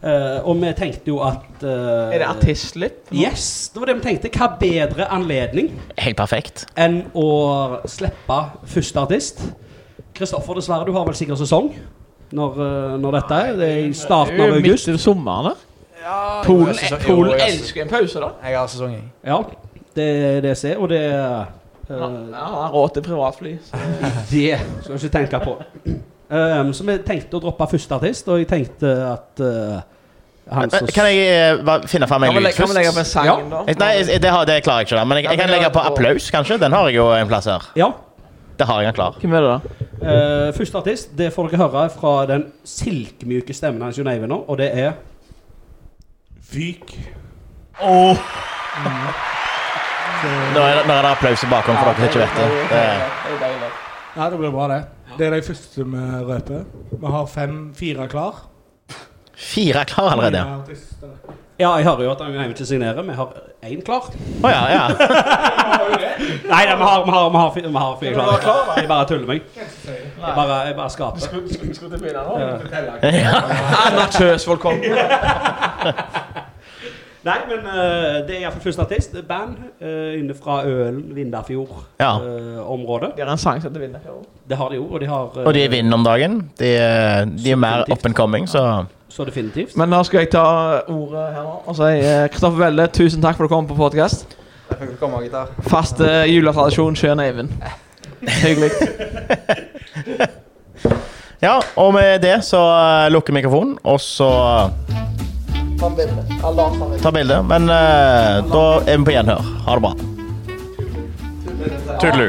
[SPEAKER 3] Eh, og vi tenkte jo at eh,
[SPEAKER 1] Er det artistslipp? nå?
[SPEAKER 3] Yes, det var det vi tenkte. Hva bedre anledning
[SPEAKER 2] Helt perfekt.
[SPEAKER 3] enn å slippe første artist? Kristoffer, dessverre, du har vel sikkert sesong når, eh, når dette er? Det er i
[SPEAKER 1] Det
[SPEAKER 3] starten
[SPEAKER 1] er
[SPEAKER 3] av
[SPEAKER 1] jo midt
[SPEAKER 3] august.
[SPEAKER 1] i sommeren, da.
[SPEAKER 5] Ja,
[SPEAKER 1] Polen,
[SPEAKER 5] jeg har sesong- jo,
[SPEAKER 1] Polen
[SPEAKER 5] jeg har sesong-
[SPEAKER 1] elsker en pause, da.
[SPEAKER 5] Jeg har sesong, jeg.
[SPEAKER 3] Ja, det er det jeg ser, og det eh,
[SPEAKER 1] Ja, han har råd til privatfly. så-
[SPEAKER 3] Det skal vi ikke tenke på. Um, så vi tenkte å droppe første artist, og jeg tenkte at uh, han som
[SPEAKER 2] Kan jeg eh, bare finne fram
[SPEAKER 1] Kan
[SPEAKER 2] en
[SPEAKER 1] vi
[SPEAKER 2] lyd
[SPEAKER 1] legge- kan vi legge opp en
[SPEAKER 2] først?
[SPEAKER 1] sang,
[SPEAKER 3] Ja.
[SPEAKER 1] da?
[SPEAKER 2] Jeg- Nei, jeg- det, har, det klarer jeg ikke. da, Men jeg, jeg kan legge på applaus, kanskje. Den har jeg jo en plass her.
[SPEAKER 3] Ja.
[SPEAKER 2] Det har jeg den klar.
[SPEAKER 1] Hvem er det, da?
[SPEAKER 3] Uh, første artist, det får dere høre fra den silkmyke stemmen hans Jon Eivind nå, og det er
[SPEAKER 4] Fyk.
[SPEAKER 2] Nå er det, nå er det applaus i bakgrunnen for dere som ikke vet det. det. er-
[SPEAKER 4] Ja, det blir bra, det. Det er de første vi røper. Vi har fem-fire klar.
[SPEAKER 2] Fire er klar allerede.
[SPEAKER 4] Fire artister.
[SPEAKER 3] Ja, jeg hører jo at han Jon Eivind ikke signerer. Vi har én klar.
[SPEAKER 2] Å ja, ja.
[SPEAKER 3] Nei, nei, vi har, vi har, vi har, fi- vi har fire klare. Jeg bare tuller meg. Jeg bare, jeg bare skaper.
[SPEAKER 1] Skal du begynne nå?
[SPEAKER 2] ja.
[SPEAKER 1] Anna Kjøsvold kom.
[SPEAKER 3] Nei, men uh, det er iallfall første artist. Band uh, inne fra Ølen,
[SPEAKER 2] Ja.
[SPEAKER 3] Vindafjord-området.
[SPEAKER 1] Det er en sang som heter Vinnerfjord.
[SPEAKER 3] det har de jo, og de har uh,
[SPEAKER 2] Og de vinner om dagen. De, er- de er mer up and coming, så
[SPEAKER 3] Så definitivt.
[SPEAKER 1] Men nå skal jeg ta ordet her nå og si eh, Kristoffer Velle, tusen takk for at du kom på podkast.
[SPEAKER 5] Jeg fikk komme, gitar.
[SPEAKER 1] Fast eh, juletradisjon, Sjøen Eivind. Hyggelig.
[SPEAKER 2] Ja, og med det så eh, lukker mikrofonen, og så Ta bilde. Men eh, da er vi på gjenhør. Ha det bra. Tudelu.